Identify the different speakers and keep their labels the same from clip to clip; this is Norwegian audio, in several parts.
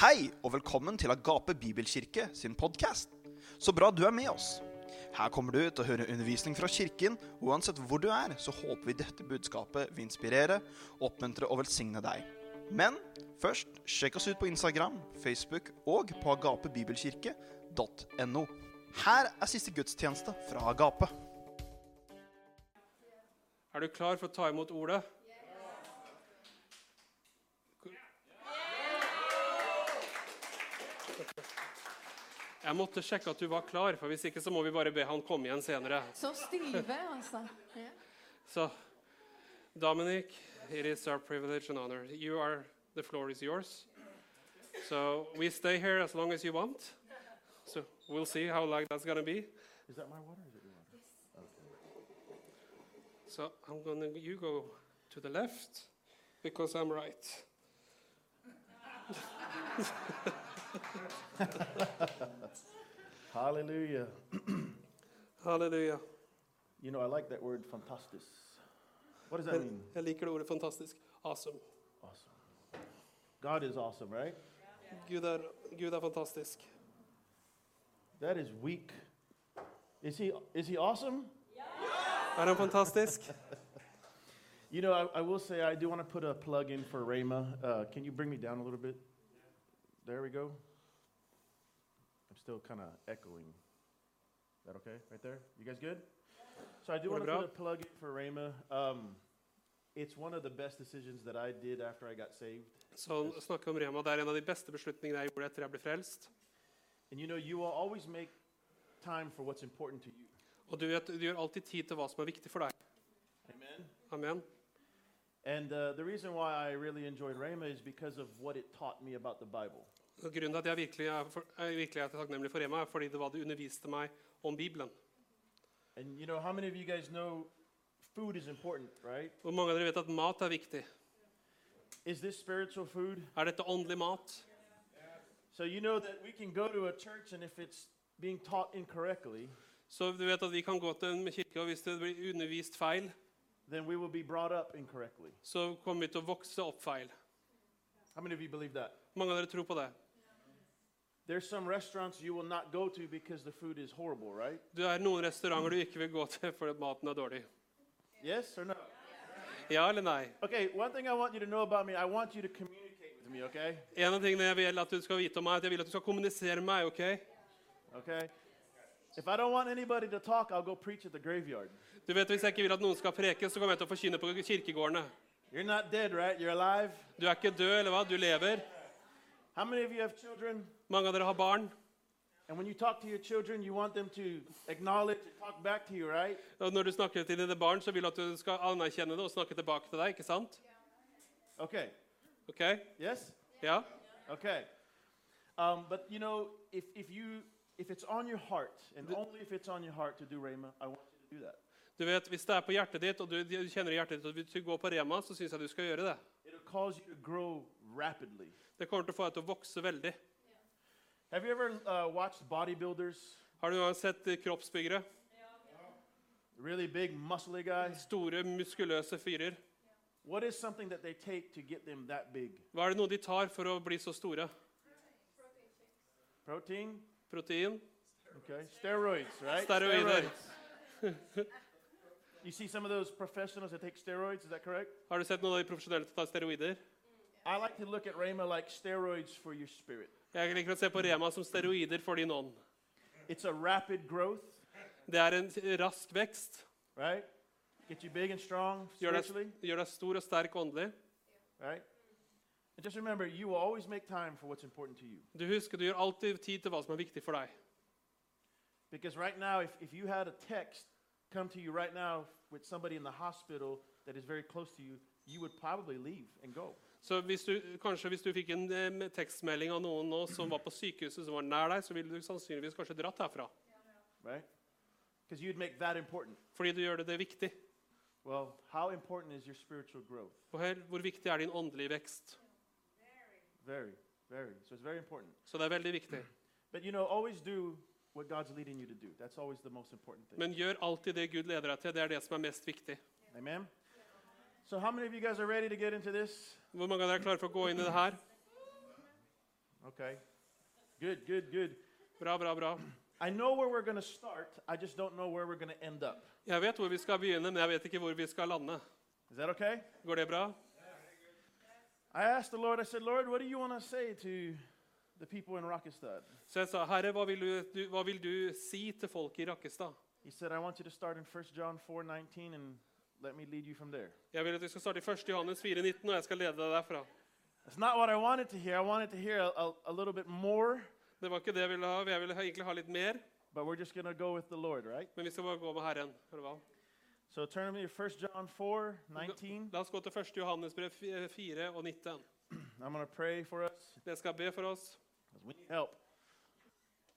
Speaker 1: Hei og velkommen til Agape Bibelkirke sin podkast. Så bra du er med oss. Her kommer du til å høre undervisning fra kirken, og uansett hvor du er, så håper vi dette budskapet vil inspirere, oppmuntre og velsigne deg. Men først, sjekk oss ut på Instagram, Facebook og på agapebibelkirke.no. Her er siste gudstjeneste fra Agape.
Speaker 2: Er du klar for å ta imot ordet? Jeg måtte sjekke at du var klar, for hvis ikke så må vi bare be han komme igjen senere.
Speaker 3: Så stive, altså. Ja.
Speaker 2: Så Dominic, it is our privilege and honor. You are the floor is yours. So we stay here as long as you want. So we'll see how long that's gonna be.
Speaker 4: Is that my water? Or is it your water?
Speaker 2: So I'm gonna you go to the left because I'm right.
Speaker 4: Hallelujah.
Speaker 2: Halleluja.
Speaker 4: You know, I like that word, fantastis. What does that mean?
Speaker 2: Jeg liker det ordet fantastisk. Awesome.
Speaker 4: Awesome. God is awesome, right?
Speaker 2: Gud er, Gud er fantastisk.
Speaker 4: That is weak. Is he, is he awesome?
Speaker 2: Er han fantastisk?
Speaker 4: You know, I, I will say I do want to put a plug in for Rhema. Uh, can you bring me down a little bit? There we go. I'm still kind of echoing. That okay? Right there? You guys good? So I do
Speaker 2: What
Speaker 4: want to
Speaker 2: about?
Speaker 4: put a plug in for Rhema. Um, it's one of the best decisions that I did after I got saved.
Speaker 2: Så han snakker om Rema. Det er en av de beste beslutningene jeg gjorde etter jeg ble frelst.
Speaker 4: And you know, you will always make time for what's important to you.
Speaker 2: Og du vet, du gjør alltid tid til hva som er viktig for deg.
Speaker 4: Amen.
Speaker 2: Amen.
Speaker 4: And uh, the reason why I really enjoyed Rhema is because of what it taught me about the Bible.
Speaker 2: Og Grunnen til at jeg virkelig er, for, jeg virkelig er takknemlig for Rema, er fordi det var det underviste meg om Bibelen.
Speaker 4: And you know, how many of you guys know food is important, right?
Speaker 2: Hvor mange av dere vet at mat er viktig?
Speaker 4: Is this spiritual food?
Speaker 2: Er dette åndelig mat?
Speaker 4: So you know that we can go to a church and if it's being taught incorrectly,
Speaker 2: Så du vet at vi kan gå til en kirke, og hvis det blir undervist feil,
Speaker 4: then we will be brought up incorrectly.
Speaker 2: så kommer vi til å vokse opp feil.
Speaker 4: How many of you believe that?
Speaker 2: Hvor mange av dere tror på det?
Speaker 4: There's some restaurants you will not go to because the food is horrible, right?
Speaker 2: Det er noen restauranter du ikke vil gå til fordi maten er dårlig.
Speaker 4: Yes or no?
Speaker 2: Ja eller nei?
Speaker 4: Okay, one thing I want you to know about me, I want you to communicate with me, okay?
Speaker 2: En av tingene jeg vil at du skal vite om meg, er at jeg vil at du skal kommunisere med meg. ok?
Speaker 4: Okay? If I don't want anybody to talk, I'll go preach at the graveyard.
Speaker 2: Du vet, Hvis jeg ikke vil at noen skal preke, så kommer jeg til å forkynne på kirkegårdene.
Speaker 4: You're not dead, right? You're alive.
Speaker 2: Du er ikke død, eller hva? Du lever.
Speaker 4: How many of you have children?
Speaker 2: Mange av dere har barn.
Speaker 4: And when you talk to your children, you want them to acknowledge and talk back to you, right?
Speaker 2: Og Når du snakker til dine barn, så vil du at du skal anerkjenne det og snakke tilbake til deg. ikke sant?
Speaker 4: Okay.
Speaker 2: Ok?
Speaker 4: Yes?
Speaker 2: Ja?
Speaker 4: Okay. Um, but you know, if, if you if it's on your heart, and only if it's on your heart to do Rhema, I want you to do that.
Speaker 2: Du vet, Hvis det er på hjertet ditt, og du, du kjenner i hjertet ditt at du vil gå på Rema, så syns jeg du skal gjøre det.
Speaker 4: It'll cause you to grow rapidly.
Speaker 2: Det kommer til å få deg til å vokse veldig.
Speaker 4: Have you ever uh, watched bodybuilders?
Speaker 2: Har du noen gang sett eh, kroppsbyggere?
Speaker 4: Really big, muscly guys?
Speaker 2: Store, muskuløse fyrer.
Speaker 4: What is something that they take to get them that big?
Speaker 2: Hva er det noe de tar for å bli så store?
Speaker 4: Protein?
Speaker 2: Protein?
Speaker 4: Okay. Steroids, right?
Speaker 2: Steroider.
Speaker 4: You see some of those professionals that take steroids, is that correct?
Speaker 2: Har du sett noen av de profesjonelle som tar steroider?
Speaker 4: I like to look at Rhema like steroids for your spirit.
Speaker 2: Jeg liker å se på Rema som steroider for din ånd.
Speaker 4: It's a rapid growth,
Speaker 2: Det er en rask vekst.
Speaker 4: right? Get you big and strong
Speaker 2: Gjør deg,
Speaker 4: spiritually,
Speaker 2: gjør deg stor og sterk åndelig.
Speaker 4: right? And just remember, you will always make time for what's important to you.
Speaker 2: Du husker, du gjør alltid tid til hva som er viktig for deg.
Speaker 4: Because right now, if, if you had a text come to you right now with somebody in the hospital that is very close to you, you would probably leave and go.
Speaker 2: Så hvis du, kanskje hvis du fikk en eh, tekstmelding av noen nå som var på sykehuset, som var nær deg, så ville du sannsynligvis kanskje dratt herfra.
Speaker 4: right? Because you'd make that important.
Speaker 2: Fordi du gjør det, det viktig.
Speaker 4: Well, how important is your spiritual growth?
Speaker 2: Og her, hvor viktig er din åndelige vekst?
Speaker 4: Very, very. So it's very important.
Speaker 2: Så det er veldig viktig.
Speaker 4: But you know, always do what God's leading you to do. That's always the most important thing.
Speaker 2: Men gjør alltid det Gud leder deg til. Det er det som er mest viktig.
Speaker 4: Amen. So, how many of you guys are ready to get into this?
Speaker 2: Hvor mange av dere er klare for å gå inn i det her?
Speaker 4: Okay. Good, good, good.
Speaker 2: Bra, bra, bra.
Speaker 4: I know where we're going to start. I just don't know where we're going to end up.
Speaker 2: Jeg vet hvor vi skal begynne, men jeg vet ikke hvor vi skal lande.
Speaker 4: Is that okay?
Speaker 2: Går det bra?
Speaker 4: I asked the Lord, I said, Lord, what do you want to say to the people in Rakestad?
Speaker 2: Så jeg sa, Herre, hva vil du, du, hva vil du si til folk i Rakkestad?
Speaker 4: He said, I want you to start in 1 John 4 19 and let me lead you from there.
Speaker 2: Jeg vil at du skal starte i 1. Johannes 4,19, og jeg skal lede deg derfra.
Speaker 4: That's not what I wanted to hear. I wanted to hear a, a, a little bit more,
Speaker 2: Det var ikke det jeg ville ha. Jeg ville ha- egentlig ha litt mer,
Speaker 4: but we're just going to go with the Lord, right?
Speaker 2: men vi skal bare gå med Herren. eller hva?
Speaker 4: So turn to me to 1 John 4 19.
Speaker 2: La oss gå til 1. Johannes brev 4 eh, og 19.
Speaker 4: I'm going to pray for us
Speaker 2: Jeg skal be for oss,
Speaker 4: 'cause we need help.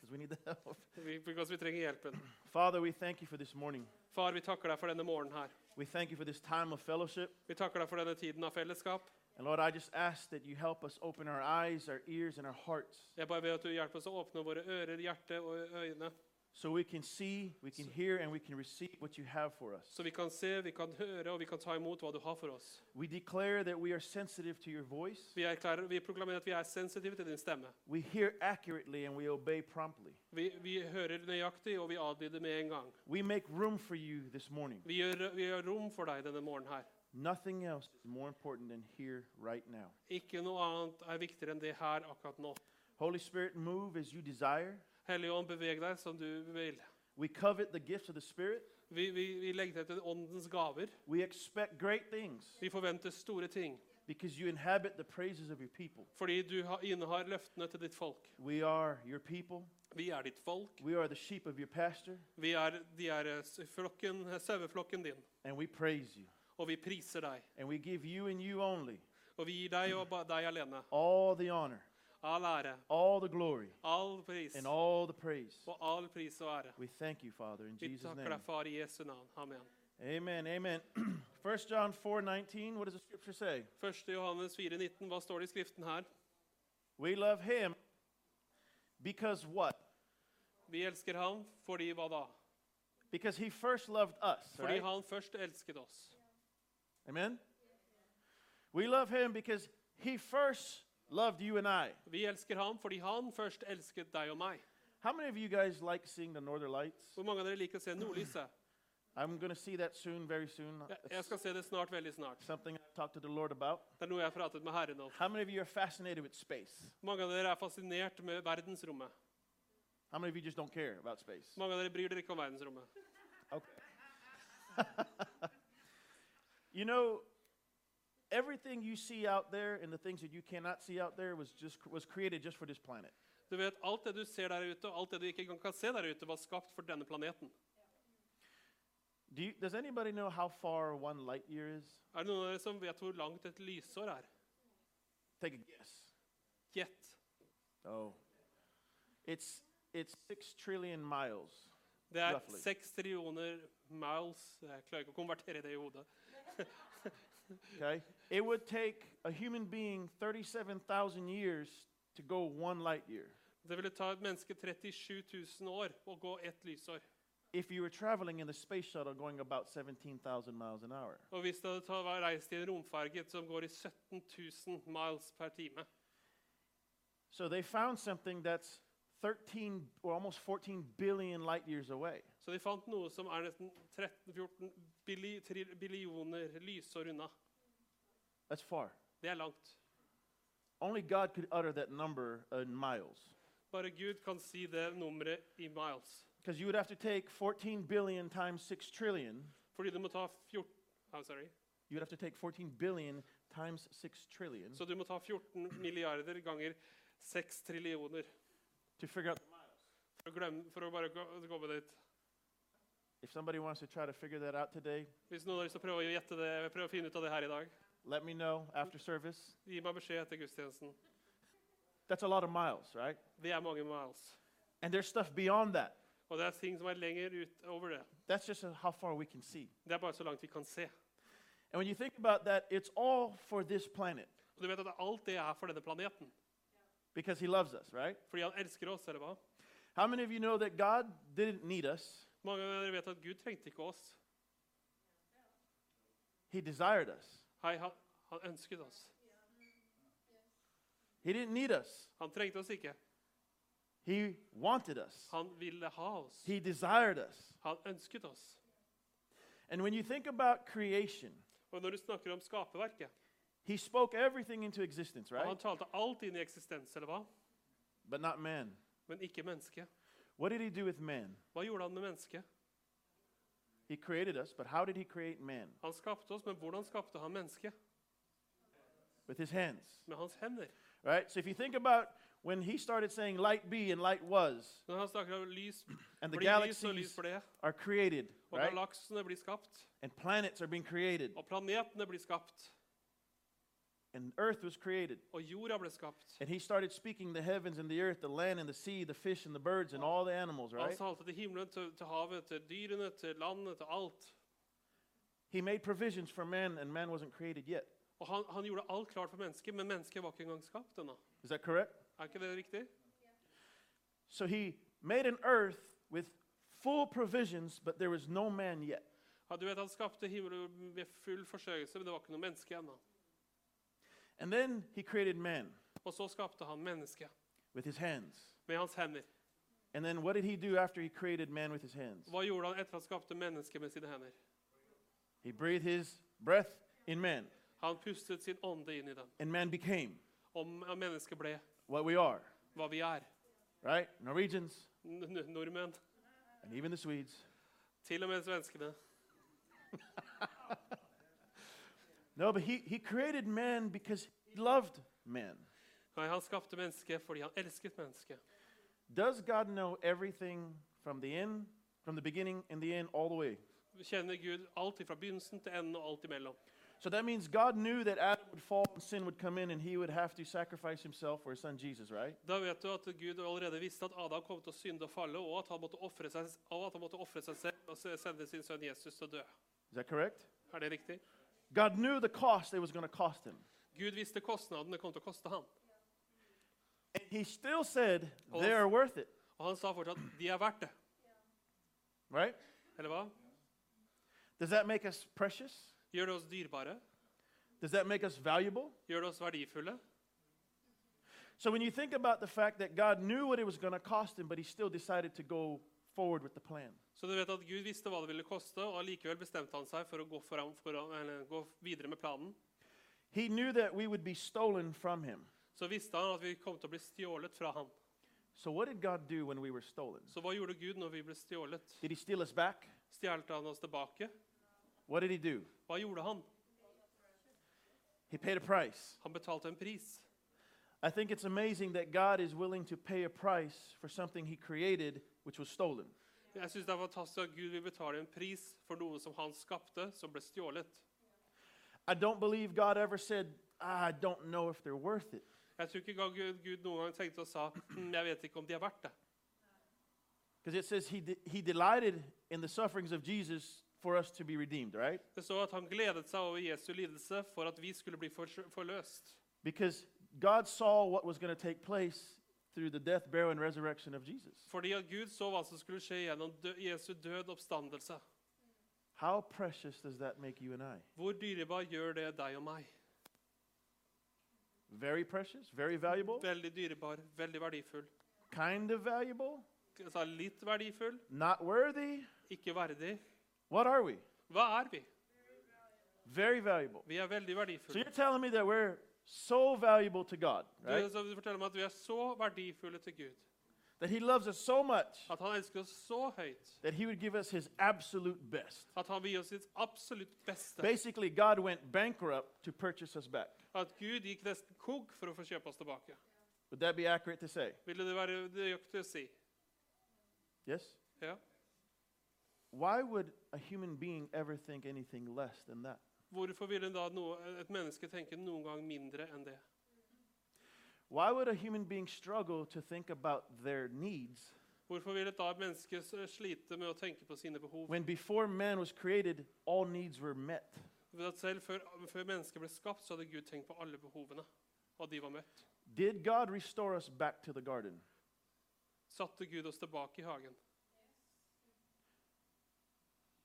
Speaker 4: Because we need the help.
Speaker 2: vi- because vi trenger hjelpen.
Speaker 4: Father, we thank you for this morning.
Speaker 2: Far, vi takker deg for denne morgenen her.
Speaker 4: We thank you for this time of fellowship.
Speaker 2: Vi takker deg for denne tiden av fellesskap.
Speaker 4: And Lord, I just ask that you help us open our eyes, our ears, and our hearts
Speaker 2: Jeg bare ber at du hjelper oss å åpne våre ører, hjerte og øyne,
Speaker 4: so we can see, we can hear, and we can receive what you have for us.
Speaker 2: så vi kan se, vi kan høre og vi kan ta imot hva du har for oss.
Speaker 4: We declare that we are sensitive to your voice.
Speaker 2: Vi, erklærer, vi proklamerer at vi er sensitive til din stemme.
Speaker 4: We hear accurately and we obey promptly.
Speaker 2: Vi, vi hører nøyaktig, og vi adlyder med en gang.
Speaker 4: We make room for you this morning.
Speaker 2: Vi gjør, vi gjør rom for deg denne morgenen her.
Speaker 4: Nothing else is more important than here right now.
Speaker 2: Ikke noe annet er viktigere enn det her akkurat nå.
Speaker 4: Holy Spirit, move as you desire.
Speaker 2: Hellige ånd, beveg deg som du vil.
Speaker 4: We covet the gifts of the Spirit.
Speaker 2: Vi, vi, vi legger til etter åndens gaver.
Speaker 4: We expect great things
Speaker 2: Vi forventer store ting,
Speaker 4: because you inhabit the praises of your people.
Speaker 2: fordi du har- innehar løftene til ditt folk.
Speaker 4: We are your people.
Speaker 2: Vi er ditt folk.
Speaker 4: We are the sheep of your pasture,
Speaker 2: Vi er, de er eh, s- flokken, eh, saueflokken din,
Speaker 4: and we praise you.
Speaker 2: og vi priser deg.
Speaker 4: And we give you and you only
Speaker 2: Og vi gir deg og ba- deg alene
Speaker 4: all the honor,
Speaker 2: all ære,
Speaker 4: all the glory,
Speaker 2: all pris
Speaker 4: and all the praise.
Speaker 2: og all pris og ære.
Speaker 4: We thank you, Father, in
Speaker 2: Vi
Speaker 4: Jesus'
Speaker 2: takker
Speaker 4: name.
Speaker 2: deg, Far, i Jesu navn. Amen.
Speaker 4: Amen. Amen. 1 John 4 19, what does the scripture say?
Speaker 2: 1. Johannes 4,19, hva står det i Skriften her?
Speaker 4: We love him because what?
Speaker 2: Vi elsker ham fordi hva da?
Speaker 4: Because he first loved us.
Speaker 2: Fordi
Speaker 4: right?
Speaker 2: han først elsket oss.
Speaker 4: Amen. We love him because he first loved you and I.
Speaker 2: Vi elsker ham fordi han først elsket deg og meg.
Speaker 4: How many of you guys like seeing the northern lights?
Speaker 2: Hvor mange av dere liker å se nordlyset?
Speaker 4: I'm going to see that soon, very soon.
Speaker 2: Jeg, jeg skal se det snart, veldig snart.
Speaker 4: Something I talked to the Lord about.
Speaker 2: Det er noe jeg har pratet med Herren om.
Speaker 4: How many of you are fascinated with space?
Speaker 2: Mange av dere er fascinert med verdensrommet.
Speaker 4: How many of you just don't care about space?
Speaker 2: Mange av dere bryr dere ikke om verdensrommet.
Speaker 4: You know, everything you see out there and the things that you cannot see out there was just was created just for this planet.
Speaker 2: Du vet, Alt det du ser der ute, og alt det du ikke engang kan se der ute, var skapt for denne planeten.
Speaker 4: Do you, does anybody know how far one light year is?
Speaker 2: Er det noen av dere som vet hvor langt et lysår er?
Speaker 4: Take a guess.
Speaker 2: Gjett.
Speaker 4: Oh, it's it's six trillion miles.
Speaker 2: Det er
Speaker 4: Roughly.
Speaker 2: seks trillioner miles Jeg klarer ikke å konvertere det i hodet.
Speaker 4: Okay, it would take a human being thirty-seven thousand years to go one light year.
Speaker 2: Det ville ta et menneske 37 000 år å gå ett lysår.
Speaker 4: If you were traveling in the space shuttle going about seventeen thousand miles an hour,
Speaker 2: Og hvis det hadde ta- var reist i en romferge som går i 17 000 miles per time
Speaker 4: so they found something that's thirteen or almost fourteen billion light years away.
Speaker 2: Så de fant noe som er nesten 13-14 billi, tri- billioner lysår unna.
Speaker 4: That's far.
Speaker 2: Det er langt.
Speaker 4: Only God could utter that number in miles.
Speaker 2: Bare Gud kan si det nummeret i miles.
Speaker 4: Because you would have to take 14 billion times 6 trillion.
Speaker 2: Fordi du må ta 14 I'm sorry.
Speaker 4: You would have to take 14 billion times 6 trillion
Speaker 2: Så du må ta 14 milliarder ganger 6 trillioner
Speaker 4: to figure out.
Speaker 2: for å, glemme, for å bare gå- komme dit.
Speaker 4: If somebody wants to try to figure that out today,
Speaker 2: Hvis noen har lyst til å prøve å gjette det, prøve å finne ut av det her i dag,
Speaker 4: let me know after service.
Speaker 2: gi meg beskjed etter gudstjenesten.
Speaker 4: That's a lot of miles, right?
Speaker 2: Det er mange miles.
Speaker 4: And there's stuff beyond that.
Speaker 2: Og det er ting som er lenger utover det.
Speaker 4: That's just how far we can see.
Speaker 2: Det er bare så langt vi kan se.
Speaker 4: And when you think about that, it's all for this planet
Speaker 2: Og du vet at alt det er for denne planeten.
Speaker 4: because He loves us, right?
Speaker 2: Fordi han elsker oss, eller hva?
Speaker 4: How many of you know that God didn't need us?
Speaker 2: Mange av dere vet at Gud trengte ikke oss.
Speaker 4: He desired us.
Speaker 2: Hei, han, han ønsket oss.
Speaker 4: He didn't need us,
Speaker 2: Han trengte oss ikke.
Speaker 4: He wanted us,
Speaker 2: Han ville ha oss.
Speaker 4: He desired us.
Speaker 2: Han ønsket oss.
Speaker 4: And when you think about creation,
Speaker 2: Og når du snakker om skaperverket
Speaker 4: He spoke everything into existence,
Speaker 2: og
Speaker 4: right?
Speaker 2: Han talte alt inn i eksistens, eller hva?
Speaker 4: But not man.
Speaker 2: Men ikke mennesket.
Speaker 4: What did He do with man?
Speaker 2: Hva gjorde han med mennesket?
Speaker 4: He created us, but how did He create man?
Speaker 2: Han skapte oss, men hvordan skapte han mennesket?
Speaker 4: With His hands,
Speaker 2: Med hans hender.
Speaker 4: right? So if you think about when He started saying light be and light was,
Speaker 2: Når han snakker om lys,
Speaker 4: and the
Speaker 2: blir lys og
Speaker 4: galaxies
Speaker 2: lys ble,
Speaker 4: are created,
Speaker 2: og
Speaker 4: right?
Speaker 2: galaksene blir skapt,
Speaker 4: And planets are being created,
Speaker 2: og planetene blir skapt,
Speaker 4: and earth was created.
Speaker 2: og jorda ble skapt.
Speaker 4: And he started speaking the heavens and the earth, the land and the sea, the fish and the birds and all the animals,
Speaker 2: Han
Speaker 4: right?
Speaker 2: talte til himmelen, til, til havet, til dyrene, til landet, til alt.
Speaker 4: He made provisions for man, and man wasn't created yet.
Speaker 2: Og han, han gjorde alt klart for mennesket, men mennesket var ikke engang skapt ennå.
Speaker 4: Is that correct?
Speaker 2: Er ikke det riktig?
Speaker 4: So he made an earth with full provisions, but there was no man yet.
Speaker 2: Ja, Du vet, Han skapte himmelen med full forsørgelse, men det var ikke noe menneske ennå.
Speaker 4: And then he created man
Speaker 2: Og så skapte han mennesket
Speaker 4: with his hands.
Speaker 2: med hans hender.
Speaker 4: And then what did he do after he created man with his hands?
Speaker 2: Hva gjorde han etter han skapte mennesket med sine hender?
Speaker 4: He breathed his breath in man,
Speaker 2: Han pustet sin ånde inn i dem.
Speaker 4: and man became
Speaker 2: Og m- mennesket ble
Speaker 4: what we are,
Speaker 2: hva vi er.
Speaker 4: right? Norwegians
Speaker 2: N n- nordmenn.
Speaker 4: and even the Swedes.
Speaker 2: Til og med svenskene.
Speaker 4: No, but he, he created man because he loved man.
Speaker 2: Nei, han skapte mennesket fordi han elsket mennesket.
Speaker 4: Does God know everything from the end, from the beginning and the end, all the way?
Speaker 2: Kjenner Gud alt fra begynnelsen til enden og alt imellom.
Speaker 4: So that means God knew that Adam would fall and sin would come in and he would have to sacrifice himself for his son Jesus, right?
Speaker 2: Da vet du at Gud allerede visste at Adam kom til å synde og falle, og at han måtte ofre seg, og at han måtte ofre seg selv og se- sende sin sønn Jesus til å dø.
Speaker 4: Is that correct?
Speaker 2: Er det riktig?
Speaker 4: God knew the cost it was going to cost him.
Speaker 2: Gud visste kostnaden det kom til å koste han.
Speaker 4: And he still said,
Speaker 2: Oh.
Speaker 4: they are worth it,
Speaker 2: Og han sa fortsatt de er verdt det.
Speaker 4: right?
Speaker 2: Eller hva?
Speaker 4: Does that make us precious?
Speaker 2: Gjør det oss dyrebare?
Speaker 4: Does that make us valuable?
Speaker 2: Gjør det oss verdifulle?
Speaker 4: So when you think about the fact that God knew what it was going to cost him, but he still decided to go forward with the plan.
Speaker 2: Så du vet at Gud visste hva det ville koste, og allikevel bestemte han seg for å gå, foran, foran, eller gå videre med planen.
Speaker 4: He knew that we would be stolen from him.
Speaker 2: Så visste han at vi kom til å bli stjålet fra han.
Speaker 4: So, what did God do when we were stolen?
Speaker 2: Så hva gjorde Gud når vi ble stjålet?
Speaker 4: Did he steal us back?
Speaker 2: Stjal han oss tilbake?
Speaker 4: What did he do?
Speaker 2: Hva gjorde han?
Speaker 4: He paid a price.
Speaker 2: Han betalte en pris.
Speaker 4: I think it's amazing that God is willing to pay a price for something he created, which was stolen.
Speaker 2: Jeg synes det er fantastisk at Gud vil betale en pris for noe som han skapte, som ble stjålet.
Speaker 4: I don't believe God ever said, "Ah, I don't know if they're worth it.
Speaker 2: Jeg tror ikke engang Gud, Gud noen gang tenkte og sa «Hm, jeg vet ikke om de er verdt det.
Speaker 4: Because it says he, de- he delighted in the sufferings of Jesus for us to be redeemed, right?
Speaker 2: Det står at han gledet seg over Jesu lidelse for at vi skulle bli for- forløst.
Speaker 4: Because God saw what was going to take place through the death, burial, and resurrection of Jesus.
Speaker 2: Fordi at Gud så hva som skulle skje gjennom dø Jesu død og oppstandelse.
Speaker 4: How precious does that make you and I?
Speaker 2: Hvor dyrebar gjør det deg og meg?
Speaker 4: Very precious, very valuable,
Speaker 2: Veldig dyrebar, veldig verdifull.
Speaker 4: kind of valuable,
Speaker 2: Jeg sa litt verdifull,
Speaker 4: not worthy.
Speaker 2: ikke verdig.
Speaker 4: What are we?
Speaker 2: Hva er vi?
Speaker 4: Very valuable.
Speaker 2: Vi er veldig
Speaker 4: So you're
Speaker 2: verdifulle.
Speaker 4: telling me that we're so valuable to God,
Speaker 2: Du,
Speaker 4: right?
Speaker 2: så du forteller meg at vi er så verdifulle til Gud.
Speaker 4: That He loves us so much
Speaker 2: At han elsker oss så høyt.
Speaker 4: that He would give us His absolute best.
Speaker 2: At han vil gi oss sitt absolutt beste.
Speaker 4: Basically, God went bankrupt to purchase us back.
Speaker 2: At Gud gikk nesten kog for å få kjøpe oss tilbake.
Speaker 4: Would that be accurate to say?
Speaker 2: Ville det være nøyaktig å si?
Speaker 4: Yes?
Speaker 2: Ja.
Speaker 4: Why would a human being ever think anything less than that?
Speaker 2: Hvorfor ville da noe, et menneske tenke noen gang mindre enn det?
Speaker 4: Why would a human being struggle to think about their needs
Speaker 2: Hvorfor ville da et menneske s- slite med å tenke på sine behov?
Speaker 4: when before man was created, all needs were met?
Speaker 2: For at selv før, før mennesket ble skapt, så hadde Gud tenkt på alle behovene, og de var møtt.
Speaker 4: Did God restore us back to the garden?
Speaker 2: Satte Gud oss tilbake i hagen?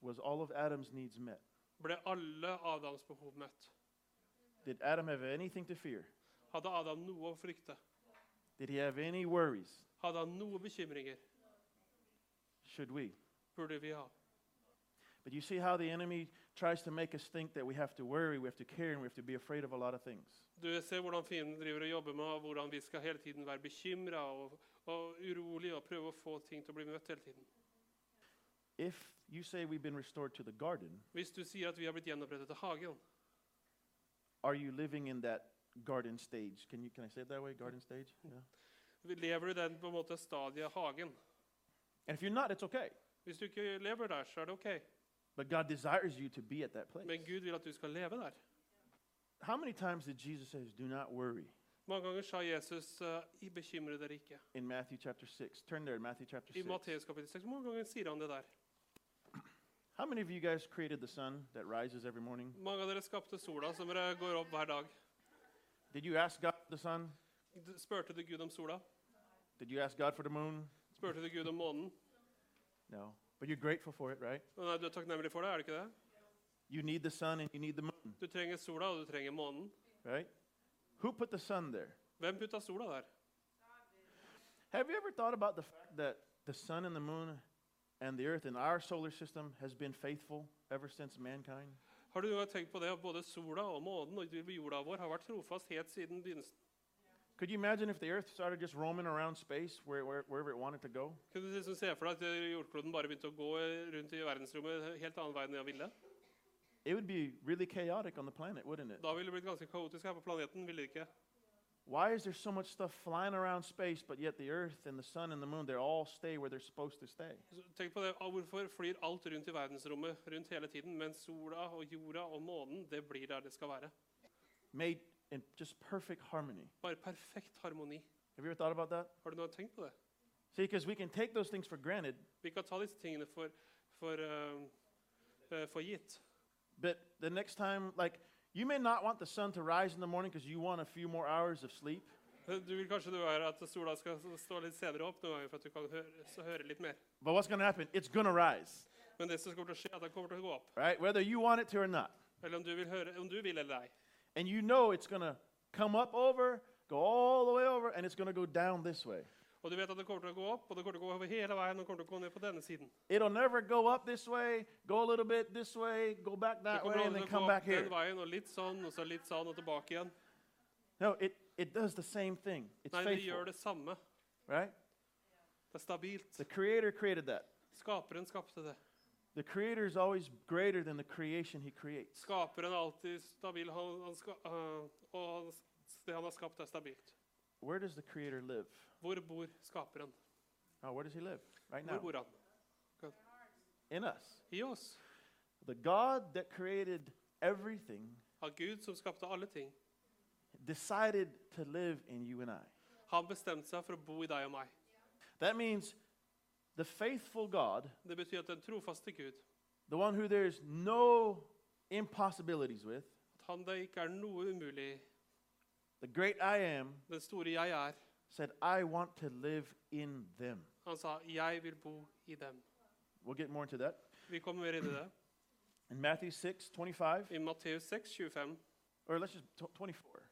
Speaker 4: Was all of Adam's needs met?
Speaker 2: Ble alle Adams behov møtt?
Speaker 4: Did Adam have anything to fear?
Speaker 2: Hadde Adam noe å frykte?
Speaker 4: Did he have any worries?
Speaker 2: Hadde han noe bekymringer?
Speaker 4: Should we?
Speaker 2: Burde vi ha?
Speaker 4: But you see how the enemy tries to make us think that we have to worry, we have to care, and we have to be afraid of a lot of things.
Speaker 2: Du ser hvordan fienden driver og jobber med hvordan vi skal hele tiden være bekymra og, og urolige og prøve å få ting til å bli møtt hele tiden.
Speaker 4: If you say we've been restored to the garden,
Speaker 2: Hvis du sier at vi har blitt gjenopprettet til hagen,
Speaker 4: are you living in that garden stage? Can you can I say it that way? Garden stage? Yeah.
Speaker 2: lever du den på en måte stadiet hagen?
Speaker 4: And if you're not, it's okay.
Speaker 2: Hvis du ikke lever der, så er det ok.
Speaker 4: But God desires you to be at that place.
Speaker 2: Men Gud vil at du skal leve der.
Speaker 4: How many times did Jesus says, "Do not worry"?
Speaker 2: Mange ganger sa Jesus eh, «I bekymre dere ikke.
Speaker 4: In Matthew chapter six, turn there. Matthew chapter
Speaker 2: I
Speaker 4: six.
Speaker 2: Matteus kapittel 6 mange ganger sier han det der.
Speaker 4: How many of you guys created the sun that rises every morning?
Speaker 2: Mange av dere skapte sola, som dere går opp hver dag.
Speaker 4: Did you ask God for the sun?
Speaker 2: D- Spurte du Gud om sola?
Speaker 4: Did you ask God for the moon?
Speaker 2: Spurte du Gud om månen?
Speaker 4: No. But you're grateful for it, right?
Speaker 2: Å Nei, du er takknemlig for det, er du ikke det?
Speaker 4: You need the sun and you need the moon,
Speaker 2: Du trenger sola, og du trenger månen.
Speaker 4: right? Who put the sun there?
Speaker 2: Hvem putta sola der?
Speaker 4: Have you ever thought about the fact that the sun and the moon and the earth and our solar system has been faithful ever since mankind?
Speaker 2: Har du noen gang tenkt på det at både sola og månen og jorda vår har vært trofast helt siden begynnelsen?
Speaker 4: Could you imagine if the earth started just roaming around space where, where, wherever it wanted to go?
Speaker 2: Kunne du liksom se for deg at eh, jordkloden bare begynte å gå eh, rundt i verdensrommet helt annen vei enn den ville?
Speaker 4: It would be really chaotic on the planet, wouldn't it?
Speaker 2: Da ville det blitt ganske kaotisk her på planeten, ville det ikke?
Speaker 4: Why is there so much stuff flying around space, but yet the earth and the sun and the moon, they all stay where they're supposed to stay?
Speaker 2: Så Tenk på det, ah, Hvorfor flyr alt rundt i verdensrommet rundt hele tiden, mens sola og jorda og månen det blir der det skal være?
Speaker 4: Made in just perfect harmony.
Speaker 2: Bare perfekt harmoni.
Speaker 4: Have you ever thought about that?
Speaker 2: Har du noe tenkt på det?
Speaker 4: See, because we can take those things for granted,
Speaker 2: Vi kan ta disse tingene for, for, eh, eh, for gitt.
Speaker 4: but the next time, like, you may not want the sun to rise in the morning because you want a few more hours of sleep.
Speaker 2: Du vil kanskje det være at sola skal stå litt senere opp noen ganger for at du kan høre, så høre litt mer.
Speaker 4: But what's going to happen? It's going to rise,
Speaker 2: Men det som kommer til å skje, er at den kommer til å gå opp.
Speaker 4: right? Whether you want it to or not.
Speaker 2: Eller om du vil, høre, om du vil eller ei.
Speaker 4: And you know it's going to come up over, go all the way over, and it's going to go down this way.
Speaker 2: Og du vet at det kommer til å gå opp, og det kommer til å gå over hele veien og det kommer til å gå ned på denne siden.
Speaker 4: It'll never go up this way, go a little bit this way, go back
Speaker 2: Det
Speaker 4: that way,
Speaker 2: kommer
Speaker 4: and
Speaker 2: til
Speaker 4: then
Speaker 2: å gå
Speaker 4: come back
Speaker 2: opp
Speaker 4: here.
Speaker 2: den veien og litt sånn, og så litt sånn, og tilbake igjen.
Speaker 4: No, it, it does the same thing. It's
Speaker 2: Nei, det
Speaker 4: faithful,
Speaker 2: gjør det samme.
Speaker 4: right?
Speaker 2: Det er stabilt.
Speaker 4: The Creator created that.
Speaker 2: Skaperen skapte det.
Speaker 4: The Creator is always greater than the creation He creates.
Speaker 2: Skaperen er alltid stabil, han, han ska, øh, og han, det han har skapt, er stabilt.
Speaker 4: Where does the Creator live?
Speaker 2: Hvor bor skaperen?
Speaker 4: Oh, where does He live? Right now.
Speaker 2: Hvor bor han?
Speaker 4: In us.
Speaker 2: I oss.
Speaker 4: The God that created everything
Speaker 2: Av Gud som skapte alle ting.
Speaker 4: decided to live in you and I.
Speaker 2: Han bestemte seg for å bo i deg og meg.
Speaker 4: That means the faithful God,
Speaker 2: Det betyr at den trofaste Gud,
Speaker 4: the one who there's no impossibilities with,
Speaker 2: at han det ikke er noe umulig i,
Speaker 4: the great I am,
Speaker 2: Den store jeg er.
Speaker 4: said, I want to live in them.
Speaker 2: Han sa, 'Jeg vil bo i dem'.
Speaker 4: We'll get more into that.
Speaker 2: Vi kommer mer inn i det.
Speaker 4: In Matthew 6, 25,
Speaker 2: I Matteus 6, 25.
Speaker 4: or let's just tw 24.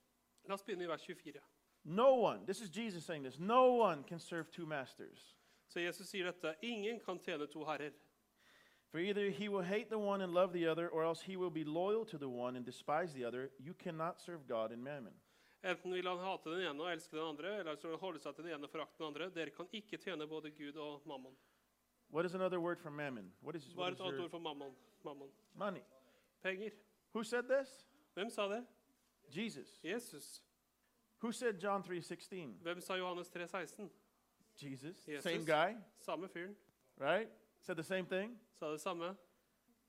Speaker 2: La oss begynne i vers 24.
Speaker 4: No one, this is Jesus saying this, no one can serve two masters.
Speaker 2: Så Jesus sier dette. Ingen kan tjene to herrer.
Speaker 4: For either he will hate the one and love the other, or else he will be loyal to the one and despise the other. You cannot serve God and mammon.
Speaker 2: Enten vil han hate den ene og elske den andre, eller så vil han holde seg til den ene og forakte den andre. Dere kan ikke tjene både Gud og mammon.
Speaker 4: What is another word for mammon? What is,
Speaker 2: Hva
Speaker 4: what
Speaker 2: er
Speaker 4: is
Speaker 2: et annet
Speaker 4: your
Speaker 2: ord for mammon? mammon?
Speaker 4: money?
Speaker 2: Penger.
Speaker 4: Who said this?
Speaker 2: Hvem sa det?
Speaker 4: Jesus.
Speaker 2: Jesus.
Speaker 4: Who said John 3:16?
Speaker 2: Hvem sa Johannes 3, 16?
Speaker 4: Jesus. Same
Speaker 2: Jesus.
Speaker 4: guy,
Speaker 2: Samme fyren.
Speaker 4: right? Said the same thing.
Speaker 2: Sa det samme.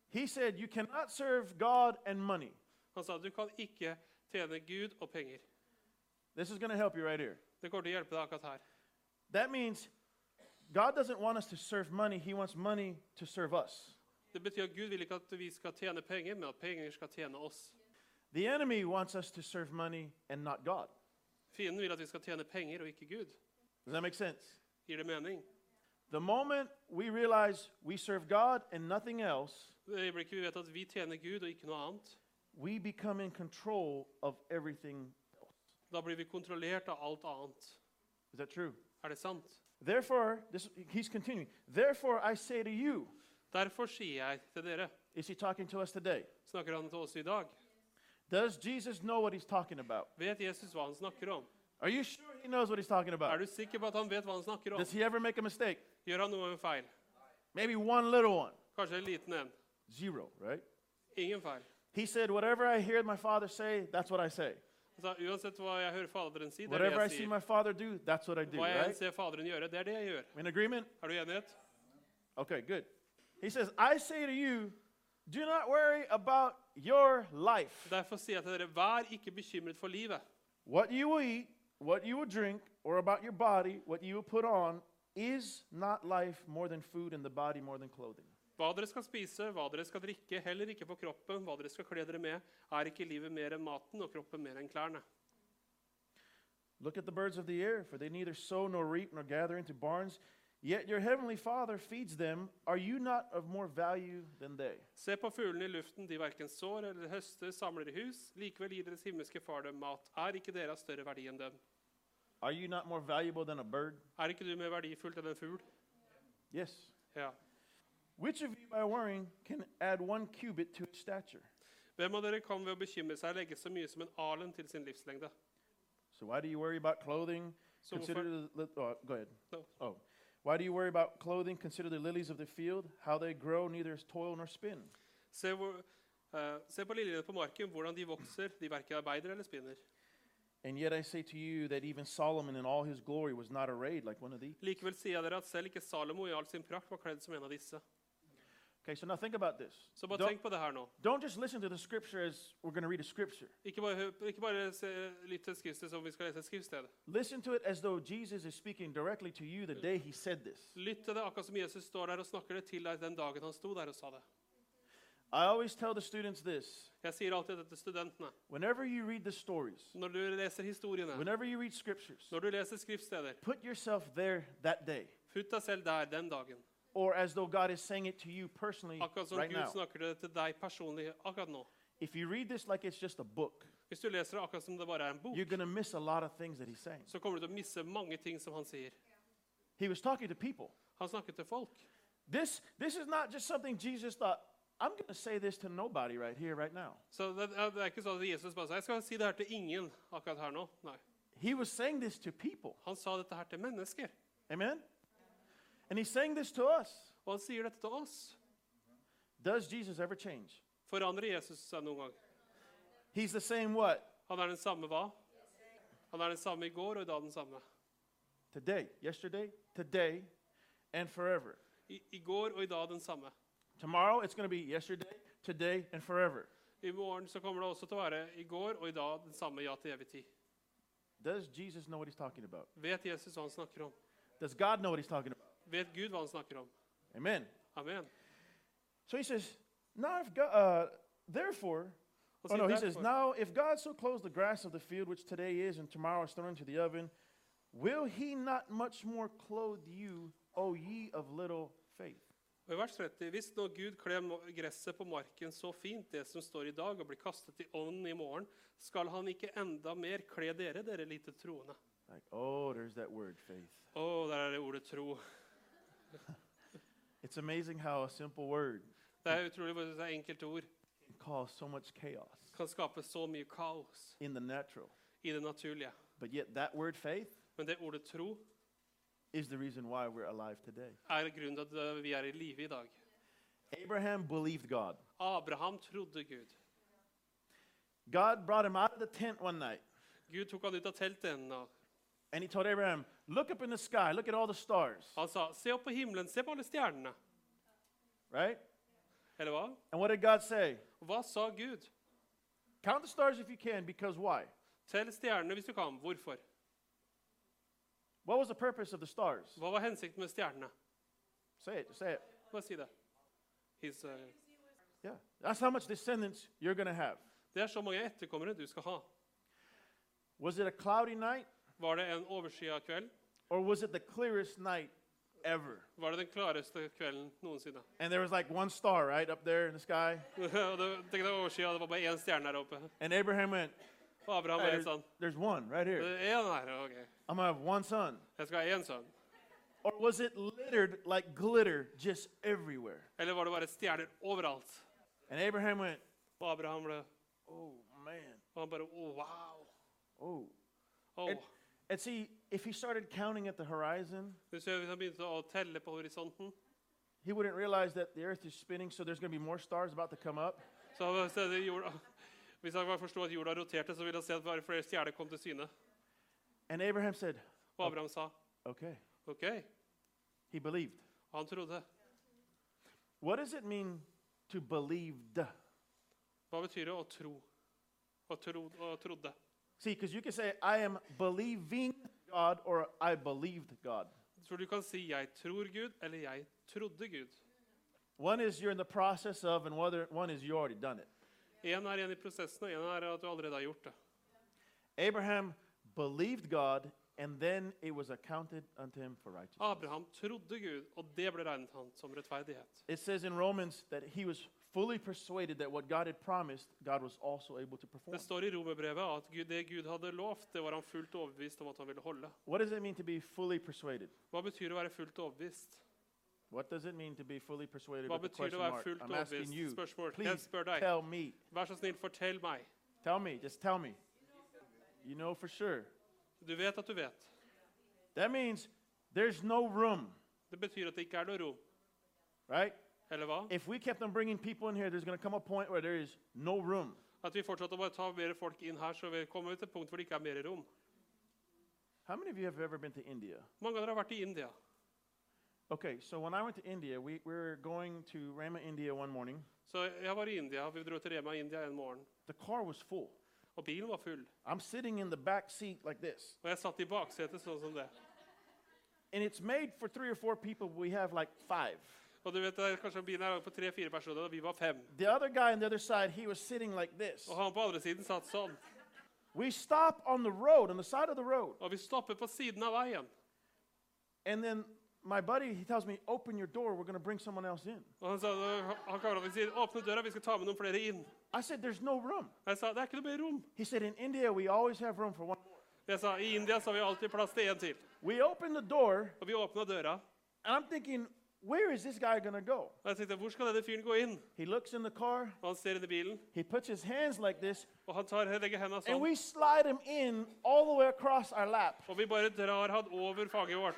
Speaker 4: He said you cannot serve God and money.
Speaker 2: Han sa du kan ikke tjene Gud og penger.
Speaker 4: This is going to help you right here.
Speaker 2: Det kommer til å hjelpe deg akkurat her.
Speaker 4: That means God doesn't want us to serve money. He wants money to serve us.
Speaker 2: Det betyr at Gud vil ikke at vi skal tjene penger, men at penger skal tjene oss.
Speaker 4: The enemy wants us to serve money and not God.
Speaker 2: Fienden vil at vi skal tjene penger og ikke Gud.
Speaker 4: Does that make sense?
Speaker 2: Gir det mening?
Speaker 4: The moment we realize we serve God and nothing else,
Speaker 2: Det øyeblikket vi vet at vi tjener Gud og ikke noe annet,
Speaker 4: we become in control of everything.
Speaker 2: Da blir vi kontrollert av alt annet.
Speaker 4: Is that true?
Speaker 2: Er det sant?
Speaker 4: Therefore, this, he's continuing. Therefore, I say to you,
Speaker 2: Derfor sier jeg til dere
Speaker 4: is he talking to us today?
Speaker 2: Snakker han til oss i dag?
Speaker 4: Does Jesus know what he's talking about?
Speaker 2: Vet Jesus hva han snakker om?
Speaker 4: Are you sure he knows what he's talking about?
Speaker 2: Er du sikker på at han vet hva han snakker om?
Speaker 4: Does he ever make a mistake?
Speaker 2: Gjør han noen feil?
Speaker 4: Maybe one little one.
Speaker 2: Kanskje en liten en.
Speaker 4: Zero, right?
Speaker 2: Ingen feil.
Speaker 4: He said, Whatever I hear my father say, that's what I say.
Speaker 2: Han sa, uansett hva jeg hører Faderen si, det er
Speaker 4: Whatever I
Speaker 2: det jeg
Speaker 4: see
Speaker 2: sier.
Speaker 4: my father do, that's what I do,
Speaker 2: Hva jeg enn
Speaker 4: right?
Speaker 2: ser Faderen gjøre, det er det jeg gjør.
Speaker 4: In agreement?
Speaker 2: Er du enighet?
Speaker 4: Okay, good. He says, I say to you, do not worry about your life,
Speaker 2: Derfor sier jeg til dere, vær ikke bekymret for livet.
Speaker 4: what you will eat, what you will drink, or about your body, what you will put on. Is not life more than food and the body more than clothing?
Speaker 2: Hva dere skal spise, hva dere skal drikke, heller ikke på kroppen, hva dere skal kle dere med, er ikke livet mer enn maten og kroppen mer enn klærne.
Speaker 4: Look at the birds of the air, for they neither sow nor reap nor gather into barns, yet your heavenly Father feeds them. Are you not of more value than they?
Speaker 2: Se på fuglene i luften, de verken sår eller høster, samler i hus. Likevel gir deres himmelske far dem mat. Er ikke dere av større verdi enn dem?
Speaker 4: Are you not more valuable than a bird?
Speaker 2: Er ikke du mer verdifull enn en fugl?
Speaker 4: Yes.
Speaker 2: Ja.
Speaker 4: Which of you, by worrying, can add one cubit to his stature?
Speaker 2: Hvem av dere kan ved å bekymre seg legge så mye som en alen til sin livslengde?
Speaker 4: So why do you worry about clothing?
Speaker 2: So
Speaker 4: Consider the, li- oh, go ahead.
Speaker 2: No.
Speaker 4: Oh, why do you worry about clothing? Consider the lilies of the field, how they grow, neither is toil nor spin.
Speaker 2: Se, hvor, eh, se på liljene på marken, hvordan de vokser. De verken arbeider eller spinner.
Speaker 4: And yet I say to you that even Solomon in all his glory was not arrayed like one of these.
Speaker 2: Likevel sier jeg dere at selv ikke Salomo i all sin prakt var kledd som en av disse.
Speaker 4: Okay, so now think about this.
Speaker 2: Så bare
Speaker 4: Don't-
Speaker 2: tenk på det her nå.
Speaker 4: Don't just listen to the scripture as we're going to read a scripture.
Speaker 2: Ikke bare, hø- ikke bare se, lytt til skriftet som vi skal lese et skriftsted.
Speaker 4: Listen to it as though Jesus is speaking directly to you the day he said this.
Speaker 2: Lytt til det akkurat som Jesus står der og snakker det til deg den dagen han sto der og sa det.
Speaker 4: I always tell the students this
Speaker 2: Jeg sier alltid dette til studentene.
Speaker 4: whenever you read the stories,
Speaker 2: Når du leser historiene,
Speaker 4: whenever you read scriptures,
Speaker 2: når du leser skriftsteder,
Speaker 4: put yourself there that day,
Speaker 2: putt deg selv der den dagen.
Speaker 4: or as though God is saying it to you personally
Speaker 2: Akkurat som
Speaker 4: right
Speaker 2: Gud
Speaker 4: now.
Speaker 2: snakker det til deg personlig akkurat nå.
Speaker 4: If you read this like it's just a book,
Speaker 2: Hvis du leser det akkurat som det bare er en bok,
Speaker 4: you're going to miss a lot of things that he's saying.
Speaker 2: så kommer du til å misse mange ting som han sier.
Speaker 4: He was talking to people.
Speaker 2: Han snakker til folk.
Speaker 4: This, this is not just something Jesus thought, I'm going to say this to nobody right here, right now.
Speaker 2: Så det, det er ikke sånn at Jesus bare sa 'Jeg skal si det her til ingen akkurat her nå'. Nei.
Speaker 4: He was saying this to people.
Speaker 2: Han sa dette her til mennesker.
Speaker 4: Amen? And he's saying this to us.
Speaker 2: Og han sier dette til oss.
Speaker 4: Does Jesus ever change?
Speaker 2: Forandrer Jesus seg noen gang?
Speaker 4: He's the same what?
Speaker 2: Han er den samme hva? Han er den samme i går og i dag den samme.
Speaker 4: Today, yesterday, today, and forever.
Speaker 2: I, i går og i dag den samme.
Speaker 4: Tomorrow, it's going to be yesterday, today, and forever.
Speaker 2: I morgen så kommer det også til å være i går og i dag den samme ja til evig tid.
Speaker 4: Does Jesus know what he's talking about?
Speaker 2: Vet Jesus hva han snakker om?
Speaker 4: Does God know what he's talking about?
Speaker 2: Vet Gud hva han snakker om?
Speaker 4: Amen.
Speaker 2: Amen.
Speaker 4: So he says, now if God, uh, therefore,
Speaker 2: Han
Speaker 4: oh
Speaker 2: sier
Speaker 4: no, he
Speaker 2: derfor-
Speaker 4: says, now if God so clothes the grass of the field, which today is and tomorrow is thrown into the oven, will he not much more clothe you, O ye of little faith?
Speaker 2: Og i vers 30, Hvis nå Gud kler mo- gresset på marken så fint, det som står i dag, og blir kastet i ånden i morgen, skal han ikke enda mer kle dere, dere lite troende.
Speaker 4: Like, oh, there's that word, faith.
Speaker 2: Å, der er det ordet tro.
Speaker 4: It's amazing how a simple word
Speaker 2: Det er utrolig hvor det er enkelte ord.
Speaker 4: can cause so much chaos
Speaker 2: Kan skape så mye kaos
Speaker 4: in the natural.
Speaker 2: i det naturlige.
Speaker 4: But yet, that word faith
Speaker 2: Men det ordet tro
Speaker 4: is the reason why we're alive today.
Speaker 2: er grunnen til at eh, vi er i live i dag.
Speaker 4: Abraham believed God.
Speaker 2: Abraham trodde Gud.
Speaker 4: God brought him out of the tent one night,
Speaker 2: Gud tok han ut av teltet en dag.
Speaker 4: and he told Abraham, Look up in the sky, look at all the stars,
Speaker 2: Han sa, 'Se opp på himmelen, se på alle stjernene.'
Speaker 4: right?
Speaker 2: Eller hva?
Speaker 4: And what did God say?
Speaker 2: Og Hva sa Gud?
Speaker 4: Count the stars if you can, because why?
Speaker 2: Tell stjernene hvis du kan. Hvorfor?
Speaker 4: What was the purpose of the stars?
Speaker 2: Hva var hensikten med stjernene?
Speaker 4: Say it, say it.
Speaker 2: Bare si det. His, eh,
Speaker 4: Yeah. That's how much descendants you're going to have.
Speaker 2: det er så mange etterkommere du skal ha.
Speaker 4: Was it a cloudy night,
Speaker 2: Var det en overskya kveld?
Speaker 4: or was it the clearest night ever?
Speaker 2: Var det den klareste kvelden noensinne?
Speaker 4: And there was like one star, right, up there in the sky.
Speaker 2: Og det, tenk deg overskya, det var bare én stjerne her oppe.
Speaker 4: And Abraham went,
Speaker 2: Og Abraham var helt sånn
Speaker 4: There's one right
Speaker 2: Det
Speaker 4: here.
Speaker 2: er en her, ok.
Speaker 4: I'm gonna have one son.
Speaker 2: Jeg skal ha én sønn.
Speaker 4: Or was it littered like glitter just everywhere?
Speaker 2: Eller var det bare stjerner overalt?
Speaker 4: And Abraham went,
Speaker 2: Og Abraham ble
Speaker 4: Oh man,
Speaker 2: Og han bare oh, Wow.
Speaker 4: oh.
Speaker 2: Oh.
Speaker 4: And, and see, if he started counting at the horizon,
Speaker 2: Du ser Hvis han begynte å telle på horisonten,
Speaker 4: he wouldn't realize that the earth is spinning, so there's gonna be more stars about to come up.
Speaker 2: så han så det jorda, Hvis han bare forsto at jorda roterte, så ville han se at bare flere stjerner kom til syne.
Speaker 4: And Abraham said,
Speaker 2: Og Abraham sa
Speaker 4: Okay.
Speaker 2: OK.
Speaker 4: He believed.
Speaker 2: Han trodde.
Speaker 4: What does it mean to believed?
Speaker 2: Hva betyr det å tro? Å tro og trodde.
Speaker 4: See, because you can say, I am believing God or I believed God.
Speaker 2: For du kan si 'jeg tror Gud' eller 'jeg trodde Gud'.
Speaker 4: One is you're in the process of, and whether one is you already done it.
Speaker 2: Én er igjen i prosessen, og én er at du allerede har gjort det.
Speaker 4: Abraham believed God, and then it was accounted unto him for righteousness.
Speaker 2: Abraham trodde Gud, og det ble regnet han som rettferdighet.
Speaker 4: It says in Romans that he was fully persuaded that what God had promised, God was also able to perform.
Speaker 2: Det står i romerbrevet at Gud, det Gud hadde lovt, det var han fullt overbevist om at han ville holde.
Speaker 4: What does it mean to be fully persuaded?
Speaker 2: Hva betyr det å være fullt overbevist?
Speaker 4: What does it mean to be fully persuaded?
Speaker 2: Hva
Speaker 4: with a
Speaker 2: betyr det
Speaker 4: question
Speaker 2: å være
Speaker 4: mark?
Speaker 2: fullt
Speaker 4: I'm asking
Speaker 2: overbevist?
Speaker 4: you.
Speaker 2: Spørsmål. Jeg
Speaker 4: Please
Speaker 2: spør deg.
Speaker 4: tell me.
Speaker 2: Vær så snill, fortell meg.
Speaker 4: Tell me. Just tell me. You know for sure.
Speaker 2: Du vet at du vet.
Speaker 4: That means there's no room,
Speaker 2: Det betyr at det ikke er noe rom.
Speaker 4: right?
Speaker 2: Eller hva?
Speaker 4: If we kept on bringing people in here, there's going to come a point where there is no room.
Speaker 2: At vi fortsetter å bare ta mer folk inn her, så vi kommer til et punkt hvor det ikke er mer rom.
Speaker 4: How many of you have ever been to India?
Speaker 2: Mange av dere har vært i India.
Speaker 4: Okay, so when I went to India, we, we were going to Rama, India one morning.
Speaker 2: Så jeg var i India. Vi dro til Rema i India en morgen,
Speaker 4: The car was full.
Speaker 2: og bilen var full.
Speaker 4: I'm sitting in the back seat like this,
Speaker 2: Og jeg satt i baksetet sånn som det.
Speaker 4: and it's made for three or four people. We have like five.
Speaker 2: Og du vet, det er kanskje bilen er laget for tre-fire personer, og vi var fem.
Speaker 4: The other guy on the other side, he was sitting like this.
Speaker 2: Og han på andre siden satt sånn.
Speaker 4: We stop on the road, on the side of the road,
Speaker 2: Og vi stoppet på siden av veien.
Speaker 4: and then my buddy he tells me, "Open your door. We're going to bring someone else in."
Speaker 2: Og han sa, han kameraten sier, åpne døra, vi skal ta med noen flere inn.
Speaker 4: I said, "There's no room."
Speaker 2: Jeg sa, det er ikke noe mer rom.
Speaker 4: He said, "In India, we always have room for one." more."
Speaker 2: Jeg sa, i India så har vi alltid plass til en til.
Speaker 4: We open the door,
Speaker 2: Og vi åpnet døra.
Speaker 4: and I'm thinking, "Where is this guy going to go?"
Speaker 2: Og jeg tenkte, hvor skal denne fyren gå inn?
Speaker 4: He looks in the car.
Speaker 2: Og han ser inn i bilen,
Speaker 4: He puts his hands like this,
Speaker 2: og han tar, legger hendene
Speaker 4: and
Speaker 2: sånn.
Speaker 4: we slide him in all the way across our lap.
Speaker 2: Og vi bare drar han over fanget vårt.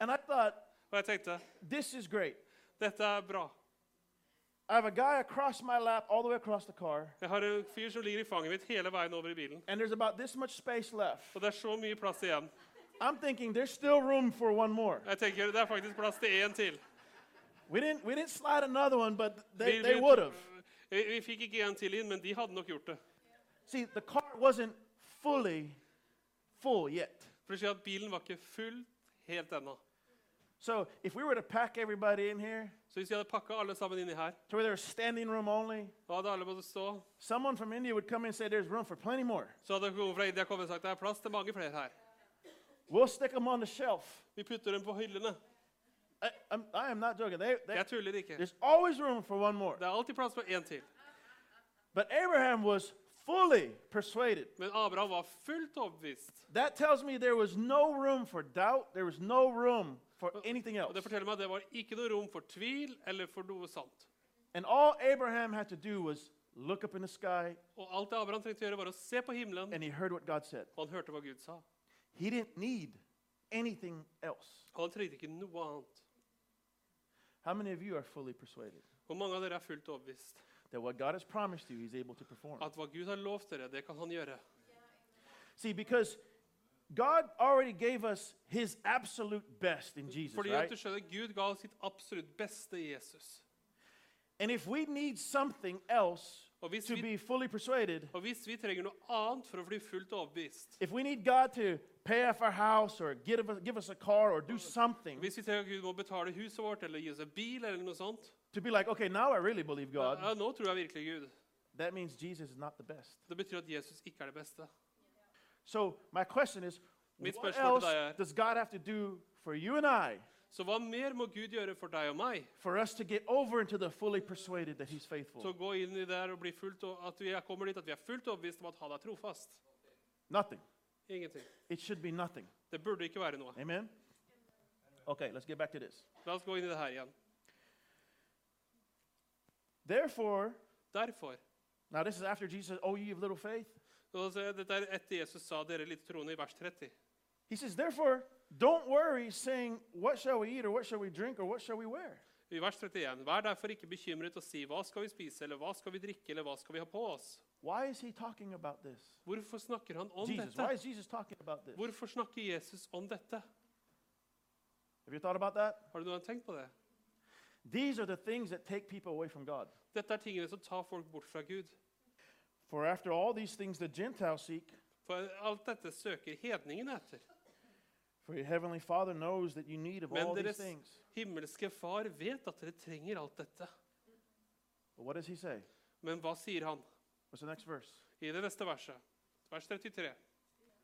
Speaker 4: And I thought,
Speaker 2: Og jeg tenkte,
Speaker 4: "This is great."
Speaker 2: dette er bra.
Speaker 4: I have a guy across my lap, all the way across the car,
Speaker 2: Jeg har en fyr som ligger i fanget mitt hele veien over i bilen.
Speaker 4: and there's about this much space left.
Speaker 2: Og det er så mye plass igjen.
Speaker 4: I'm thinking there's still room for one more.
Speaker 2: Jeg tenker, det er faktisk plass til en til.
Speaker 4: We didn't we didn't slide another one, but they,
Speaker 2: Vi-
Speaker 4: they
Speaker 2: vi-
Speaker 4: would have.
Speaker 2: Vi, vi fikk ikke en til inn, men de hadde nok gjort det.
Speaker 4: See, the car wasn't fully full yet.
Speaker 2: For det skjer at bilen var ikke full helt ennå.
Speaker 4: So if we were to pack everybody in here
Speaker 2: Så hvis vi hadde pakka alle sammen inni her,
Speaker 4: to where there was standing room only,
Speaker 2: da hadde alle måttet stå.
Speaker 4: someone from India would come in and say there's room for plenty more.
Speaker 2: Så hadde noen fra India kommet og sagt det er plass til mange flere her.
Speaker 4: We'll stick them on the shelf.
Speaker 2: Vi putter dem på hyllene.
Speaker 4: I, I'm, I am not joking. They, they,
Speaker 2: Jeg tuller ikke.
Speaker 4: there's always room for one more.
Speaker 2: Det er alltid plass for én til.
Speaker 4: But Abraham was fully persuaded.
Speaker 2: Men Abraham var fullt overbevist.
Speaker 4: That tells me there was no room for doubt. There was no room for anything
Speaker 2: Og
Speaker 4: else.
Speaker 2: det forteller meg at det var ikke noe rom for tvil eller for noe sant.
Speaker 4: And all Abraham had to do was look up in the sky
Speaker 2: Og alt det Abraham trengte å gjøre, var å se på himmelen,
Speaker 4: and he heard what God said.
Speaker 2: og han hørte hva Gud sa.
Speaker 4: He didn't need anything else.
Speaker 2: Og han trengte ikke noe annet.
Speaker 4: How many of you are fully persuaded
Speaker 2: Og mange av dere er fullt overbevist.
Speaker 4: that what God has promised you, He's able to perform?
Speaker 2: At hva Gud har lovt dere, det kan han gjøre.
Speaker 4: See, because God already gave us His absolute best in Jesus,
Speaker 2: Fordi at
Speaker 4: right?
Speaker 2: du skjønner, Gud ga sitt absolutt beste i Jesus.
Speaker 4: And if we need something else
Speaker 2: Og hvis
Speaker 4: to
Speaker 2: vi
Speaker 4: be fully persuaded,
Speaker 2: Og hvis vi trenger noe annet for å bli fullt overbevist
Speaker 4: if we need God to pay off our house or give us, give us a car or do something
Speaker 2: Hvis vi trenger at Gud må betale huset vårt eller gi oss en bil eller noe sånt
Speaker 4: to be like, okay, now I really believe
Speaker 2: ja,
Speaker 4: God,
Speaker 2: Nå tror jeg virkelig Gud.
Speaker 4: that means Jesus is not the best.
Speaker 2: Det betyr at Jesus ikke er det beste.
Speaker 4: So my question is,
Speaker 2: Mitt
Speaker 4: what
Speaker 2: spørsmål
Speaker 4: else
Speaker 2: til deg er-
Speaker 4: does God have to do for you and I
Speaker 2: Så hva mer må Gud gjøre for deg og meg?
Speaker 4: for us to get over into the fully persuaded that He's
Speaker 2: Så
Speaker 4: faithful?
Speaker 2: gå inn i det her og bli fullt, og at vi er- kommer dit at vi er fullt overbevist om at han er trofast.
Speaker 4: Nothing.
Speaker 2: Ingenting.
Speaker 4: It should be nothing.
Speaker 2: Det burde ikke være noe.
Speaker 4: Amen? Okay, let's get back to this.
Speaker 2: La oss gå inn i det her igjen.
Speaker 4: Therefore,
Speaker 2: Derfor
Speaker 4: now this is after Jesus says, Oh, you have little faith.
Speaker 2: og så er Dette er etter Jesus sa dere litt troende i vers 30.
Speaker 4: He says, Therefore, don't worry saying, What shall we eat, or what shall we drink, or what shall we wear?
Speaker 2: I vers 31. Vær derfor ikke bekymret og si hva skal vi spise, eller hva skal vi drikke, eller hva skal vi ha på oss?
Speaker 4: Why is He talking about this?
Speaker 2: Hvorfor snakker han om
Speaker 4: Jesus, why
Speaker 2: dette?
Speaker 4: is Jesus talking about this?
Speaker 2: Hvorfor snakker Jesus om dette?
Speaker 4: Have you thought about that?
Speaker 2: Har du noen gang tenkt på det?
Speaker 4: These are the things that take people away from God.
Speaker 2: Dette er tingene som tar folk bort fra Gud.
Speaker 4: For after all these things the Gentiles seek,
Speaker 2: For alt dette søker hedningene etter.
Speaker 4: for your heavenly Father knows that you need of all
Speaker 2: Men
Speaker 4: these
Speaker 2: deres
Speaker 4: things.
Speaker 2: himmelske far vet at dere trenger alt dette.
Speaker 4: But what does he say?
Speaker 2: Men hva sier han
Speaker 4: What's the next verse?
Speaker 2: i det neste verset? Vers 33.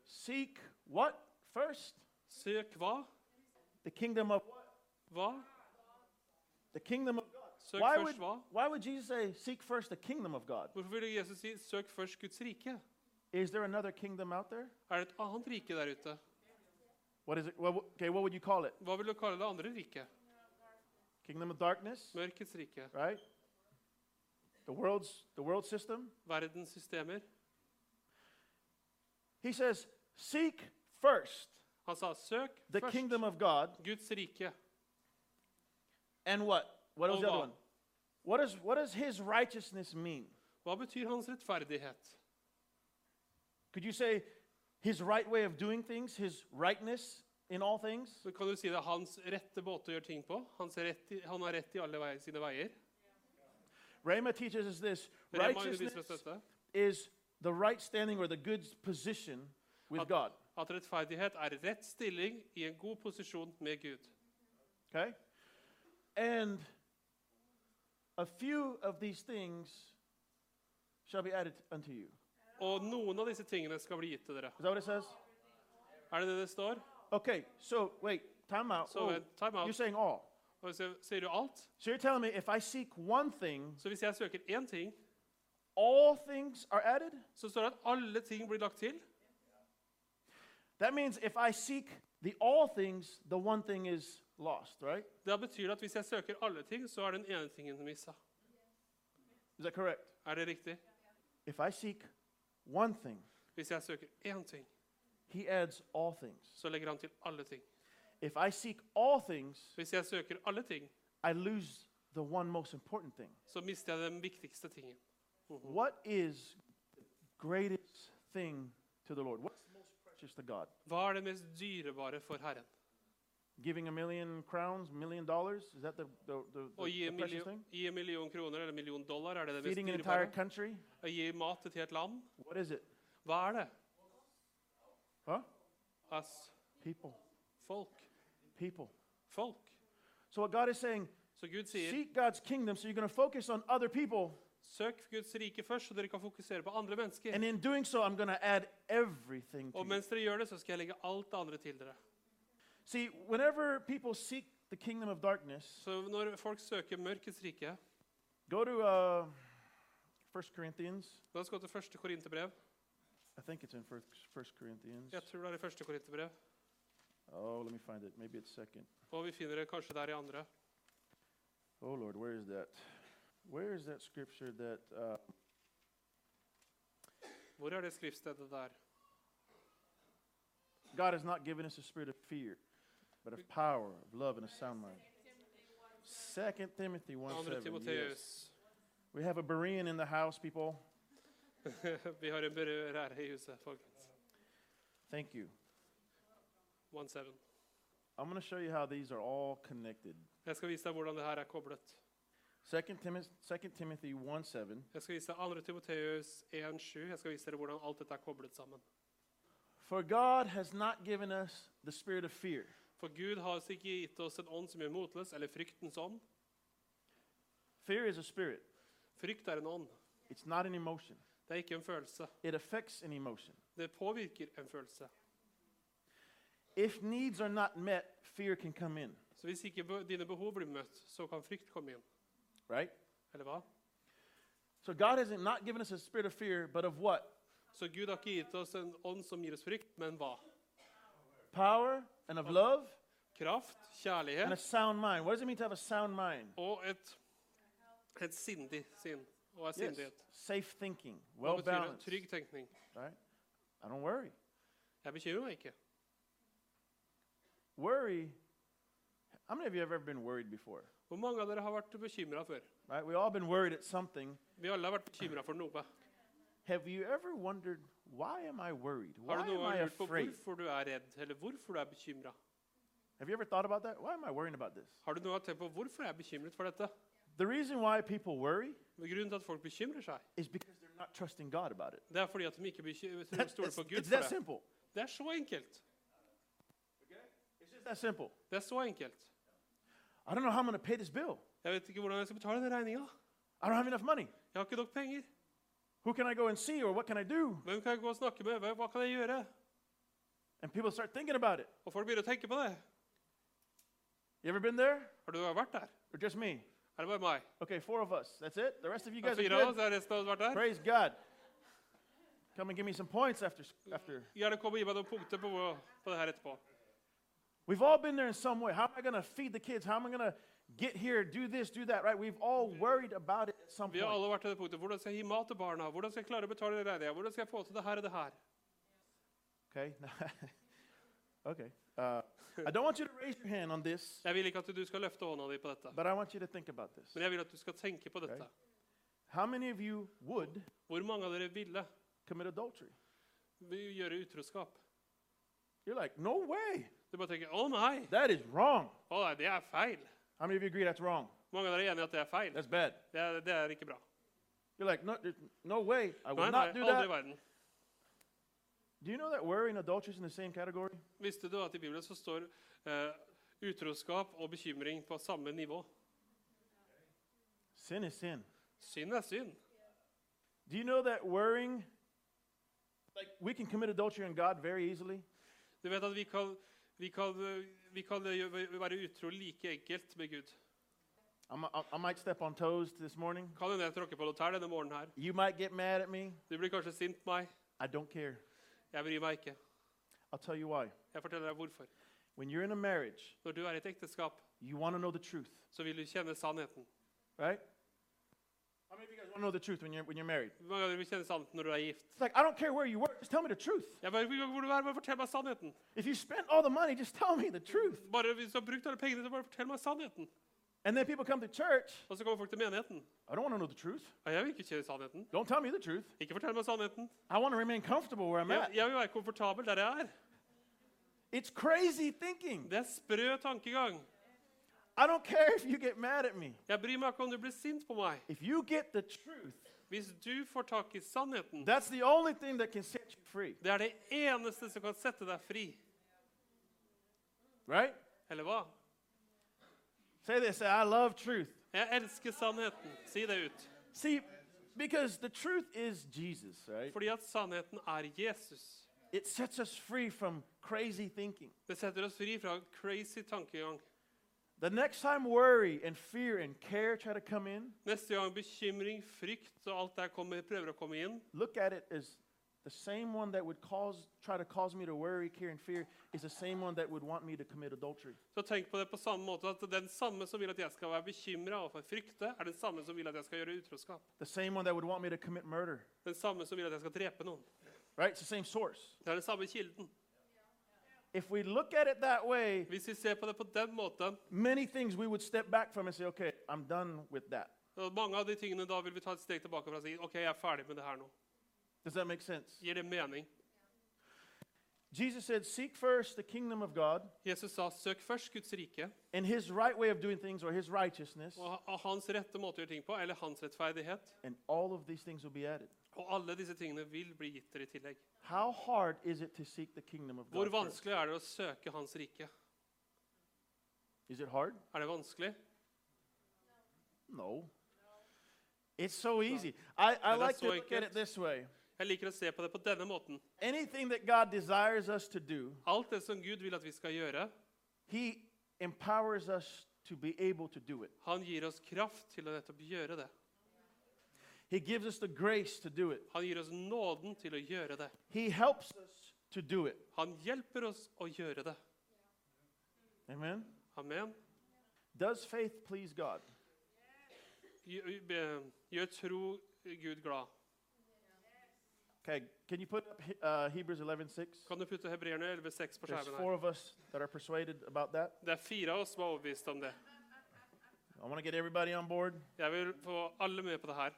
Speaker 4: Seek what first?
Speaker 2: Søk hva?
Speaker 4: The kingdom of what?
Speaker 2: Hva?
Speaker 4: The kingdom of God.
Speaker 2: Søk
Speaker 4: Why would,
Speaker 2: først hva?
Speaker 4: why would Jesus say, seek first the kingdom of God?
Speaker 2: Hvorfor ville Jesus si 'søk først Guds rike'?
Speaker 4: Is there another kingdom out there?
Speaker 2: Er det et annet rike der ute?
Speaker 4: What is it? Well, okay, what would you call it?
Speaker 2: Hva vil du kalle det andre riket?
Speaker 4: Kingdom of darkness,
Speaker 2: Mørkets rike?
Speaker 4: right? The world's the world system.
Speaker 2: Verdens systemer?
Speaker 4: He says, seek first
Speaker 2: Han sa 'søk
Speaker 4: the
Speaker 2: først
Speaker 4: kingdom of God
Speaker 2: Guds rike'.
Speaker 4: and what? What was
Speaker 2: Og
Speaker 4: the other
Speaker 2: hva?
Speaker 4: one? What is what does his righteousness mean?
Speaker 2: Hva betyr hans rettferdighet?
Speaker 4: Could you say his right way of doing things, his rightness in all things?
Speaker 2: Så kan du si det er hans rette måte å gjøre ting på. Hans rett i, han har rett i alle veier, sine veier.
Speaker 4: Rhema teaches us this
Speaker 2: Rema underviser oss
Speaker 4: righteousness
Speaker 2: dette.
Speaker 4: is the right standing or the good position with
Speaker 2: At-
Speaker 4: God.
Speaker 2: At rettferdighet er rett stilling i en god posisjon med Gud.
Speaker 4: Okay? And a few of these things shall be added unto you.
Speaker 2: Og noen av disse tingene skal bli gitt til dere.
Speaker 4: Is that what it says?
Speaker 2: Er det det det står?
Speaker 4: Okay, so wait, time out.
Speaker 2: So, uh, time out.
Speaker 4: You're saying all.
Speaker 2: Og så sier du alt?
Speaker 4: So you're telling me if I seek one thing,
Speaker 2: Så hvis jeg søker én ting,
Speaker 4: all things are added?
Speaker 2: så står det at alle ting blir lagt til.
Speaker 4: That means if I seek the all things, the one thing is lost, right?
Speaker 2: Da betyr det at hvis jeg søker alle ting, så er den ene tingen missa.
Speaker 4: Is that correct?
Speaker 2: Er det riktig?
Speaker 4: If I seek one thing,
Speaker 2: Hvis jeg søker én ting,
Speaker 4: he adds all things.
Speaker 2: så legger han til alle ting.
Speaker 4: If I seek all things,
Speaker 2: Hvis jeg søker alle ting,
Speaker 4: I lose the one most important thing.
Speaker 2: så mister jeg den viktigste tingen.
Speaker 4: What is the greatest thing to the Lord? What's the most precious to God?
Speaker 2: Hva er det mest dyrebare for Herren?
Speaker 4: Giving a million crowns, million dollars? Is that the, the, the,
Speaker 2: Å gi
Speaker 4: the,
Speaker 2: en
Speaker 4: the precious
Speaker 2: million,
Speaker 4: thing?
Speaker 2: gi en million kroner eller en million dollar, er det det mest
Speaker 4: Feeding an entire
Speaker 2: dyrebare?
Speaker 4: country?
Speaker 2: Å gi mat til et helt land?
Speaker 4: What is it?
Speaker 2: Hva er det?
Speaker 4: Huh?
Speaker 2: Ass,
Speaker 4: People.
Speaker 2: folk.
Speaker 4: People.
Speaker 2: Folk.
Speaker 4: So what God is saying,
Speaker 2: Så Gud sier,
Speaker 4: seek God's kingdom so you're going to focus on other people.
Speaker 2: søk Guds rike først, så dere kan fokusere på andre mennesker.
Speaker 4: And in doing so, I'm going to add everything to
Speaker 2: Og
Speaker 4: you.
Speaker 2: mens dere gjør det, så skal jeg legge alt det andre til dere.
Speaker 4: See, whenever people seek the kingdom of darkness,
Speaker 2: Så når folk søker mørkets rike,
Speaker 4: go to uh, 1 Corinthians.
Speaker 2: la oss gå til første korinterbrev.
Speaker 4: I think it's in 1 Corinthians.
Speaker 2: Jeg tror det er i første korinterbrev,
Speaker 4: Oh, let me find it. Maybe it's second.
Speaker 2: og vi finner det kanskje der i andre.
Speaker 4: Oh Lord, where is that? Where is that scripture that uh,
Speaker 2: Hvor er det skriftstedet der?
Speaker 4: God has not given us a spirit of fear, but of power, of love, and a sound mind? Second Timothy one
Speaker 2: Andre
Speaker 4: seven. Yes.
Speaker 2: Timoteus.
Speaker 4: We have a Berean in the house, people.
Speaker 2: vi har en berør her i huset, folkens.
Speaker 4: Thank you.
Speaker 2: One seven.
Speaker 4: I'm going to show you how these are all connected.
Speaker 2: Jeg skal vise deg hvordan det her er koblet.
Speaker 4: Second, Timoth- Second Timothy one seven.
Speaker 2: Jeg skal vise deg 2. Timoteus 1,7. Jeg skal vise dere hvordan alt dette er koblet sammen.
Speaker 4: For God has not given us the spirit of fear,
Speaker 2: For Gud har oss ikke gitt oss en ånd som gjør motløs, eller fryktens ånd.
Speaker 4: fear is a spirit.
Speaker 2: Frykt er en ånd.
Speaker 4: It's not an emotion.
Speaker 2: Det er ikke en følelse.
Speaker 4: It affects an emotion.
Speaker 2: Det påvirker en følelse.
Speaker 4: If needs are not met, fear can come in.
Speaker 2: Så Så hvis ikke be- dine behov blir møtt, så kan frykt komme inn.
Speaker 4: right?
Speaker 2: Eller hva?
Speaker 4: So God hasn't not given us a spirit of fear, but of what?
Speaker 2: Så Gud har ikke gitt oss en ånd som gir oss frykt, men hva?
Speaker 4: Power and of love
Speaker 2: Kraft,
Speaker 4: and a
Speaker 2: kjærlighet
Speaker 4: sound mind. What does it mean to have a sound mind?
Speaker 2: og et, et sindig sinn. Og er
Speaker 4: Yes.
Speaker 2: sindighet.
Speaker 4: Safe thinking,
Speaker 2: Hva
Speaker 4: well
Speaker 2: betyr det?
Speaker 4: balanced.
Speaker 2: Trygg tenkning.
Speaker 4: Right? I don't worry.
Speaker 2: Jeg bekymrer meg ikke.
Speaker 4: Worry. How many of you have ever been worried before?
Speaker 2: Hvor mange av dere har vært bekymra før?
Speaker 4: Right? We've all been worried at something.
Speaker 2: Vi alle har vært bekymra for noe.
Speaker 4: Have you ever wondered why am I worried? Why
Speaker 2: Har du
Speaker 4: am
Speaker 2: noe
Speaker 4: I
Speaker 2: lurt på
Speaker 4: afraid?
Speaker 2: hvorfor du er redd, eller hvorfor du er bekymra?
Speaker 4: Have you ever thought about that? Why am I worrying about this?
Speaker 2: Har du noe tenkt på hvorfor jeg er bekymret for dette?
Speaker 4: The reason why people worry
Speaker 2: Grunnen til at folk bekymrer seg,
Speaker 4: is because they're not trusting God about it.
Speaker 2: det er fordi at de ikke beky- tror-
Speaker 4: That-
Speaker 2: stoler
Speaker 4: it's,
Speaker 2: på Gud
Speaker 4: it's
Speaker 2: for
Speaker 4: that
Speaker 2: det.
Speaker 4: simple.
Speaker 2: Det er så enkelt.
Speaker 4: It's just that simple.
Speaker 2: Det er så enkelt.
Speaker 4: I don't know how I'm going to pay this bill.
Speaker 2: Jeg vet ikke hvordan jeg skal betale den regninga.
Speaker 4: I don't have enough money.
Speaker 2: Jeg har ikke nok penger.
Speaker 4: Who can I go and see or what can I do?
Speaker 2: Hvem kan jeg gå og snakke med? Hva- Hva kan jeg gjøre?
Speaker 4: And people start thinking about it.
Speaker 2: Og folk begynner å tenke på det.
Speaker 4: You ever been there?
Speaker 2: Har du vært der?
Speaker 4: Or just me?
Speaker 2: Er det bare meg?
Speaker 4: Okay, four of us. That's it? The rest of you
Speaker 2: Er
Speaker 4: guys
Speaker 2: det fire
Speaker 4: are
Speaker 2: av
Speaker 4: good?
Speaker 2: oss? Er resten av oss vært der?
Speaker 4: Praise God. Come and give me some points after, after.
Speaker 2: Gjerne kom og gi meg noen punkter på, hvor- på det her etterpå.
Speaker 4: We've all been there in some way. How am I going to feed the kids? How am I going to get here, do this, do that, right? We've all worried about it at some
Speaker 2: Vi har
Speaker 4: point.
Speaker 2: alle vært til det punktet. Hvordan skal jeg gi mat til barna? Hvordan skal jeg klare å betale regninga? Hvordan skal jeg få til det her og det her?
Speaker 4: Okay. okay. Uh, I don't want you to raise your hand on this,
Speaker 2: Jeg vil ikke at du skal løfte hånda di på dette,
Speaker 4: but I want you to think about this.
Speaker 2: men jeg vil at du skal tenke på dette.
Speaker 4: Ok. How many of you would
Speaker 2: Hvor mange av dere ville
Speaker 4: commit adultery?
Speaker 2: vi- gjøre utroskap?
Speaker 4: You're like, no way.
Speaker 2: Du bare tenker 'Å nei,
Speaker 4: That is wrong.
Speaker 2: å nei, det er feil'.
Speaker 4: How many of you agree that's wrong?
Speaker 2: Mange av dere er enige i at det er feil.
Speaker 4: That's bad.
Speaker 2: Det er, det er ikke bra.
Speaker 4: You're like, no, there's no way. I will
Speaker 2: Nei, nei,
Speaker 4: not do
Speaker 2: aldri i
Speaker 4: that.
Speaker 2: verden.
Speaker 4: Do you know that worry and adultery is in the same category?
Speaker 2: Visste du at i Bibelen så står eh, utroskap og bekymring på samme nivå?
Speaker 4: Sin is sin.
Speaker 2: Synd er synd.
Speaker 4: Do you know that worrying, like we can commit adultery on God very easily?
Speaker 2: Du vet at vi kan, vi kan, eh, vi kan eh, gjø- være utro like enkelt med Gud.
Speaker 4: I'm, I, I might step on toes this morning.
Speaker 2: Kan hende jeg tråkker på noe tær denne morgenen her.
Speaker 4: You might get mad at me.
Speaker 2: Du blir kanskje sint på meg.
Speaker 4: I don't care.
Speaker 2: Jeg bryr meg ikke.
Speaker 4: I'll tell you why.
Speaker 2: Jeg forteller deg hvorfor.
Speaker 4: When you're in a marriage,
Speaker 2: Når du er i et ekteskap,
Speaker 4: you want to know the truth,
Speaker 2: så vil du kjenne sannheten.
Speaker 4: right? How many of you guys want to know the truth when you're, when you're married?
Speaker 2: Hvor mange av dere vil kjenne sannheten når du er gift?
Speaker 4: It's like, I don't care where you work, just tell me the truth.
Speaker 2: Jeg bare, vil hvor du er, bare fortell meg sannheten.
Speaker 4: If you spent all the money, just tell me the truth.
Speaker 2: Bare Hvis du har brukt alle pengene, så bare fortell meg sannheten.
Speaker 4: And then people come to church.
Speaker 2: Og så kommer folk til menigheten.
Speaker 4: I don't want to know the truth.
Speaker 2: Nei, Jeg vil ikke kjenne sannheten.
Speaker 4: Don't tell me the truth.
Speaker 2: Ikke fortell meg sannheten.
Speaker 4: I want to remain comfortable where I'm
Speaker 2: Jeg,
Speaker 4: at.
Speaker 2: jeg vil være komfortabel der jeg er.
Speaker 4: It's crazy thinking.
Speaker 2: Det er sprø tankegang.
Speaker 4: I don't care if you get mad at me.
Speaker 2: Jeg bryr meg ikke om du blir sint på meg.
Speaker 4: If you get the truth,
Speaker 2: Hvis du får tak i sannheten,
Speaker 4: that's the only thing that can set you free,
Speaker 2: det er det eneste som kan sette deg fri.
Speaker 4: right?
Speaker 2: Eller hva?
Speaker 4: Say this say, I love truth.
Speaker 2: Jeg elsker sannheten. Si det ut.
Speaker 4: See, because the truth is Jesus, right?
Speaker 2: Fordi at sannheten er Jesus.
Speaker 4: It sets us free from crazy thinking.
Speaker 2: Det setter oss fri fra crazy tankegang.
Speaker 4: The next time worry and fear and care try to come in,
Speaker 2: Neste gang bekymring, frykt og alt der kommer, prøver å komme inn,
Speaker 4: look at it as the same one that would cause try to cause me to worry, care, and fear is the same one that would want me to commit adultery.
Speaker 2: så tenk på det på samme måte at den samme som vil at jeg skal være bekymra og frykte, er den samme som vil at jeg skal gjøre utroskap.
Speaker 4: The same one that would want me to commit murder.
Speaker 2: Den samme som vil at jeg skal drepe noen.
Speaker 4: Right? It's the same source.
Speaker 2: Det er den samme kilden.
Speaker 4: If we look at it that way,
Speaker 2: Hvis vi ser på det på den måten,
Speaker 4: many things we would step back from and say, okay, I'm done with that.
Speaker 2: og mange av de tingene da vil vi ta et steg tilbake fra og si ok, jeg er ferdig med det her nå.
Speaker 4: Does that make sense?
Speaker 2: Gir det mening?
Speaker 4: Jesus said, seek first the kingdom of God
Speaker 2: Jesus sa søk først Guds rike
Speaker 4: and his right way of doing things or his righteousness,
Speaker 2: og ha- og hans rette måte å gjøre ting på, eller hans rettferdighet.
Speaker 4: and all of these things will be added.
Speaker 2: Og alle disse tingene vil bli gitt dere i tillegg.
Speaker 4: How hard is it to seek the kingdom of
Speaker 2: Hvor
Speaker 4: God? first?
Speaker 2: vanskelig er det å søke Hans rike?
Speaker 4: Is it hard?
Speaker 2: Er det vanskelig?
Speaker 4: No. It's so easy. I, I
Speaker 2: And
Speaker 4: like
Speaker 2: that's
Speaker 4: to
Speaker 2: why
Speaker 4: look at
Speaker 2: kids-
Speaker 4: it this way.
Speaker 2: Jeg liker å se på det på denne måten.
Speaker 4: Anything that God desires us to do,
Speaker 2: Alt det som Gud vil at vi skal gjøre,
Speaker 4: he empowers us to be able to do it.
Speaker 2: Han gir oss kraft til å nettopp gjøre det.
Speaker 4: He gives us the grace to do it.
Speaker 2: Han gir oss nåden til å gjøre det.
Speaker 4: He helps us to do it.
Speaker 2: Han hjelper oss å gjøre det.
Speaker 4: Amen.
Speaker 2: Amen.
Speaker 4: Does faith please God?
Speaker 2: Gjø- be- Gjør tro Gud glad.
Speaker 4: Okay, can you put up He- uh, Hebrews 11:6?
Speaker 2: Kan du putte hebreerne 11,6 på
Speaker 4: There's
Speaker 2: skjermen
Speaker 4: four
Speaker 2: her?
Speaker 4: of us that are persuaded about that.
Speaker 2: Det er fire av oss som er overbevist om det.
Speaker 4: I want to get everybody on board.
Speaker 2: Jeg vil få alle med på det her.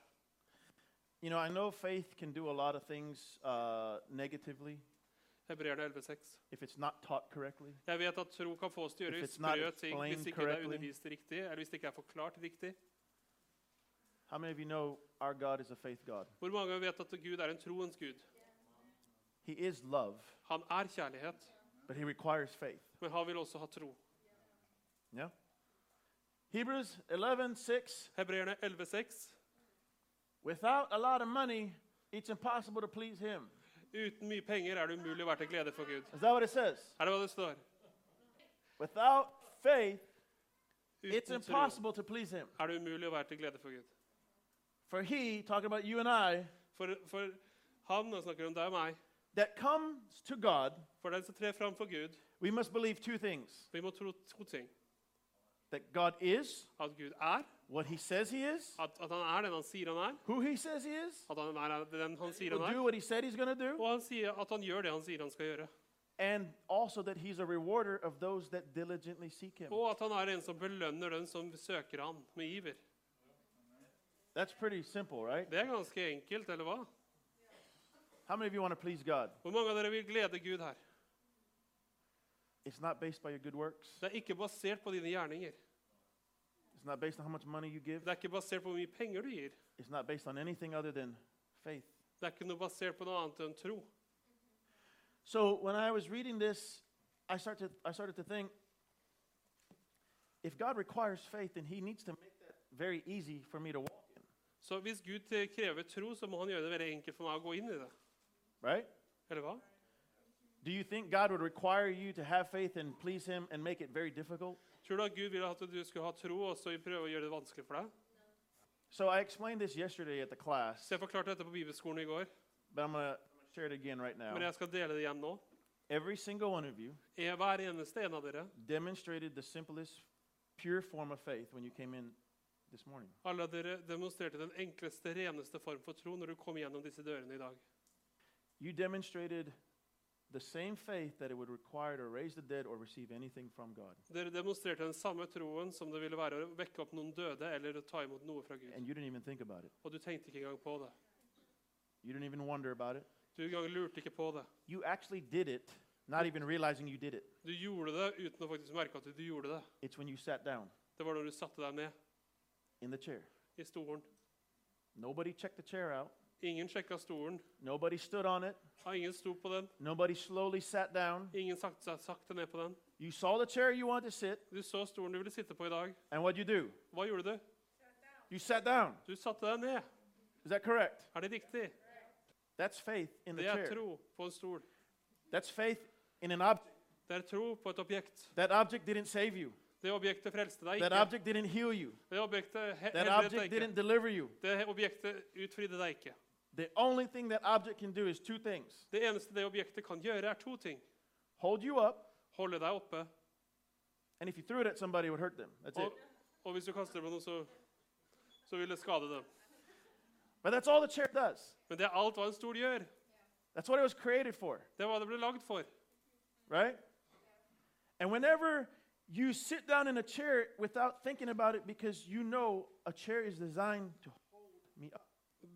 Speaker 4: You know, I know faith can do a lot of things uh, negatively
Speaker 2: Hebreerne 11,6.
Speaker 4: if it's not taught correctly.
Speaker 2: Jeg vet at tro kan få oss til å
Speaker 4: If
Speaker 2: gjøre
Speaker 4: it's not
Speaker 2: sprø ting
Speaker 4: explained
Speaker 2: hvis ikke det er
Speaker 4: correctly.
Speaker 2: undervist riktig, eller hvis det ikke er forklart riktig.
Speaker 4: How many of you know our God is a faith God?
Speaker 2: Hvor mange vet at Gud er en troens gud?
Speaker 4: He is love,
Speaker 2: Han er kjærlighet,
Speaker 4: but He requires faith.
Speaker 2: men han vil også ha tro.
Speaker 4: Yeah? Hebrews 11:6.
Speaker 2: Hebreerne 11,6.
Speaker 4: Without a lot of money, it's impossible to please Him.
Speaker 2: Uten mye penger er det umulig å være til glede for Gud.
Speaker 4: Is that what it says?
Speaker 2: Er det hva det står?
Speaker 4: Without faith, it's
Speaker 2: Uten tro er
Speaker 4: impossible to please Him.
Speaker 2: det umulig å være til glede for Gud.
Speaker 4: For He, talking about you and I,
Speaker 2: For, for han, nå snakker jeg om deg og meg,
Speaker 4: that comes to God,
Speaker 2: for den som trer fram for Gud,
Speaker 4: we must believe two things
Speaker 2: vi må tro to ting.
Speaker 4: that God is
Speaker 2: At Gud er,
Speaker 4: what He says He is,
Speaker 2: at, at han er den han sier han er,
Speaker 4: who He says He is,
Speaker 2: at han er den han sier
Speaker 4: will
Speaker 2: han er,
Speaker 4: do what He said He's going to do,
Speaker 2: og han sier at han gjør det han sier han skal gjøre.
Speaker 4: and also that He's a rewarder of those that diligently seek Him.
Speaker 2: Og at han er en som belønner den som søker han med iver.
Speaker 4: That's pretty simple, right?
Speaker 2: Det er ganske enkelt, eller hva?
Speaker 4: How many of you want to please God?
Speaker 2: Hvor mange av dere vil glede Gud her?
Speaker 4: It's not based by your good works.
Speaker 2: Det er ikke basert på dine gjerninger.
Speaker 4: It's not based on how much money you give.
Speaker 2: Det er ikke basert på hvor mye penger du gir.
Speaker 4: It's not based on anything other than faith.
Speaker 2: Det er ikke noe basert på noe annet enn tro.
Speaker 4: So when I was reading this, I started to, I started to think if God requires faith, then He needs to make that very easy for me to walk in,
Speaker 2: Så hvis Gud eh, krever tro, så må han gjøre det veldig enkelt for meg å gå inn i det.
Speaker 4: right?
Speaker 2: Eller hva?
Speaker 4: Do you think God would require you to have faith and please Him and make it very difficult?
Speaker 2: Tror du at Gud ville at du skulle ha tro, og så prøve å gjøre det vanskelig for deg?
Speaker 4: So I explained this yesterday at the class,
Speaker 2: Så jeg forklarte dette på bibelskolen i går,
Speaker 4: but I'm going to share it again right now.
Speaker 2: men jeg skal dele det igjen nå.
Speaker 4: Every single one of you
Speaker 2: Er Hver eneste en av dere,
Speaker 4: demonstrated the simplest, pure form of faith when you came in this morning.
Speaker 2: alle av dere demonstrerte den enkleste, reneste form for tro når du kom gjennom disse dørene i dag.
Speaker 4: You demonstrated the same faith that it would require to raise the dead or receive anything from God.
Speaker 2: Dere demonstrerte den samme troen som det ville være å vekke opp noen døde eller å ta imot noe fra Gud.
Speaker 4: And you didn't even think about it.
Speaker 2: Og du tenkte ikke engang på det.
Speaker 4: You didn't even wonder about it.
Speaker 2: Du engang lurte ikke på det.
Speaker 4: You actually did it, not even realizing you did it.
Speaker 2: Du gjorde det uten å faktisk merke at du gjorde det.
Speaker 4: It's when you sat down
Speaker 2: Det var når du satte deg ned
Speaker 4: in the chair.
Speaker 2: i stolen.
Speaker 4: Nobody checked the chair out.
Speaker 2: Ingen sjekka stolen.
Speaker 4: Nobody stood on it.
Speaker 2: Ja, Ingen sto på den.
Speaker 4: Nobody slowly sat down.
Speaker 2: Ingen sakte seg sakte ned på den.
Speaker 4: You saw the chair you wanted to sit,
Speaker 2: Du så stolen du ville sitte på i dag.
Speaker 4: and what'd you do?
Speaker 2: Hva gjorde du?
Speaker 4: You sat down.
Speaker 2: Du satte deg ned.
Speaker 4: Is that correct?
Speaker 2: Er det riktig?
Speaker 4: That's faith in the
Speaker 2: Det er
Speaker 4: chair.
Speaker 2: tro på en stol.
Speaker 4: That's faith in an object.
Speaker 2: Det er tro på et objekt.
Speaker 4: That object didn't save you.
Speaker 2: Det objektet frelste deg
Speaker 4: That
Speaker 2: ikke.
Speaker 4: object didn't heal you.
Speaker 2: Det objektet he-
Speaker 4: That
Speaker 2: helbredet
Speaker 4: object
Speaker 2: deg
Speaker 4: didn't
Speaker 2: ikke.
Speaker 4: deliver you.
Speaker 2: Det objektet utfridde deg ikke.
Speaker 4: The only thing that object can do is two things
Speaker 2: Det eneste det objektet kan gjøre, er to ting.
Speaker 4: hold you up,
Speaker 2: Holde deg oppe,
Speaker 4: and if you threw it at somebody, it would hurt them. That's it.
Speaker 2: og, og hvis du kaster på noe, så, så vil det skade dem.
Speaker 4: But that's all the chair does.
Speaker 2: Men det er alt hva en stol gjør.
Speaker 4: That's what it was created for,
Speaker 2: Det er hva det ble lagd for.
Speaker 4: right? And whenever you sit down in a chair without thinking about it, because you know a chair is designed to hold me up,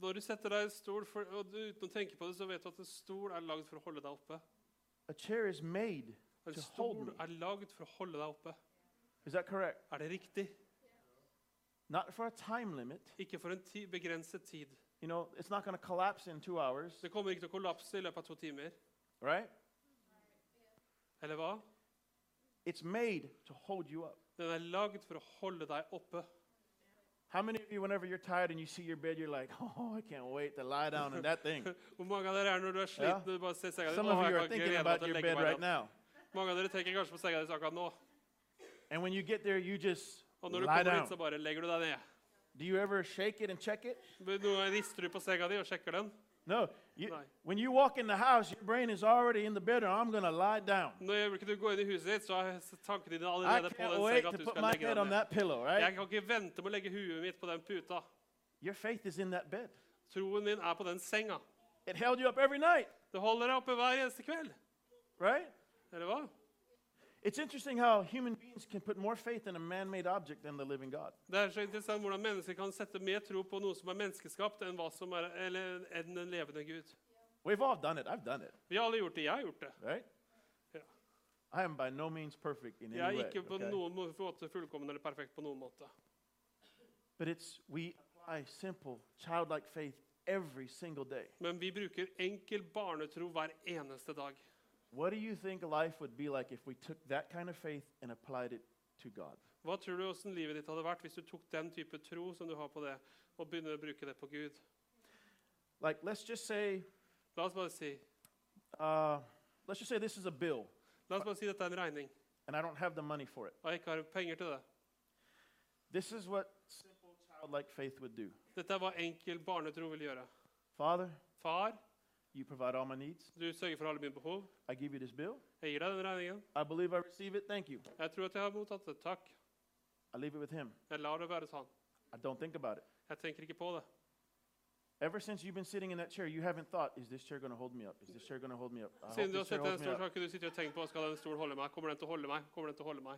Speaker 2: Når du setter deg i en stol for, og du, uten å tenke på det, så vet du at en stol er lagd for å holde deg oppe.
Speaker 4: a chair is made
Speaker 2: En
Speaker 4: to hold
Speaker 2: stol
Speaker 4: me.
Speaker 2: er lagd for å holde deg oppe.
Speaker 4: Is that correct?
Speaker 2: Er det riktig?
Speaker 4: Not for a time limit.
Speaker 2: Ikke for en ti, begrenset tid.
Speaker 4: You know, it's not going to collapse in two hours,
Speaker 2: Det kommer ikke til å kollapse i løpet av to timer.
Speaker 4: right?
Speaker 2: Eller hva?
Speaker 4: It's made to hold you up.
Speaker 2: Den er lagd for å holde deg oppe.
Speaker 4: How many of you, whenever you're tired and you see your bed, you're like, oh, I can't wait to lie down in that thing?
Speaker 2: Hvor mange av dere er når du er
Speaker 4: Ja.
Speaker 2: sliten? Du bare ser senga di.
Speaker 4: Some
Speaker 2: «Åh,
Speaker 4: of you
Speaker 2: jeg
Speaker 4: are
Speaker 2: kan ikke
Speaker 4: thinking
Speaker 2: glede meg
Speaker 4: about
Speaker 2: til å
Speaker 4: your
Speaker 2: legge
Speaker 4: bed
Speaker 2: meg
Speaker 4: right
Speaker 2: ned».
Speaker 4: now.
Speaker 2: Mange av dere tenker kanskje på senga deres akkurat nå.
Speaker 4: And when you get there, you just
Speaker 2: Og når du
Speaker 4: lie
Speaker 2: kommer
Speaker 4: down.
Speaker 2: hit, så bare legger du deg ned.
Speaker 4: Do you ever shake it and check it?
Speaker 2: Men Nå rister du på senga di og sjekker den.
Speaker 4: No. You,
Speaker 2: Lie.
Speaker 4: When you walk in the house, your brain is already in the bed, or I'm going to lie down.
Speaker 2: Når i øyeblikket du går inn i huset ditt, så er tankene dine
Speaker 4: I
Speaker 2: allerede på
Speaker 4: can't
Speaker 2: den
Speaker 4: wait
Speaker 2: senga at
Speaker 4: to
Speaker 2: du
Speaker 4: put
Speaker 2: skal
Speaker 4: my
Speaker 2: legge
Speaker 4: head
Speaker 2: deg
Speaker 4: on
Speaker 2: ned.
Speaker 4: that pillow, right?
Speaker 2: Jeg kan ikke vente med å legge huet mitt på den puta.
Speaker 4: Your faith is in that bed.
Speaker 2: Troen din er på den senga.
Speaker 4: It held you up every night,
Speaker 2: Det holder deg oppe hver eneste kveld.
Speaker 4: right?
Speaker 2: Eller hva?
Speaker 4: It's interesting how human beings can put more faith in a man made object than the living God.
Speaker 2: Det er så interessant hvordan mennesker kan sette mer tro på noe som er menneskeskapt, enn, hva som er, eller, enn den levende Gud.
Speaker 4: We've all done it. I've done it,
Speaker 2: Vi har alle gjort det. Jeg har gjort det.
Speaker 4: right?
Speaker 2: Yeah.
Speaker 4: I am by no means perfect in any
Speaker 2: Jeg er
Speaker 4: way.
Speaker 2: ikke på
Speaker 4: okay?
Speaker 2: noen må- måte fullkommen eller perfekt på noen måte.
Speaker 4: But it's we apply simple childlike faith every single day.
Speaker 2: Men vi bruker enkel barnetro hver eneste dag.
Speaker 4: What do you think life would be like if we took that kind of faith and applied it to God?
Speaker 2: Hva tror du hvordan livet ditt hadde vært hvis du tok den type tro som du har på det, og begynner å bruke det på Gud?
Speaker 4: Like, let's just say,
Speaker 2: La oss bare si,
Speaker 4: uh, let's just say this is a bill,
Speaker 2: la oss bare si dette er en regning,
Speaker 4: and I don't have the money for it.
Speaker 2: og jeg ikke har penger til det.
Speaker 4: This is what simple childlike faith would do.
Speaker 2: Dette er hva enkel barnetro vil gjøre.
Speaker 4: Father,
Speaker 2: Far,
Speaker 4: you provide all my needs.
Speaker 2: du sørger for alle mine behov.
Speaker 4: I give you this bill.
Speaker 2: Jeg gir deg den regningen.
Speaker 4: I believe I receive it. Thank you.
Speaker 2: Jeg tror at jeg har mottatt det. Takk.
Speaker 4: I leave it with Him.
Speaker 2: Jeg lar det være sånn.
Speaker 4: I don't think about it.
Speaker 2: Jeg tenker ikke på det.
Speaker 4: Ever since you've been sitting in that chair, you haven't thought, is this chair going to hold me up? Is this chair going to hold me up? I hope
Speaker 2: Siden du har
Speaker 4: this chair
Speaker 2: sett den
Speaker 4: holds me
Speaker 2: stolen, så
Speaker 4: up.
Speaker 2: har ikke du sittet og tenkt på skal den stolen holde meg. Kommer den til å holde meg? Kommer den til å holde meg?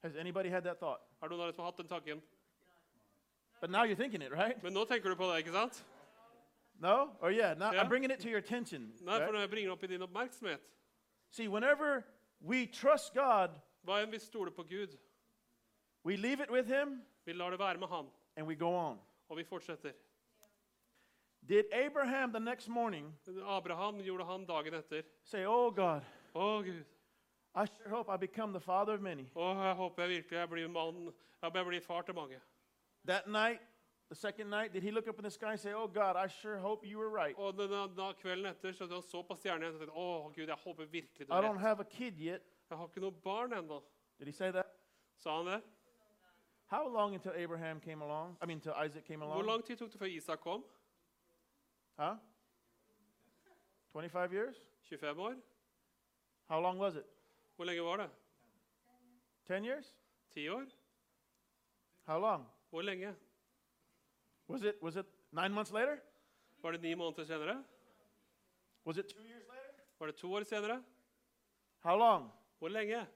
Speaker 4: Has anybody had that thought?
Speaker 2: Er det noen av dere som har hatt den tanken?
Speaker 4: But now you're thinking it, right?
Speaker 2: Men nå tenker du på det, ikke sant?
Speaker 4: No? Or yeah, now
Speaker 2: Yeah.
Speaker 4: I'm bringing it to your attention.
Speaker 2: Nei,
Speaker 4: right?
Speaker 2: for jeg bringer opp i din oppmerksomhet.
Speaker 4: See, whenever we trust God,
Speaker 2: Hva enn vi stoler på Gud?
Speaker 4: we leave it with Him
Speaker 2: Vi lar det være med Han,
Speaker 4: and we go on.
Speaker 2: og vi fortsetter.
Speaker 4: Did Abraham the next morning
Speaker 2: Abraham gjorde han dagen etter.
Speaker 4: say, Oh God,
Speaker 2: Å, Gud.
Speaker 4: I sure hope I become the father of many?
Speaker 2: Å, jeg håper jeg virkelig jeg blir mann. Jeg bør bli far til mange.
Speaker 4: That night, the second night, did he look up in the sky and say, Oh God, I sure hope you were right?
Speaker 2: Og den, da kvelden etter så da han så på stjernene og tenkte Å, Gud, jeg håper virkelig du
Speaker 4: I
Speaker 2: har
Speaker 4: don't
Speaker 2: rett.
Speaker 4: have a kid yet.
Speaker 2: Jeg har ikke noe barn ennå.
Speaker 4: Did he say that?
Speaker 2: Sa han det?
Speaker 4: How long until Abraham came along? I mean, until Isaac came
Speaker 2: Hvor
Speaker 4: along?
Speaker 2: lang tid tok det før Isak kom?
Speaker 4: Huh? 25 years?
Speaker 2: 25 år?
Speaker 4: How long was it?
Speaker 2: Hvor lenge var det?
Speaker 4: 10 years?
Speaker 2: 10 år?
Speaker 4: How long?
Speaker 2: Hvor lenge?
Speaker 4: Was it, was it nine months later?
Speaker 2: Var det ni måneder senere?
Speaker 4: Was it two years later?
Speaker 2: Var det to år senere?
Speaker 4: How long?
Speaker 2: Hvor lenge?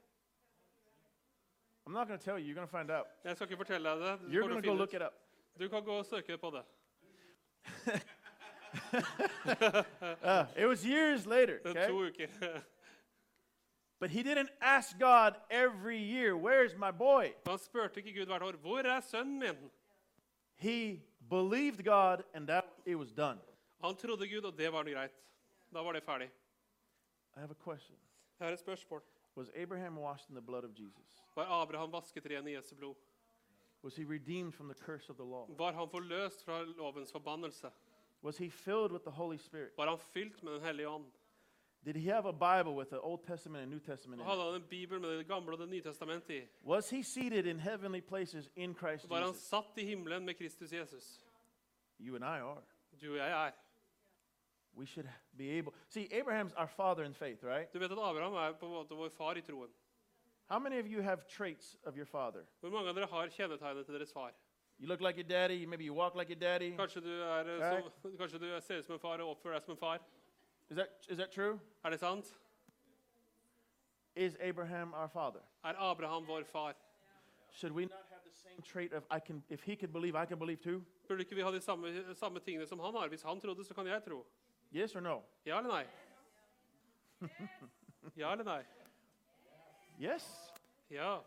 Speaker 4: I'm not going to tell you. You're going to find out.
Speaker 2: Jeg skal ikke fortelle deg det. Du,
Speaker 4: You're
Speaker 2: kommer
Speaker 4: going to
Speaker 2: til
Speaker 4: go
Speaker 2: å
Speaker 4: look
Speaker 2: finne
Speaker 4: it up.
Speaker 2: ut. du kan gå og søke på det.
Speaker 4: Uh, it was years later.
Speaker 2: Det er
Speaker 4: Okay?
Speaker 2: To uker.
Speaker 4: But he didn't ask God every year, Where's my boy?
Speaker 2: Han spurte ikke Gud hvert år hvor er sønnen min.
Speaker 4: He believed God and that it was done.
Speaker 2: Han trodde Gud, og det var det greit. Da var det ferdig.
Speaker 4: I have a question.
Speaker 2: Jeg har et spørsmål.
Speaker 4: Was Abraham washed in the blood of Jesus?
Speaker 2: Var Abraham vasket ren i Jesu blod?
Speaker 4: Was he redeemed from the curse of the law?
Speaker 2: Var han forløst fra lovens forbannelse?
Speaker 4: Was he filled with the Holy Spirit?
Speaker 2: Var han fylt med Den hellige ånd?
Speaker 4: Did he have a Bible with the Old Testament and New Testament
Speaker 2: Og
Speaker 4: in it?
Speaker 2: hadde han en bibel med Det gamle og Det nye testamentet i?
Speaker 4: Was he seated in heavenly places in Christ
Speaker 2: Var han
Speaker 4: Jesus?
Speaker 2: satt i himmelen med Kristus Jesus?
Speaker 4: You and I are.
Speaker 2: Du og jeg er.
Speaker 4: We should be able. See, Abraham's our father in faith, right?
Speaker 2: Du vet at Abraham er på en måte vår far i troen.
Speaker 4: How many of you have traits of your father?
Speaker 2: Hvor mange av dere har kjennetegnet til deres far?
Speaker 4: You look like your daddy. Maybe you walk like your daddy.
Speaker 2: Kanskje du, er, eh, som, kanskje du ser ut som en far og oppfører deg som en far?
Speaker 4: Is that is that true?
Speaker 2: Er det sant?
Speaker 4: Is Abraham our father?
Speaker 2: Er Abraham vår far?
Speaker 4: Should we not have the same trait of I can? If he could believe, I can believe too.
Speaker 2: Burde ikke vi ha de samme, samme tingene som han har? Hvis han trodde, så kan jeg tro.
Speaker 4: Yes or no?
Speaker 2: Ja eller nei? Ja eller nei?
Speaker 4: Yes.
Speaker 2: Ja.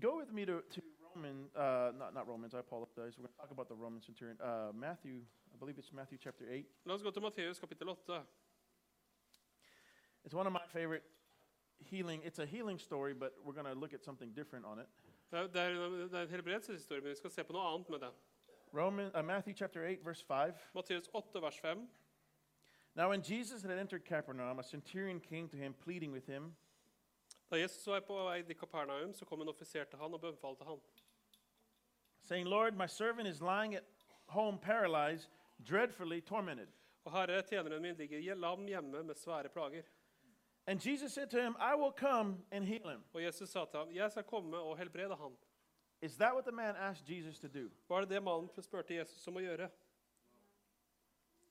Speaker 4: Go with me to to Roman. Uh, not not Romans. I apologize. We're going to talk about the Roman centurion. Uh, Matthew. I believe it's Matthew chapter eight.
Speaker 2: La oss gå til Matteus kapittel 8.
Speaker 4: It's one of my favorite healing. It's a healing story, but we're going to look at something different on it.
Speaker 2: Det er, det er en- det er en helbredelseshistorie, men vi skal se på noe annet med det.
Speaker 4: Roman uh, Matthew chapter eight verse five.
Speaker 2: Matteus 8, vers 5.
Speaker 4: Now when Jesus had entered Capernaum, a centurion came to him, pleading with him.
Speaker 2: Da Jesus var på vei til Kapernaum, så kom en offiser til han og bønnfalte han.
Speaker 4: saying, Lord, my servant is lying at home paralyzed, dreadfully tormented.
Speaker 2: Og herre, tjeneren min ligger lam hjemme med svære plager.
Speaker 4: And Jesus said to him, I will come and heal him.
Speaker 2: Og Jesus sa til ham, jeg skal komme og helbrede han.
Speaker 4: Is that what the man asked Jesus to do?
Speaker 2: Var det det mannen spurte Jesus om å gjøre?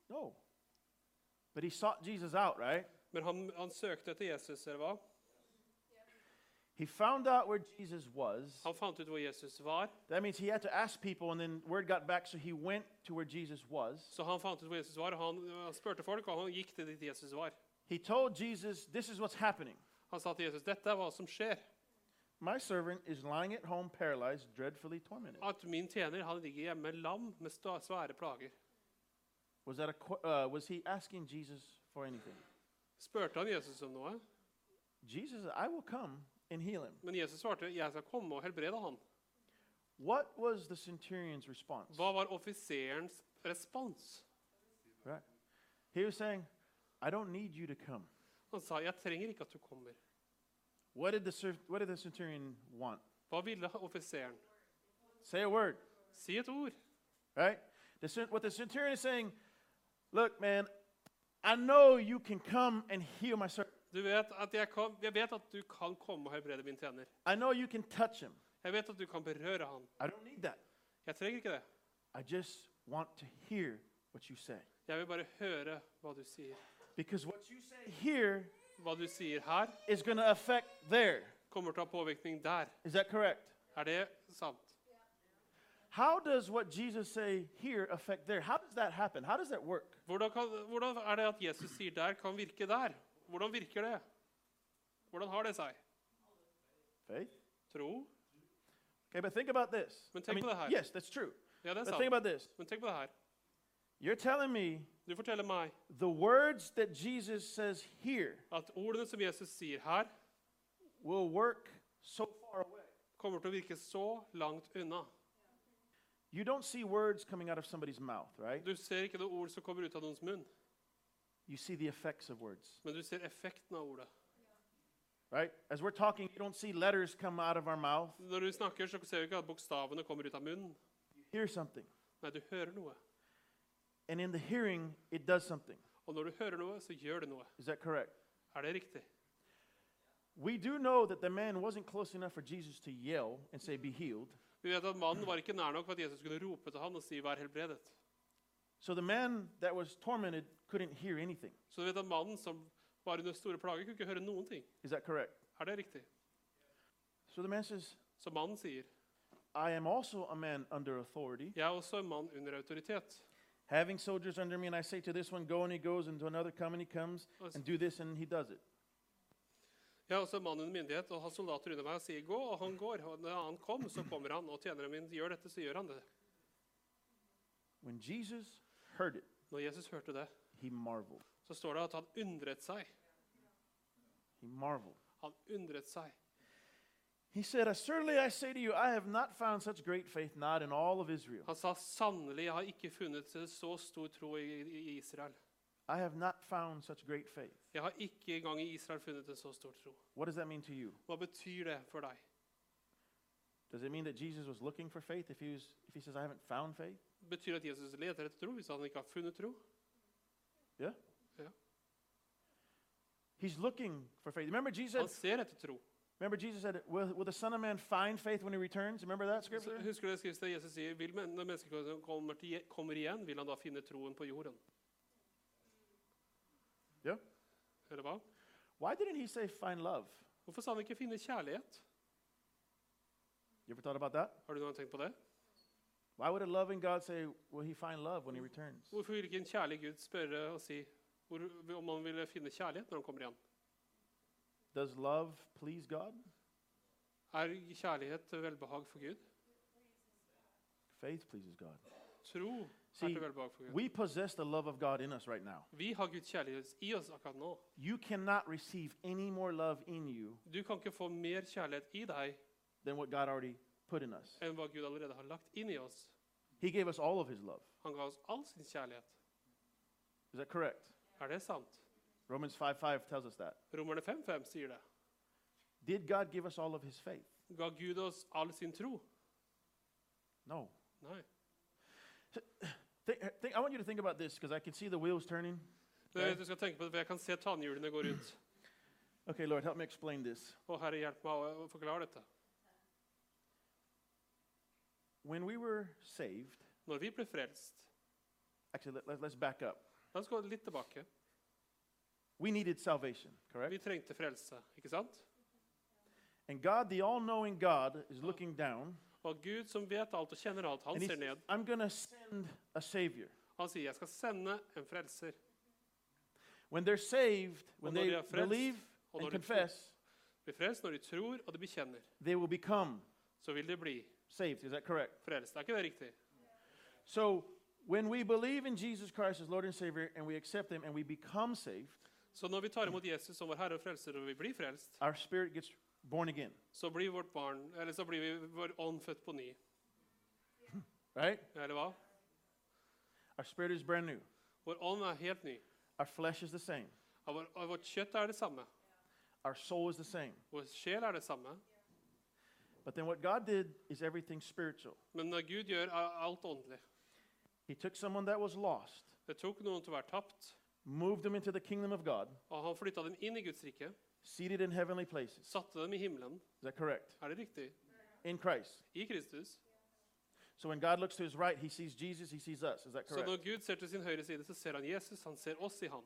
Speaker 4: No. But he sought Jesus out, right?
Speaker 2: Men han, han søkte etter Jesus, eller hva?
Speaker 4: He found out where Jesus was.
Speaker 2: Han fant ut hvor Jesus var,
Speaker 4: That means he had to ask people, and then word got back, so he went to where Jesus was.
Speaker 2: så han fant ut hvor Jesus var, og han, han spurte folk, og han gikk til dit Jesus var.
Speaker 4: He told Jesus, This is what's happening.
Speaker 2: Han sa til Jesus, dette er hva som skjer.
Speaker 4: My servant is lying at home paralyzed, dreadfully tormented.
Speaker 2: At min tjener, han ligger hjemme lam med sta- svære plager.
Speaker 4: Was, that a, qu- uh, was he asking Jesus for anything?
Speaker 2: Spurte han Jesus om noe?
Speaker 4: Jesus, I will come and heal him.
Speaker 2: Men Jesus svarte, jeg skal komme og helbrede han.
Speaker 4: What was the centurion's response?
Speaker 2: Hva var offiserens respons?
Speaker 4: Right? He was saying, I don't need you to come.
Speaker 2: Han sa, jeg trenger ikke at du kommer.
Speaker 4: What did the, cer- what did the centurion want?
Speaker 2: Hva ville offiseren?
Speaker 4: Say a word,
Speaker 2: Si et ord.
Speaker 4: right? The, cen- what the centurion is saying, look, man, I know you can come and heal my servant.
Speaker 2: Du vet at jeg, kan, jeg vet at du kan komme og helbrede min tjener.
Speaker 4: I know you can touch him.
Speaker 2: Jeg vet at du kan berøre han.
Speaker 4: I don't need that.
Speaker 2: Jeg trenger ikke det.
Speaker 4: I just want to hear what you say.
Speaker 2: Jeg vil bare høre hva du sier.
Speaker 4: Because what you say here
Speaker 2: Hva du sier her,
Speaker 4: is going to affect there.
Speaker 2: kommer til å ha påvirkning der.
Speaker 4: Is that correct?
Speaker 2: Er det sant?
Speaker 4: How does what Jesus say here affect there? How does that happen? How does that work?
Speaker 2: Hvordan, kan, hvordan er det at Jesus sier der, kan virke der? Hvordan virker det? Hvordan har det seg?
Speaker 4: Faith.
Speaker 2: Tro?
Speaker 4: Okay, but think about this.
Speaker 2: Men tänk på det här.
Speaker 4: yes, that's true.
Speaker 2: Ja, det er
Speaker 4: But think
Speaker 2: sant.
Speaker 4: about this.
Speaker 2: Men tenk på det her.
Speaker 4: You're telling me
Speaker 2: Du forteller meg
Speaker 4: the words that Jesus says here
Speaker 2: at ordene som Jesus sier her,
Speaker 4: will work so far away.
Speaker 2: kommer til å virke så langt unna.
Speaker 4: You don't see words coming out of somebody's mouth, right?
Speaker 2: Du ser ikke noe ord som kommer ut av noens munn,
Speaker 4: You see the effects of words,
Speaker 2: men du ser effekten av ordet.
Speaker 4: right? As we're talking, you don't see letters come out of our mouth.
Speaker 2: Når du snakker, så ser du ikke at bokstavene kommer ut av munnen.
Speaker 4: You hear something.
Speaker 2: Nei, du hører noe.
Speaker 4: And in the hearing, it does something.
Speaker 2: Og når du hører noe, så gjør det noe.
Speaker 4: Is that correct?
Speaker 2: Er det riktig?
Speaker 4: We do know that the man wasn't close enough for Jesus to yell and say, Be healed.
Speaker 2: Vi vet at mannen var ikke nær nok for at Jesus kunne rope til han og si 'vær helbredet'.
Speaker 4: So the man that was tormented couldn't hear anything.
Speaker 2: Så du vet at mannen som var under store plager, kunne ikke høre noen ting.
Speaker 4: Is that correct?
Speaker 2: Er det riktig?
Speaker 4: So the man says,
Speaker 2: Så mannen sier
Speaker 4: I am also a man under authority,
Speaker 2: 'Jeg er også en mann under autoritet'.
Speaker 4: having soldiers under me, and I say to this one, Go and he goes, and to another, Come and he comes,
Speaker 2: Awesome.
Speaker 4: and do this and he does it.
Speaker 2: 'Jeg er også en mann under myndighet og har soldater under meg og sier 'gå', og han går. Og når han kom, så kommer han. Og tjeneren min gjør dette, så gjør han det.
Speaker 4: When Jesus heard it,
Speaker 2: Når Jesus hørte det,
Speaker 4: he marveled.
Speaker 2: så står det at han undret seg.
Speaker 4: He marveled.
Speaker 2: Han undret seg.
Speaker 4: He said, Assuredly I say to you, I have not found such great faith, not in all of Israel.
Speaker 2: Han sa 'sannelig, jeg har ikke funnet så stor tro i i Israel'.
Speaker 4: I have not found such great faith.
Speaker 2: Jeg har ikke engang i Israel funnet en så stor tro.
Speaker 4: What does that mean to you?
Speaker 2: Hva betyr det for deg?
Speaker 4: Does it mean that Jesus was looking for faith if he, was, if he says, I haven't found faith?
Speaker 2: Betyr det at Jesus leter etter tro hvis han ikke har funnet tro?
Speaker 4: Yeah?
Speaker 2: Yeah.
Speaker 4: He's looking for faith. Remember Jesus,
Speaker 2: Han ser etter tro.
Speaker 4: remember Jesus said, will, will the Son of Man find faith when he returns? Remember that
Speaker 2: Så
Speaker 4: scripture?
Speaker 2: Husker du det skriftstedet Jesus sier vil men, når mennesket kommer, til, kommer igjen, vil han da finne troen på jorden?
Speaker 4: Yeah.
Speaker 2: Eller hva?
Speaker 4: Why didn't he say find love?
Speaker 2: Hvorfor sa han ikke 'finne kjærlighet'?
Speaker 4: You ever thought about that?
Speaker 2: Har du noen gang tenkt på det?
Speaker 4: Why would a loving God say, will he find love when he returns?
Speaker 2: Hvorfor vil ikke en kjærlig Gud spørre og si hvor, om han ville finne kjærlighet når han kommer igjen?
Speaker 4: Does love please God?
Speaker 2: Er kjærlighet til velbehag for Gud?
Speaker 4: Faith pleases God.
Speaker 2: Tro er
Speaker 4: See,
Speaker 2: til velbehag for Gud.
Speaker 4: We possess the love of God in us right now.
Speaker 2: Vi har Guds kjærlighet i oss akkurat nå.
Speaker 4: You cannot receive any more love in you
Speaker 2: Du kan ikke få mer kjærlighet i deg
Speaker 4: than what God already put in us.
Speaker 2: enn hva Gud allerede har lagt inn i oss.
Speaker 4: He gave us all of his love.
Speaker 2: Han ga oss all sin kjærlighet.
Speaker 4: Is that correct?
Speaker 2: Er det sant?
Speaker 4: Romans 5 5 tells us that.
Speaker 2: Romerne 5.5 sier det.
Speaker 4: Did God give us all of his faith?
Speaker 2: Ga Gud oss all sin tro?
Speaker 4: No.
Speaker 2: Nei.
Speaker 4: Think, think, I want you to think about this because I can see the wheels turning.
Speaker 2: Det, du skal tenke på det, for Jeg kan se tannhjulene gå rundt.
Speaker 4: Okay, Lord, help me explain this.
Speaker 2: Å, Herre, hjelp meg å- å forklare dette.
Speaker 4: When we were saved,
Speaker 2: Når vi ble frelst
Speaker 4: actually, let, let, us back up.
Speaker 2: La oss gå litt tilbake.
Speaker 4: We needed salvation, correct?
Speaker 2: Vi trengte frelse, ikke sant?
Speaker 4: And God, the all knowing God, is looking down.
Speaker 2: Og Gud, som vet alt og kjenner alt, han
Speaker 4: And he
Speaker 2: ser
Speaker 4: says,
Speaker 2: ned.
Speaker 4: I'm going to send a Savior.
Speaker 2: Han sier, 'Jeg skal sende en frelser'.
Speaker 4: When they're saved, when
Speaker 2: Och när
Speaker 4: they
Speaker 2: de är frälst,
Speaker 4: believe
Speaker 2: och när
Speaker 4: and
Speaker 2: de-
Speaker 4: confess,
Speaker 2: Bli frelst når de tror og de bekjenner.
Speaker 4: they will become
Speaker 2: Så vil de bli
Speaker 4: saved. Is that correct?
Speaker 2: frelst. Er ikke det riktig?
Speaker 4: So when we believe in Jesus Christ as Lord and Savior and we accept Him and we become saved,
Speaker 2: Så når vi tar imot Jesus som vår Herre og Frelser, og vi blir frelst,
Speaker 4: our spirit gets born again,
Speaker 2: så blir vårt barn, eller så blir vi vår ånd født på ny.
Speaker 4: right?
Speaker 2: Eller hva?
Speaker 4: Our spirit is brand new.
Speaker 2: Vår ånd er helt ny.
Speaker 4: Our flesh is the same.
Speaker 2: Og, vår, og vårt kjøtt er det samme.
Speaker 4: Our soul is the same.
Speaker 2: Vår sjel er det samme.
Speaker 4: But then what God did is everything spiritual.
Speaker 2: Men når Gud gjør, er alt åndelig.
Speaker 4: He took someone that was lost,
Speaker 2: Det tok noen til å være tapt,
Speaker 4: moved them into the kingdom of God,
Speaker 2: og han flytta dem inn i Guds rike.
Speaker 4: seated in heavenly places.
Speaker 2: Satte dem i himmelen.
Speaker 4: Is that correct?
Speaker 2: Er det riktig?
Speaker 4: In Christ.
Speaker 2: I Kristus.
Speaker 4: So when God looks to his right, he sees Jesus, he sees us. Is that
Speaker 2: Så
Speaker 4: correct?
Speaker 2: når Gud ser til sin høyre side, så ser han Jesus. Han ser oss i han.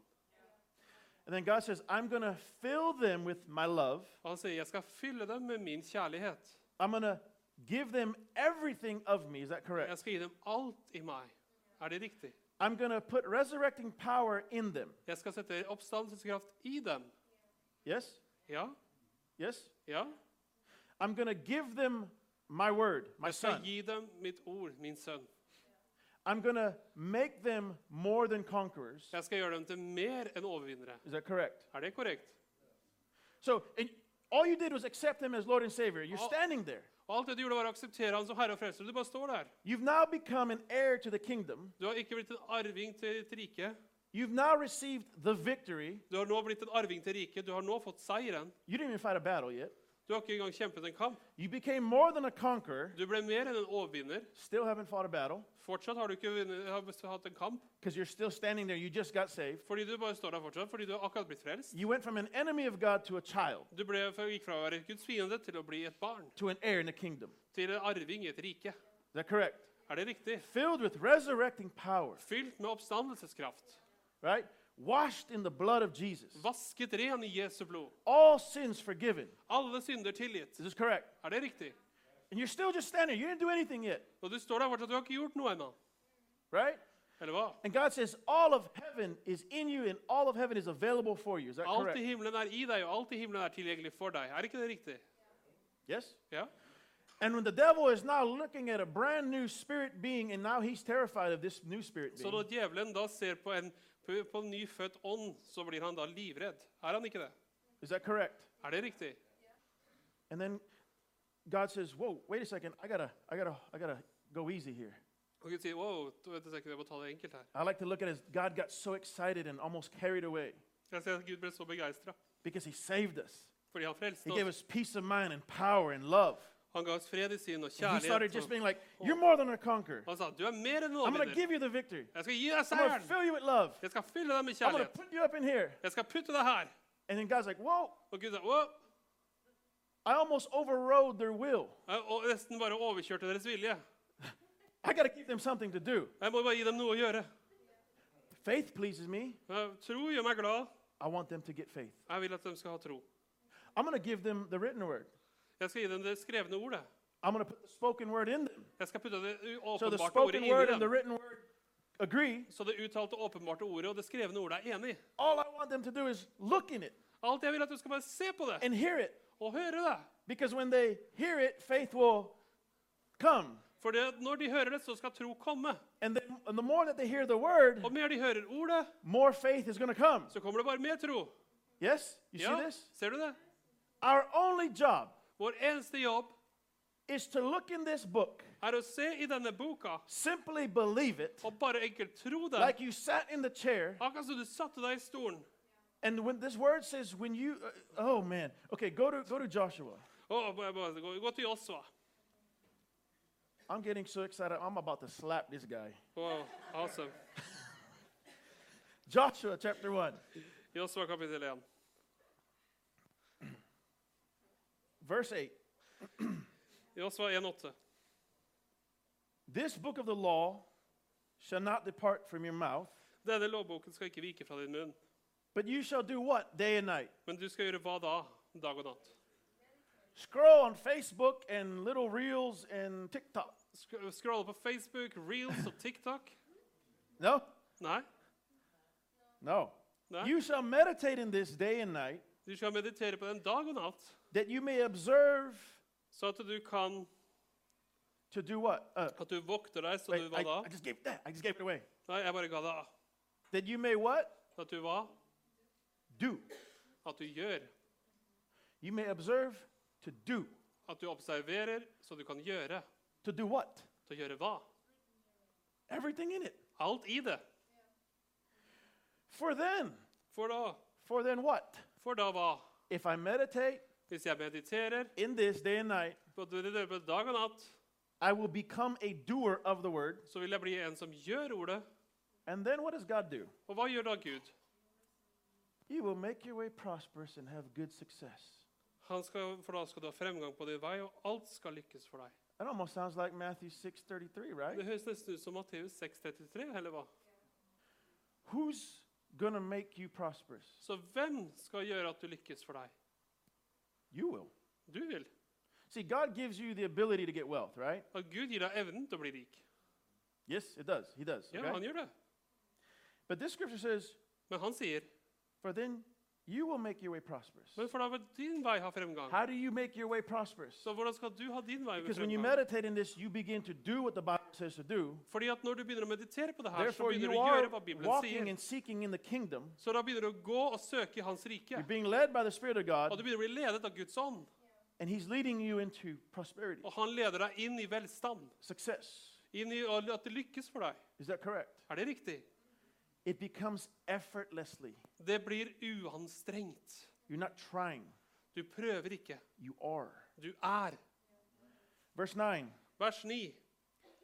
Speaker 4: And then God says, I'm going to fill them with my love.
Speaker 2: Og han sier, 'Jeg skal fylle dem med min kjærlighet'.
Speaker 4: I'm going to give them everything of me. Is that correct?
Speaker 2: Jeg skal gi dem alt i meg. Er det riktig?
Speaker 4: I'm going to put resurrecting power in them.
Speaker 2: Jeg skal sette oppstandelseskraft i dem.
Speaker 4: Yes?
Speaker 2: Ja?
Speaker 4: Yes?
Speaker 2: Ja?
Speaker 4: I'm going to give them my word, my
Speaker 2: Jeg skal
Speaker 4: son.
Speaker 2: gi dem mitt ord, min sønn.
Speaker 4: I'm going to make them more than conquerors.
Speaker 2: Jeg skal gjøre dem til mer enn overvinnere.
Speaker 4: Is that correct?
Speaker 2: Er det korrekt?
Speaker 4: So, and all you did was accept him as Lord and Savior. You're
Speaker 2: All-
Speaker 4: standing there.
Speaker 2: Og alt det du gjorde, var å akseptere han som herre og frelser. Du bare står der.
Speaker 4: You've now become an heir to the kingdom.
Speaker 2: Du har ikke blitt en arving til et rike.
Speaker 4: You've now received the victory.
Speaker 2: Du har nå blitt en arving til riket. Du har nå fått seieren.
Speaker 4: You didn't even fight a battle yet.
Speaker 2: Du har ikke engang kjempet en kamp.
Speaker 4: You became more than a conqueror.
Speaker 2: Du ble mer enn en overvinner.
Speaker 4: Still haven't fought a battle
Speaker 2: Fortsatt har du ikke vunnet, har hatt en kamp,
Speaker 4: because you're still standing there. You just got saved.
Speaker 2: fordi du bare står der fortsatt, fordi du har akkurat blitt frelst.
Speaker 4: You went from an enemy of God to a child,
Speaker 2: Du ble, gikk fra å være Guds fiende til å bli et barn,
Speaker 4: to an heir in the kingdom.
Speaker 2: til en arving i et rike.
Speaker 4: Is that correct?
Speaker 2: Er det riktig?
Speaker 4: Filled with resurrecting power,
Speaker 2: Fylt med oppstandelseskraft.
Speaker 4: right? Washed in the blood of Jesus.
Speaker 2: Vasket ren i Jesu blod.
Speaker 4: All sins forgiven.
Speaker 2: Alle synder tilgitt.
Speaker 4: Is this correct?
Speaker 2: Er det riktig?
Speaker 4: And you're still just standing. You didn't do anything yet,
Speaker 2: Og du står der fortsatt, du har ikke gjort noe ennå.
Speaker 4: right?
Speaker 2: Eller hva?
Speaker 4: And God says, All of heaven is in you, and all of heaven is available for you. Is that
Speaker 2: Alt
Speaker 4: correct?
Speaker 2: i himmelen er i deg, og alt i himmelen er tilgjengelig for deg. Er ikke det riktig?
Speaker 4: Yes?
Speaker 2: Ja?
Speaker 4: And when the devil is now looking at a brand new spirit being, and now he's terrified of this new spirit
Speaker 2: Så
Speaker 4: being,
Speaker 2: når djevelen da ser på en, på på en nyfødt ånd, så blir han da livredd. Er han ikke det?
Speaker 4: is that correct?
Speaker 2: Er det riktig?
Speaker 4: And then God says, Whoa, wait a second. I gotta, I gotta, I gotta go easy here.
Speaker 2: Og Gud sier, wow, du vet ikke, jeg må ta det enkelt her.
Speaker 4: I like to look at it as God got so excited and almost carried away
Speaker 2: Jeg ser at Gud ble så begeistra,
Speaker 4: because he saved us.
Speaker 2: fordi han frelste
Speaker 4: He gave
Speaker 2: oss.
Speaker 4: us peace of mind and power and love.
Speaker 2: Han ga oss fred i sin og
Speaker 4: And he started
Speaker 2: kjærlighet.
Speaker 4: just
Speaker 2: og-
Speaker 4: being like, You're more than a conqueror.
Speaker 2: Han sa, du er mer enn en
Speaker 4: I'm gonna
Speaker 2: overvinner.
Speaker 4: give you the victory.
Speaker 2: Jeg skal gi deg
Speaker 4: I'm gonna
Speaker 2: seieren.
Speaker 4: fill you with love.
Speaker 2: Jeg skal fylle deg med
Speaker 4: I'm gonna
Speaker 2: kjærlighet.
Speaker 4: put you up in here.
Speaker 2: Jeg skal putte deg her.
Speaker 4: And then God's like, Whoa,
Speaker 2: Og Gud sa, wow,
Speaker 4: I almost overrode their will.
Speaker 2: og nesten bare overkjørte deres vilje.
Speaker 4: I gotta give them something to do.
Speaker 2: Jeg må bare gi dem noe å gjøre.
Speaker 4: Faith pleases me.
Speaker 2: Eh, Tro gjør meg glad.
Speaker 4: I want them to get faith.
Speaker 2: Jeg vil at de skal ha tro.
Speaker 4: I'm gonna give them the written word.
Speaker 2: Jeg skal gi dem det skrevne ordet.
Speaker 4: I'm gonna put the spoken word in them.
Speaker 2: Jeg skal putte det u-
Speaker 4: So the
Speaker 2: åpenbarte ordet
Speaker 4: spoken word
Speaker 2: inni
Speaker 4: and the
Speaker 2: dem.
Speaker 4: written word agree.
Speaker 2: Så det uttalte åpenbarte ordet og det skrevne ordet er enig.
Speaker 4: All I want them to do is look in it
Speaker 2: Alt jeg vil er at du skal bare se på det
Speaker 4: and hear it.
Speaker 2: og høre det.
Speaker 4: Because when they hear it, faith will come.
Speaker 2: For det, når de hører det, så skal tro komme.
Speaker 4: And, then, and the more that they hear the word,
Speaker 2: Og mer de hører ordet,
Speaker 4: more faith is going to come.
Speaker 2: så kommer det bare mer tro.
Speaker 4: Yes? You
Speaker 2: Ja,
Speaker 4: see this?
Speaker 2: ser du det?
Speaker 4: Our only job
Speaker 2: Vår eneste jobb
Speaker 4: is to look in this book,
Speaker 2: er å se i denne boka
Speaker 4: simply believe it,
Speaker 2: og bare enkelt tro det.
Speaker 4: like you sat in the chair
Speaker 2: Akkurat som du satte deg i stolen
Speaker 4: And when this word says, when you, uh, oh man, okay, go to go to Joshua.
Speaker 2: Å, bare- bare gå, gå til Josva.
Speaker 4: I'm getting so excited. I'm about to slap this guy.
Speaker 2: Wow, awesome.
Speaker 4: Joshua chapter one,
Speaker 2: Josva kapittel 1,
Speaker 4: verse eight.
Speaker 2: Josva 1,8.
Speaker 4: This book of the law shall not depart from your mouth,
Speaker 2: Denne lovboken skal ikke vike fra din munn,
Speaker 4: but you shall do what day and night.
Speaker 2: men du skal gjøre hva da, dag og natt?
Speaker 4: Scroll on Facebook and little reels and TikTok.
Speaker 2: Sk- Scrolle på Facebook, Reels og TikTok?
Speaker 4: No,
Speaker 2: Nei.
Speaker 4: no.
Speaker 2: Nei.
Speaker 4: You shall meditate in this day and night,
Speaker 2: Du skal meditere på den dag og natt,
Speaker 4: that you may observe
Speaker 2: så at du kan
Speaker 4: to do what. Uh,
Speaker 2: At du vokter deg, så
Speaker 4: wait,
Speaker 2: du hva
Speaker 4: I,
Speaker 2: da?
Speaker 4: I just gave that. I just gave it away.
Speaker 2: Nei, jeg bare ga deg A.
Speaker 4: That you may what
Speaker 2: At du hva?
Speaker 4: do.
Speaker 2: At du gjør.
Speaker 4: You may observe to do.
Speaker 2: At du observerer, så du kan gjøre.
Speaker 4: To do what?
Speaker 2: Til å gjøre hva?
Speaker 4: Everything in it.
Speaker 2: Alt i det.
Speaker 4: For then,
Speaker 2: For da?
Speaker 4: for then what?
Speaker 2: For da hva?
Speaker 4: If I meditate
Speaker 2: Hvis jeg mediterer
Speaker 4: in this day and night,
Speaker 2: på at du mediterer på dag og natt,
Speaker 4: I will become a doer of the word.
Speaker 2: så vil jeg bli en som gjør ordet.
Speaker 4: And then what does God do?
Speaker 2: Og hva gjør da Gud?
Speaker 4: He will make your way prosperous and have good success.
Speaker 2: Han skal, for da skal du ha fremgang på din vei, og alt skal lykkes for deg.
Speaker 4: That almost sounds like Matthew 6:33, right?
Speaker 2: Det høres nesten ut som Matteus 6,33, eller hva?
Speaker 4: Who's going to make you prosperous?
Speaker 2: Så hvem skal gjøre at du lykkes for deg?
Speaker 4: You will.
Speaker 2: Du vil.
Speaker 4: See, God gives you the ability to get wealth, right?
Speaker 2: At Gud gir deg evnen til å bli rik.
Speaker 4: Yes, it does. He does.
Speaker 2: Ja,
Speaker 4: okay?
Speaker 2: han gjør det.
Speaker 4: But this scripture says,
Speaker 2: Men han sier
Speaker 4: "For then you will make your way prosperous."
Speaker 2: Men for da vil din vei ha fremgang.
Speaker 4: How do you make your way prosperous?
Speaker 2: Så hvordan skal du ha din vei med
Speaker 4: Because when you
Speaker 2: fremgang?
Speaker 4: meditate in this, you begin to do what the Bible says to do.
Speaker 2: Fordi at når du begynner å meditere på det her, så
Speaker 4: Therefore,
Speaker 2: begynner
Speaker 4: you
Speaker 2: du å
Speaker 4: are
Speaker 2: gjøre hva Bibelen
Speaker 4: walking
Speaker 2: sier.
Speaker 4: and seeking in the kingdom.
Speaker 2: Så da begynner du å gå og søke i Hans rike.
Speaker 4: You're being led by the Spirit of
Speaker 2: Og du
Speaker 4: God,
Speaker 2: begynner å bli ledet av Guds ånd.
Speaker 4: and He's leading you into prosperity,
Speaker 2: Og han leder deg inn i velstand.
Speaker 4: success.
Speaker 2: Inn i og at det lykkes for deg.
Speaker 4: Is that correct?
Speaker 2: Er det riktig?
Speaker 4: It becomes effortlessly.
Speaker 2: Det blir uanstrengt.
Speaker 4: You're not trying,
Speaker 2: Du prøver ikke.
Speaker 4: you are.
Speaker 2: Du er.
Speaker 4: Verse 9
Speaker 2: Vers 9.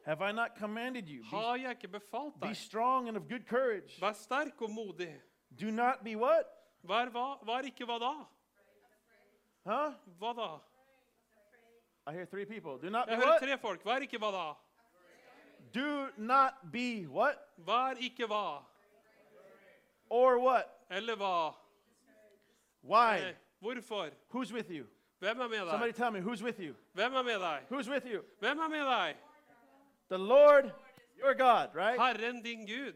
Speaker 4: Have I not commanded you? Be,
Speaker 2: Har jeg ikke befalt
Speaker 4: be
Speaker 2: deg?
Speaker 4: strong and of good courage.
Speaker 2: Vær sterk og modig.
Speaker 4: Do not be what?
Speaker 2: Vær hva? Vær ikke hva da?
Speaker 4: Huh?
Speaker 2: Hva da?
Speaker 4: I hear three people. Do not be
Speaker 2: Jeg hører
Speaker 4: what?
Speaker 2: tre folk. Vær ikke hva da?
Speaker 4: Do not be what?
Speaker 2: Vær ikke hva?
Speaker 4: Or what?
Speaker 2: Eller hva?
Speaker 4: Why?
Speaker 2: Nei. Hvorfor?
Speaker 4: Who's with you?
Speaker 2: Hvem er med
Speaker 4: Somebody
Speaker 2: deg?
Speaker 4: tell me, who's with you?
Speaker 2: Hvem er med deg?
Speaker 4: Who's with you?
Speaker 2: Hvem er med deg?
Speaker 4: The Lord your God, right?
Speaker 2: Herren din Gud.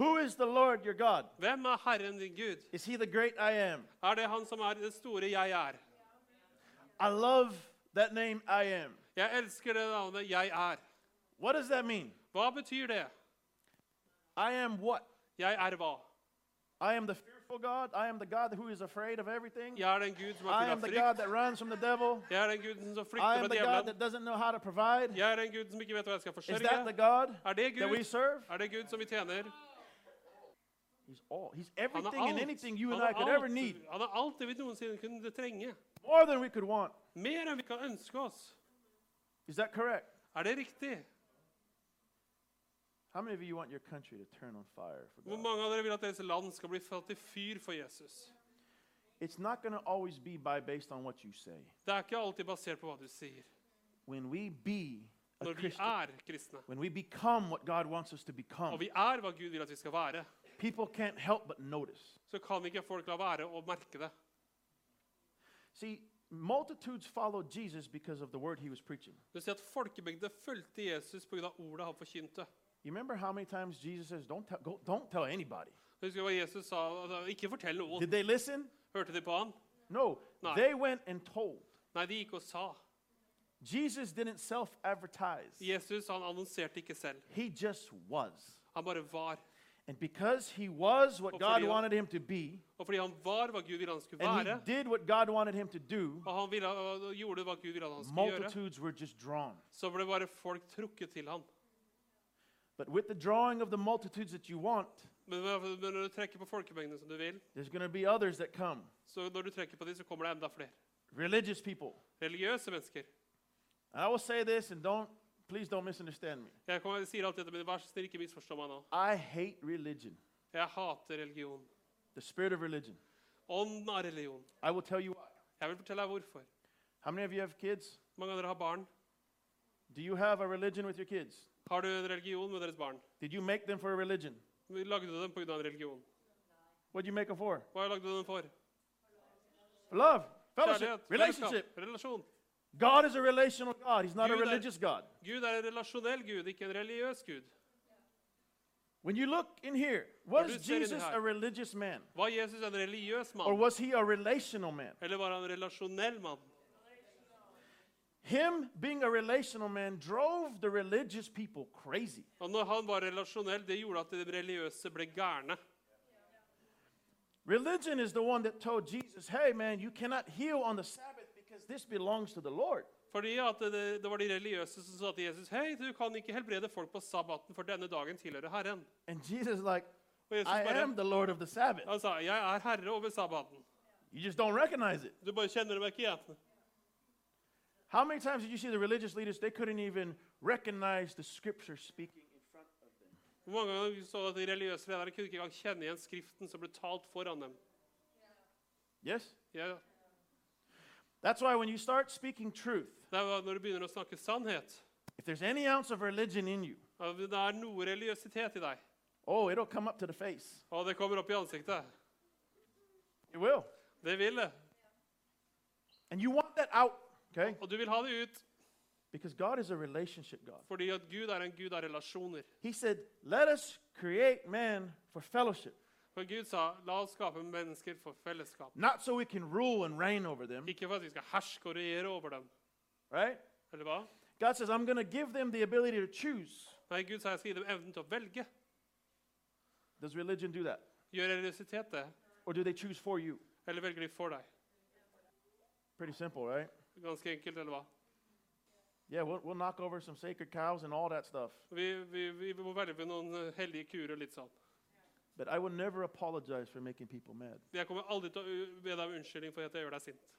Speaker 4: Who is the Lord your God?
Speaker 2: Hvem er Herren din Gud?
Speaker 4: Is he the great I am?
Speaker 2: Er det han som er det store jeg er?
Speaker 4: I love that name, I am.
Speaker 2: Jeg elsker det navnet jeg er.
Speaker 4: What does that mean?
Speaker 2: Hva betyr det?
Speaker 4: I am what?
Speaker 2: Jeg er hva?
Speaker 4: I am the fearful God. I am the God who is afraid of everything.
Speaker 2: Jeg er den Gud som
Speaker 4: I
Speaker 2: er
Speaker 4: am the
Speaker 2: full av
Speaker 4: God
Speaker 2: frykt.
Speaker 4: that runs from the devil.
Speaker 2: Jeg er den Guden som
Speaker 4: I
Speaker 2: flykter
Speaker 4: am
Speaker 2: fra
Speaker 4: the God
Speaker 2: djevelen.
Speaker 4: that doesn't know how to provide.
Speaker 2: Jeg er den Guden som ikke vet hva jeg skal
Speaker 4: Is that the
Speaker 2: forsørge.
Speaker 4: God
Speaker 2: Er det
Speaker 4: that we
Speaker 2: Gud?
Speaker 4: serve?
Speaker 2: Er det Gud som vi tjener?
Speaker 4: He's all. He's
Speaker 2: Han er
Speaker 4: everything and
Speaker 2: alt.
Speaker 4: anything you and
Speaker 2: Han
Speaker 4: I
Speaker 2: er
Speaker 4: could ever need.
Speaker 2: alt, han er alt det vi noensinne kunne trenge.
Speaker 4: More than we could want.
Speaker 2: Mer enn vi kan ønske oss.
Speaker 4: Is that correct?
Speaker 2: Er det riktig?
Speaker 4: How many of you want your country to turn on fire for
Speaker 2: Hvor
Speaker 4: God?
Speaker 2: mange av dere vil at deres land skal bli falt i fyr for Jesus?
Speaker 4: It's not going to always be by based on what you say.
Speaker 2: Det er ikke alltid basert på hva du sier.
Speaker 4: When we be a
Speaker 2: Når vi
Speaker 4: Christian,
Speaker 2: er kristne,
Speaker 4: when we become what God wants us to become,
Speaker 2: og vi er hva Gud vil at vi skal være,
Speaker 4: people can't help but notice.
Speaker 2: så kan ikke folk la være å merke det.
Speaker 4: See, multitudes followed Jesus because of the word he was preaching.
Speaker 2: Du ser at Folkemengde fulgte Jesus pga. ordet han forkynte.
Speaker 4: You remember how many times Jesus says, "Don't tell, go, don't tell anybody."
Speaker 2: Husker du hva Jesus sa? Altså, Ikke fortell noen.
Speaker 4: Did they listen?
Speaker 2: Hørte de på han?
Speaker 4: No,
Speaker 2: No.
Speaker 4: they went and told.
Speaker 2: Nei, de gikk og sa.
Speaker 4: Jesus didn't self-advertise.
Speaker 2: Jesus han annonserte ikke selv.
Speaker 4: He just was.
Speaker 2: Han bare var.
Speaker 4: And because he was what
Speaker 2: Well,
Speaker 4: God
Speaker 2: fordi-
Speaker 4: wanted him to be,
Speaker 2: Og fordi han var hva Gud ville han skulle
Speaker 4: and he
Speaker 2: være,
Speaker 4: did what God wanted him to do,
Speaker 2: og han ville, og gjorde hva Gud ville han skulle gjøre,
Speaker 4: multitudes were just drawn.
Speaker 2: så ble bare folk trukket til han.
Speaker 4: But with the drawing of the multitudes that you want,
Speaker 2: Men hva- men når du trekker på folkemengden som du vil,
Speaker 4: there's going to be others that come.
Speaker 2: så når du trekker på de, så kommer det enda flere.
Speaker 4: Religious people.
Speaker 2: Religiøse mennesker.
Speaker 4: And I will say this, and don't please don't misunderstand me.
Speaker 2: Jeg, kommer, jeg sier alltid dette, men vær så snill, ikke misforstå meg nå.
Speaker 4: I hate religion,
Speaker 2: Jeg hater religion.
Speaker 4: the spirit of religion.
Speaker 2: Ånden av religion.
Speaker 4: I will tell you why.
Speaker 2: Jeg vil fortelle deg hvorfor.
Speaker 4: How many of you have kids?
Speaker 2: Mange av dere har barn.
Speaker 4: Do you have a religion with your kids?
Speaker 2: Har du en religion med deres barn?
Speaker 4: Did you make them for a religion?
Speaker 2: Lagde du dem pga. en religion?
Speaker 4: What did you make them for?
Speaker 2: Hva lagde du dem for?
Speaker 4: Love, fellowship,
Speaker 2: Kjærlighet,
Speaker 4: relationship.
Speaker 2: fellesskap, relasjon.
Speaker 4: God is a relational God. He's not a
Speaker 2: Gud er-
Speaker 4: religious God.
Speaker 2: Gud er en relasjonell gud, ikke en religiøs gud.
Speaker 4: When you look in here,
Speaker 2: Når
Speaker 4: was
Speaker 2: du ser inn
Speaker 4: Jesus
Speaker 2: her.
Speaker 4: a religious man?
Speaker 2: Var Jesus en religiøs
Speaker 4: Or
Speaker 2: mann?
Speaker 4: was he a relational man?
Speaker 2: Eller var han en relasjonell mann?
Speaker 4: Him being a relational man drove the religious people crazy.
Speaker 2: Og når han var relasjonell, det gjorde at de religiøse ble gærne.
Speaker 4: Religion is the one that told Jesus, hey man, you cannot heal on the Sabbath because this belongs to the Lord.
Speaker 2: Fordi at det, det var de religiøse som sa til Jesus Hei, du kan ikke helbrede folk på sabbaten, for denne dagen tilhører Herren.
Speaker 4: And Jesus, is like,
Speaker 2: Og Jesus
Speaker 4: I
Speaker 2: bare
Speaker 4: am the Lord of the Sabbath.
Speaker 2: Han sa, Jeg er herre over sabbaten.
Speaker 4: You just don't recognize it.
Speaker 2: Du bare kjenner meg ikke igjen.
Speaker 4: How many times did you see the religious leaders? They couldn't even recognize the scripture speaking.
Speaker 2: Hvor mange ganger så du at de religiøse lederne kunne ikke engang kjenne igjen Skriften som ble talt foran dem?
Speaker 4: Yes?
Speaker 2: Ja,
Speaker 4: That's why when you start speaking truth,
Speaker 2: det er hva- når du begynner å snakke sannhet.
Speaker 4: if there's any ounce of religion in you,
Speaker 2: at Det er noe religiøsitet i deg.
Speaker 4: oh, it'll come up to the face.
Speaker 2: Og det kommer opp i ansiktet.
Speaker 4: It will.
Speaker 2: Det vil det.
Speaker 4: And you want that out, okay?
Speaker 2: Og du vil ha det ut
Speaker 4: Because God is a relationship God.
Speaker 2: fordi at Gud er en gud av relasjoner.
Speaker 4: He said, let us create man for fellowship,
Speaker 2: For Gud sa, la oss skape mennesker for fellesskap.
Speaker 4: not so we can rule and reign over them,
Speaker 2: Ikke for at vi skal herske og regjere over dem.
Speaker 4: right?
Speaker 2: Eller hva?
Speaker 4: God says, I'm going to give them the ability to choose.
Speaker 2: Nei, Gud sa jeg skal gi dem evnen til å velge.
Speaker 4: Does religion do that?
Speaker 2: Gjør religiøsitet det,
Speaker 4: Or do they choose for you?
Speaker 2: eller velger de for deg?
Speaker 4: Pretty simple, right?
Speaker 2: Ganske enkelt, eller hva?
Speaker 4: Yeah, we'll, we'll knock over some sacred cows and all that stuff.
Speaker 2: Vi, vi, vi må velge noen eh, hellige kurer og litt sånn.
Speaker 4: But I will never apologize for making people mad
Speaker 2: Jeg kommer aldri til å u- be deg om unnskyldning for at jeg gjør deg sint.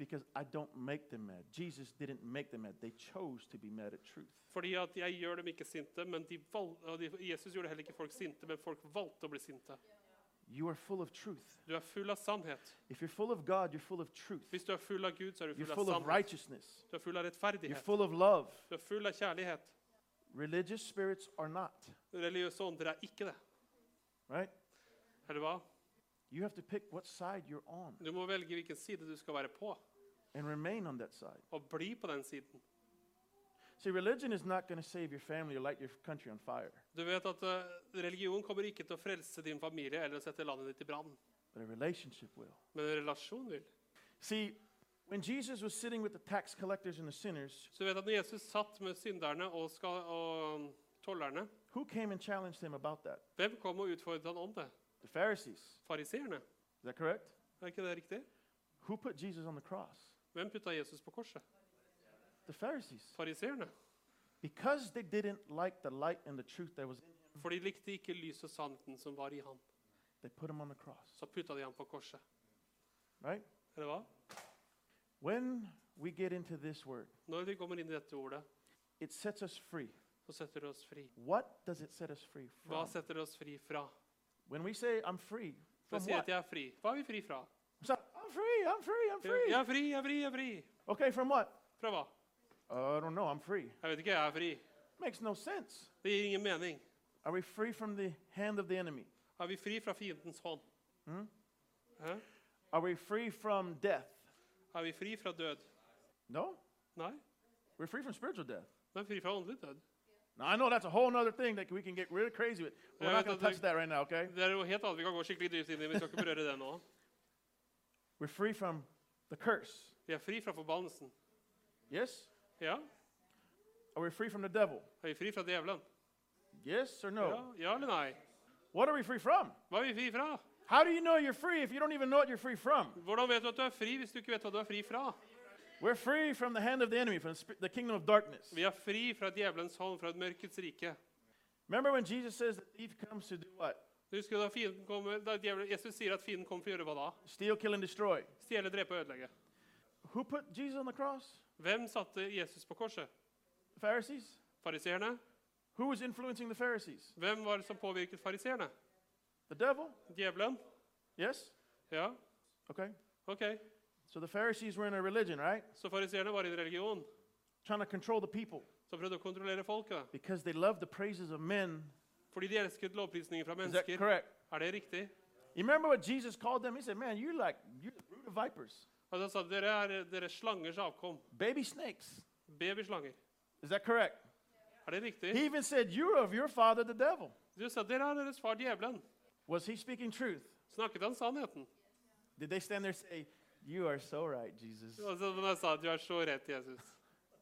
Speaker 4: because I don't make them mad. Jesus didn't make them mad. They chose to be mad at truth.
Speaker 2: Fordi at jeg gjør dem ikke sinte, men de val og de, Jesus gjorde heller ikke folk sinte, men folk valgte å bli sinte.
Speaker 4: You are full of truth.
Speaker 2: Du er full av sannhet.
Speaker 4: If you're full of God, you're full of truth.
Speaker 2: Hvis du er full av Gud, så er du
Speaker 4: You're
Speaker 2: full av
Speaker 4: full of
Speaker 2: sannhet.
Speaker 4: righteousness.
Speaker 2: Du er full av
Speaker 4: You're
Speaker 2: rettferdighet.
Speaker 4: full of love.
Speaker 2: Du er full av kjærlighet.
Speaker 4: Religious spirits are not,
Speaker 2: Religiøse ånder er ikke det.
Speaker 4: right?
Speaker 2: Eller hva?
Speaker 4: You have to pick what side you're on
Speaker 2: Du må velge hvilken side du skal være på,
Speaker 4: and remain on that side.
Speaker 2: og bli på den siden.
Speaker 4: See, religion is not going to save your family or light your country on fire,
Speaker 2: Du vet at eh, religion kommer ikke til å frelse din familie eller å sette landet ditt i brann,
Speaker 4: but a relationship will.
Speaker 2: men en relasjon vil.
Speaker 4: See, when Jesus was sitting with the tax collectors and the sinners,
Speaker 2: Så du vet at når Jesus satt med synderne og, skal, og mm, tollerne,
Speaker 4: who came and challenged him about that?
Speaker 2: hvem kom og utfordret han om det?
Speaker 4: The Pharisees. Is
Speaker 2: Fariseerne.
Speaker 4: that correct?
Speaker 2: Er ikke det riktig?
Speaker 4: Who put Jesus on the cross?
Speaker 2: Hvem putta Jesus på korset?
Speaker 4: The Pharisees.
Speaker 2: Fariseerne.
Speaker 4: Because they didn't like the light and the truth that was in him,
Speaker 2: For de likte ikke lyset og sannheten som var i han.
Speaker 4: they put him on the cross,
Speaker 2: Så putta de han på korset.
Speaker 4: right?
Speaker 2: Eller hva?
Speaker 4: When we get into this word,
Speaker 2: Når vi kommer inn i dette ordet,
Speaker 4: it sets us free.
Speaker 2: så setter det oss fri.
Speaker 4: What does it set us free
Speaker 2: Hva
Speaker 4: from?
Speaker 2: setter det oss fri fra?
Speaker 4: When we say, I'm free,
Speaker 2: For
Speaker 4: from
Speaker 2: jeg sier
Speaker 4: what?
Speaker 2: at jeg er fri. Hva er vi fri fra?
Speaker 4: So, I'm free, I'm free, I'm free.
Speaker 2: Jeg er fri, jeg er fri, jeg er fri.
Speaker 4: Okay, from what?
Speaker 2: Fra hva?
Speaker 4: Uh, I don't know, I'm free.
Speaker 2: Jeg vet ikke, jeg er fri.
Speaker 4: Makes no sense.
Speaker 2: Det gir ingen mening.
Speaker 4: Are we free from the hand of the enemy?
Speaker 2: Er vi fri fra fiendens hånd? Mm.
Speaker 4: Mhm.
Speaker 2: Hæ?
Speaker 4: Are we free from death?
Speaker 2: Er vi fri fra død?
Speaker 4: No,
Speaker 2: Nei,
Speaker 4: we're free from spiritual death.
Speaker 2: vi er fri fra åndelig død.
Speaker 4: Now, I know that's a whole other thing that we can get really crazy with. We're
Speaker 2: Yeah,
Speaker 4: not
Speaker 2: that's
Speaker 4: going
Speaker 2: a
Speaker 4: to touch
Speaker 2: thing.
Speaker 4: that right now, okay?
Speaker 2: Det er noe helt annet vi kan gå skikkelig dypt inn i. men Vi skal ikke berøre det nå.
Speaker 4: We're free from the curse.
Speaker 2: Vi er fri fra forbannelsen.
Speaker 4: Yes?
Speaker 2: Ja?
Speaker 4: Are we free from the devil?
Speaker 2: Er vi fri fra djevelen?
Speaker 4: Yes or no?
Speaker 2: Ja, ja eller nei?
Speaker 4: What are we free from?
Speaker 2: Hva er vi fri fra?
Speaker 4: How do you know you're free if you don't even know what you're free from?
Speaker 2: Hvordan vet du at du er fri hvis du ikke vet hva du er fri fra?
Speaker 4: We're free from the hand of the enemy, from the sp- the kingdom of darkness.
Speaker 2: Vi er fri fra djevelens hånd, fra mørkets rike.
Speaker 4: Remember when Jesus says the thief comes to do what?
Speaker 2: Husker du da fienden kommer, da djevelen- Jesus sier at fienden kommer for å gjøre hva da?
Speaker 4: Steal, kill, and destroy.
Speaker 2: Stjele, drepe og ødelegge.
Speaker 4: Who put Jesus on the cross?
Speaker 2: Hvem satte Jesus på korset?
Speaker 4: Pharisees.
Speaker 2: Fariseerne?
Speaker 4: Who was influencing the Pharisees?
Speaker 2: Hvem var det som påvirket fariseerne?
Speaker 4: The devil?
Speaker 2: Djevelen?
Speaker 4: Yes?
Speaker 2: Ja,
Speaker 4: Okay.
Speaker 2: ok.
Speaker 4: So the Pharisees were in a religion, right?
Speaker 2: Så fariseerne var i en religion
Speaker 4: Trying to control the people
Speaker 2: som prøvde å kontrollere folket.
Speaker 4: because they loved the praises of men.
Speaker 2: Fordi de elsket lovprisninger fra
Speaker 4: Is that
Speaker 2: mennesker.
Speaker 4: correct?
Speaker 2: Er det riktig?
Speaker 4: You remember what Jesus called them? He said, Man, you're like, you're the root of vipers,
Speaker 2: Altså, han sa, dere er dere er slangers avkom.
Speaker 4: baby snakes.
Speaker 2: Babyslanger.
Speaker 4: Is that correct?
Speaker 2: Er det riktig?
Speaker 4: He even said, You're of your father, the devil.
Speaker 2: Du sa dere er deres far djevelen.
Speaker 4: Was he speaking truth?
Speaker 2: Snakket han sannheten?
Speaker 4: Did they stand there and say, You are so right, Jesus?
Speaker 2: Altså, men han sa du er så rett, Jesus.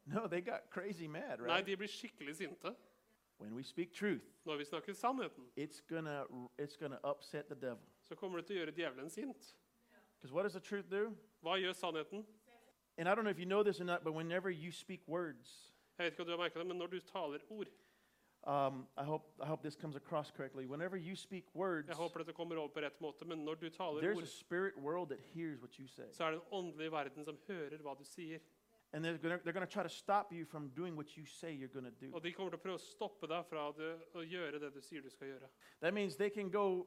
Speaker 4: No, they got crazy mad,
Speaker 2: Nei,
Speaker 4: right?
Speaker 2: de blir skikkelig sinte
Speaker 4: When we speak truth,
Speaker 2: når vi snakker sannheten.
Speaker 4: it's gonna it's gonna upset the devil.
Speaker 2: Så kommer det til å gjøre djevelen sint.
Speaker 4: Because what does the truth do?
Speaker 2: Hva gjør sannheten?
Speaker 4: And I don't know if you know this or not, but whenever you speak words,
Speaker 2: Jeg vet ikke om du har merket det, men når du taler ord
Speaker 4: um, I hope I hope this comes across correctly. Whenever you speak words,
Speaker 2: Jeg håper dette kommer over på rett måte, men når du taler
Speaker 4: there's a
Speaker 2: ord,
Speaker 4: spirit world that hears what you say,
Speaker 2: så er det en åndelig verden som hører hva du sier.
Speaker 4: and they're gonna they're gonna try to stop you from doing what you say you're gonna do.
Speaker 2: Og de kommer til å prøve å stoppe deg fra det- å gjøre det du sier du skal gjøre.
Speaker 4: That means they can go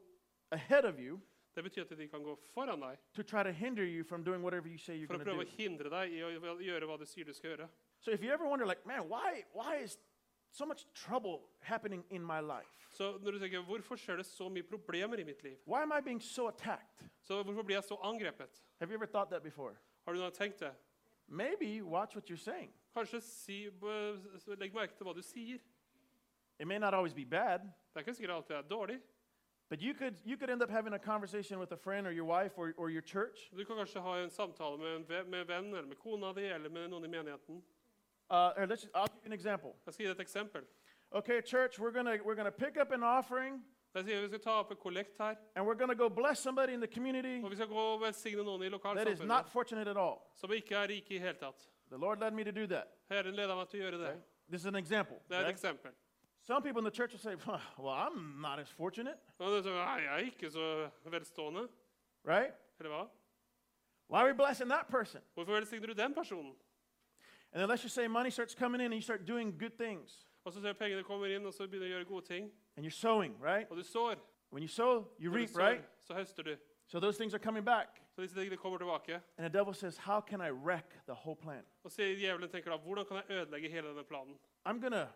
Speaker 4: ahead of you
Speaker 2: Det betyr at de kan gå foran deg
Speaker 4: to try to hinder you from doing whatever you say you're
Speaker 2: for å
Speaker 4: gonna
Speaker 2: prøve
Speaker 4: do.
Speaker 2: å hindre deg i å gjøre hva du sier du skal gjøre.
Speaker 4: So if you ever wonder, like, man, why why is so much trouble happening in my life?
Speaker 2: Så når du tenker, Hvorfor skjer det så mye problemer i mitt liv?
Speaker 4: Why am I being so attacked?
Speaker 2: Så Hvorfor blir jeg så angrepet?
Speaker 4: Have you ever thought that before?
Speaker 2: Har du noe tenkt det?
Speaker 4: Maybe watch what you're saying.
Speaker 2: Kanskje si, b- s- legg merke til hva du sier.
Speaker 4: It may not always be bad,
Speaker 2: Det er ikke sikkert alltid det er dårlig.
Speaker 4: but you could you could end up having a conversation with a friend or your wife or, or your church.
Speaker 2: Du kan kanskje ha en samtale med en ve- med venn eller med kona di eller med noen i menigheten.
Speaker 4: Uh, or let's just, I'll give you an example.
Speaker 2: Jeg skal gi deg et eksempel.
Speaker 4: Okay, church, we're gonna we're gonna pick up an offering
Speaker 2: Jeg sier Vi skal ta opp en kollekt her,
Speaker 4: and we're gonna go bless somebody in the community
Speaker 2: og vi skal gå og velsigne noen i
Speaker 4: that is
Speaker 2: lokalsamfunnet
Speaker 4: not fortunate at all.
Speaker 2: som ikke er rike i hele tatt.
Speaker 4: The Lord led me to do that.
Speaker 2: Herren leder meg til å gjøre det.
Speaker 4: This is an example.
Speaker 2: Det er et
Speaker 4: okay?
Speaker 2: eksempel.
Speaker 4: Some people in the church will say, "Well, I'm not as fortunate,
Speaker 2: Og du sier, Nei, jeg er ikke så velstående.
Speaker 4: right?
Speaker 2: Eller hva?
Speaker 4: Why are we blessing that person?"
Speaker 2: Hvorfor velsigner du den personen?
Speaker 4: And then let's just say money starts coming in and you start doing good things
Speaker 2: Og så ser jeg pengene kommer inn, og så begynner du å gjøre gode ting.
Speaker 4: and you're sowing, right?
Speaker 2: Og du sår.
Speaker 4: When you sow, you
Speaker 2: Når du
Speaker 4: reap,
Speaker 2: sår,
Speaker 4: right?
Speaker 2: Så høster du.
Speaker 4: So those things are coming back.
Speaker 2: Så disse tingene kommer tilbake.
Speaker 4: And the devil says, How can I wreck the whole plan?
Speaker 2: Og så djevelen tenker da, hvordan kan jeg ødelegge hele denne planen?
Speaker 4: I'm gonna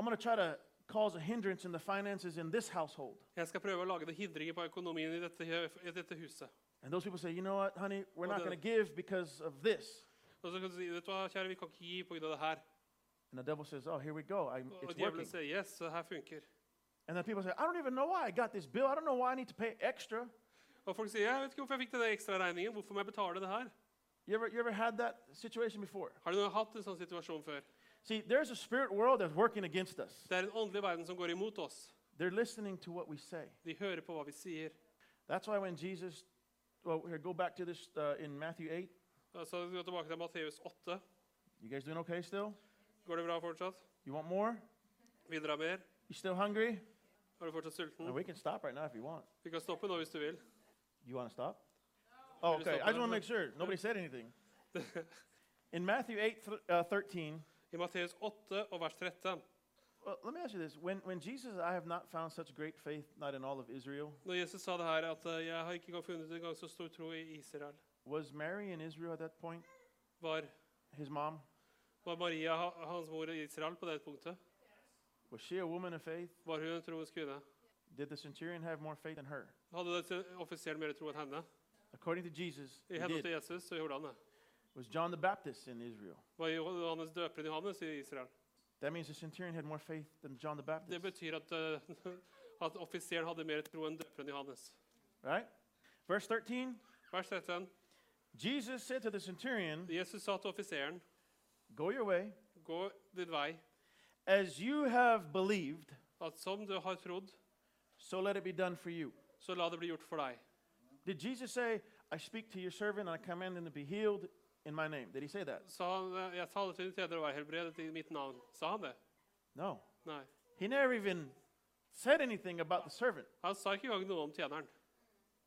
Speaker 4: I'm gonna try to cause a hindrance in the finances in this household.
Speaker 2: Jeg skal prøve å lage det hindringer på økonomien i dette, i dette huset.
Speaker 4: And those people say, you know what, honey, we're
Speaker 2: Well,
Speaker 4: not
Speaker 2: the-
Speaker 4: gonna give because of this.
Speaker 2: Og så kan du si, vet du hva, kjære, vi kan ikke gi på grunn av det her.
Speaker 4: And the devil says, Oh, here we go. I'm,
Speaker 2: Og
Speaker 4: it's working.
Speaker 2: djevelen sier, yes, det her funker.
Speaker 4: And then people say, I don't even know why I got this bill. I don't know why I need to pay extra.
Speaker 2: Og folk sier, jeg vet ikke hvorfor jeg fikk denne ekstra regningen, hvorfor må jeg betale det her?
Speaker 4: You ever you ever had that situation before?
Speaker 2: Har du noen hatt en sånn situasjon før?
Speaker 4: See, there's a spirit world that's working against us.
Speaker 2: Det er en åndelig verden som går imot oss.
Speaker 4: They're listening to what we say.
Speaker 2: De hører på hva vi sier.
Speaker 4: That's why when Jesus, well, here, go back to this uh, in Matthew 8.
Speaker 2: Så vi går tilbake til Matteus 8.
Speaker 4: You guys doing okay still?
Speaker 2: Går det bra fortsatt?
Speaker 4: You want more?
Speaker 2: Vil dere ha mer?
Speaker 4: You still hungry?
Speaker 2: Er du fortsatt sulten?
Speaker 4: Now, we can stop right now if you want.
Speaker 2: Vi kan stoppe nå hvis du vil.
Speaker 4: You want to stop? Oh,
Speaker 2: We'll just
Speaker 4: okay.
Speaker 2: stop
Speaker 4: I just
Speaker 2: now.
Speaker 4: want to make sure nobody said anything. In Matthew 8, th- uh, 13,
Speaker 2: I Matteus 8 og vers 13.
Speaker 4: well, let me ask you this. When, when Jesus, I have not found such great faith, not in all of Israel,
Speaker 2: Når Jesus sa det her, at eh, 'jeg har ikke engang funnet en gang så stor tro i Israel',
Speaker 4: was Mary in Israel at that point?
Speaker 2: var,
Speaker 4: His mom?
Speaker 2: var Maria ha- hans mor i Israel på det punktet?
Speaker 4: Was she a woman of faith?
Speaker 2: Var hun en troens kvinne?
Speaker 4: Did the centurion have more faith than her?
Speaker 2: Hadde det offisielt mer tro enn henne?
Speaker 4: According to Jesus,
Speaker 2: I
Speaker 4: he
Speaker 2: henhold
Speaker 4: did.
Speaker 2: til Jesus så gjorde han det.
Speaker 4: was John the Baptist in Israel?
Speaker 2: Var Johannes døperen Johannes i Israel?
Speaker 4: That means the centurion had more faith than John the
Speaker 2: Det
Speaker 4: Baptist.
Speaker 2: betyr at, eh, at offiseren hadde mer tro enn døperen Johannes.
Speaker 4: Right? Verse 13
Speaker 2: Vers 13.
Speaker 4: Jesus said to the centurion,
Speaker 2: Jesus sa til offiseren,
Speaker 4: Go your way.
Speaker 2: 'Gå din vei,
Speaker 4: As you have believed,
Speaker 2: at som du har trodd,
Speaker 4: so let it be done for you.
Speaker 2: så la det bli gjort for deg'.
Speaker 4: Did Jesus say, I speak to your servant and I command him to be healed in my name? Did he say that?
Speaker 2: Sa han eh, 'Jeg taler til din tjener og er helbredet i mitt navn'? Sa han det?
Speaker 4: No.
Speaker 2: Nei.
Speaker 4: He never even said anything about the servant.
Speaker 2: Han sa ikke engang noe om tjeneren.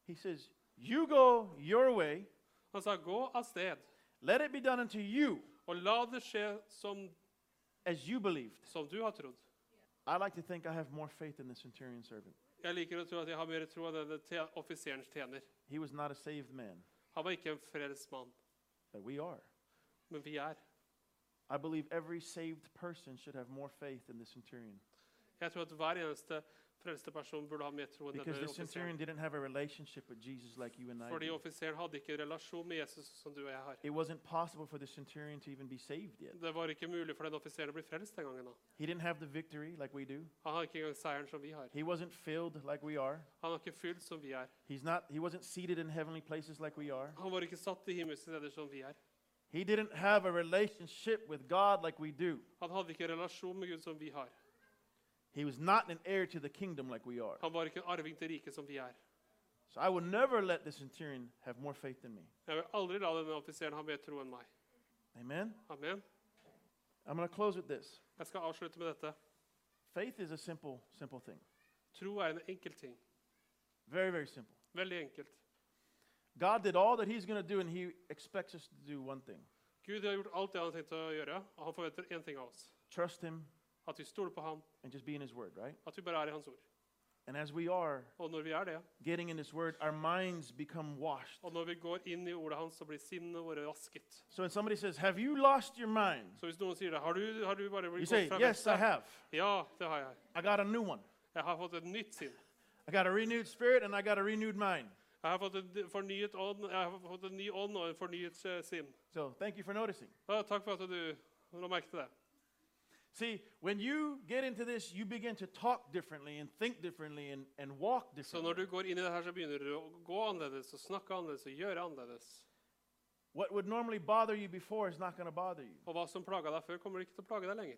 Speaker 4: He says, You go your way,
Speaker 2: Han sa, 'Gå av sted,
Speaker 4: let it be done unto you
Speaker 2: og la det skje som,
Speaker 4: as you believed.
Speaker 2: som du har trodd.'
Speaker 4: I like to think I have more faith than the centurion servant.
Speaker 2: Jeg liker å tro at jeg har mer tro enn denne te offiserens tjener.
Speaker 4: He was not a saved man,
Speaker 2: Han var ikke en frelst mann,
Speaker 4: but we are.
Speaker 2: men vi er.
Speaker 4: I believe every saved person should have more faith than the centurion
Speaker 2: Jeg tror at hver eneste frelste person burde ha mer tro enn
Speaker 4: because
Speaker 2: denne
Speaker 4: the centurion
Speaker 2: offiseren.
Speaker 4: didn't have a relationship with Jesus like you and I.
Speaker 2: Fordi
Speaker 4: do.
Speaker 2: offiseren hadde ikke en relasjon med Jesus som du og jeg har.
Speaker 4: It wasn't possible for the centurion to even be saved yet.
Speaker 2: Det var ikke mulig for den offiseren å bli frelst den gangen. da.
Speaker 4: He didn't have the victory like we do.
Speaker 2: Han har ikke engang seieren som vi har.
Speaker 4: He wasn't filled like we are.
Speaker 2: Han har ikke fylt som vi er.
Speaker 4: He's not he wasn't seated in heavenly places like we are.
Speaker 2: Han var ikke satt i himmelske steder som vi er.
Speaker 4: He didn't have a relationship with God like we do.
Speaker 2: Han hadde ikke en relasjon med Gud som vi har.
Speaker 4: He was not an heir to the kingdom like we are.
Speaker 2: Han var ikke en arving til riket som vi er.
Speaker 4: So I will never let the centurion have more faith than me.
Speaker 2: Jeg vil aldri la denne offiseren ha mer tro enn meg.
Speaker 4: Amen.
Speaker 2: Amen.
Speaker 4: I'm going to close with this.
Speaker 2: Jeg skal avslutte med dette.
Speaker 4: Faith is a simple simple thing.
Speaker 2: Tro er en enkel ting.
Speaker 4: Very very simple.
Speaker 2: Veldig enkelt.
Speaker 4: God did all that he's going to do and he expects us to do one thing.
Speaker 2: Gud har gjort alt det han har tenkt å gjøre, og han forventer én ting av oss.
Speaker 4: Trust him
Speaker 2: At vi stoler på ham,
Speaker 4: and just be in his word, right?
Speaker 2: at vi bare er i hans ord.
Speaker 4: And as we are
Speaker 2: Og når vi er det,
Speaker 4: getting in his word, our minds become washed.
Speaker 2: og når vi går inn i ordet hans, så blir sinnet vårt vasket.
Speaker 4: So when somebody says, "Have you lost your mind?"
Speaker 2: Så hvis noen sier det, har du, har du bare
Speaker 4: You
Speaker 2: blitt
Speaker 4: say,
Speaker 2: gått fra
Speaker 4: "Yes, I
Speaker 2: vettet?»
Speaker 4: have.
Speaker 2: Ja, det har jeg.
Speaker 4: I got a new one.
Speaker 2: Jeg har fått et nytt sinn.
Speaker 4: I got a renewed spirit and I got a renewed mind."
Speaker 2: Jeg har fått en fornyet ånd, jeg har fått en ny ånd og en fornyet eh, sinn.
Speaker 4: So, thank you for noticing.
Speaker 2: Ja, takk for at du la merke til det.
Speaker 4: See, when you get into this, you begin to talk differently and think differently and, and walk
Speaker 2: Så når
Speaker 4: differently.
Speaker 2: du går inn i det her, så begynner du å gå annerledes og snakke annerledes og gjøre annerledes.
Speaker 4: What would normally bother you before is not going to bother you.
Speaker 2: Og hva som plaga deg før, kommer ikke til å plage deg lenger.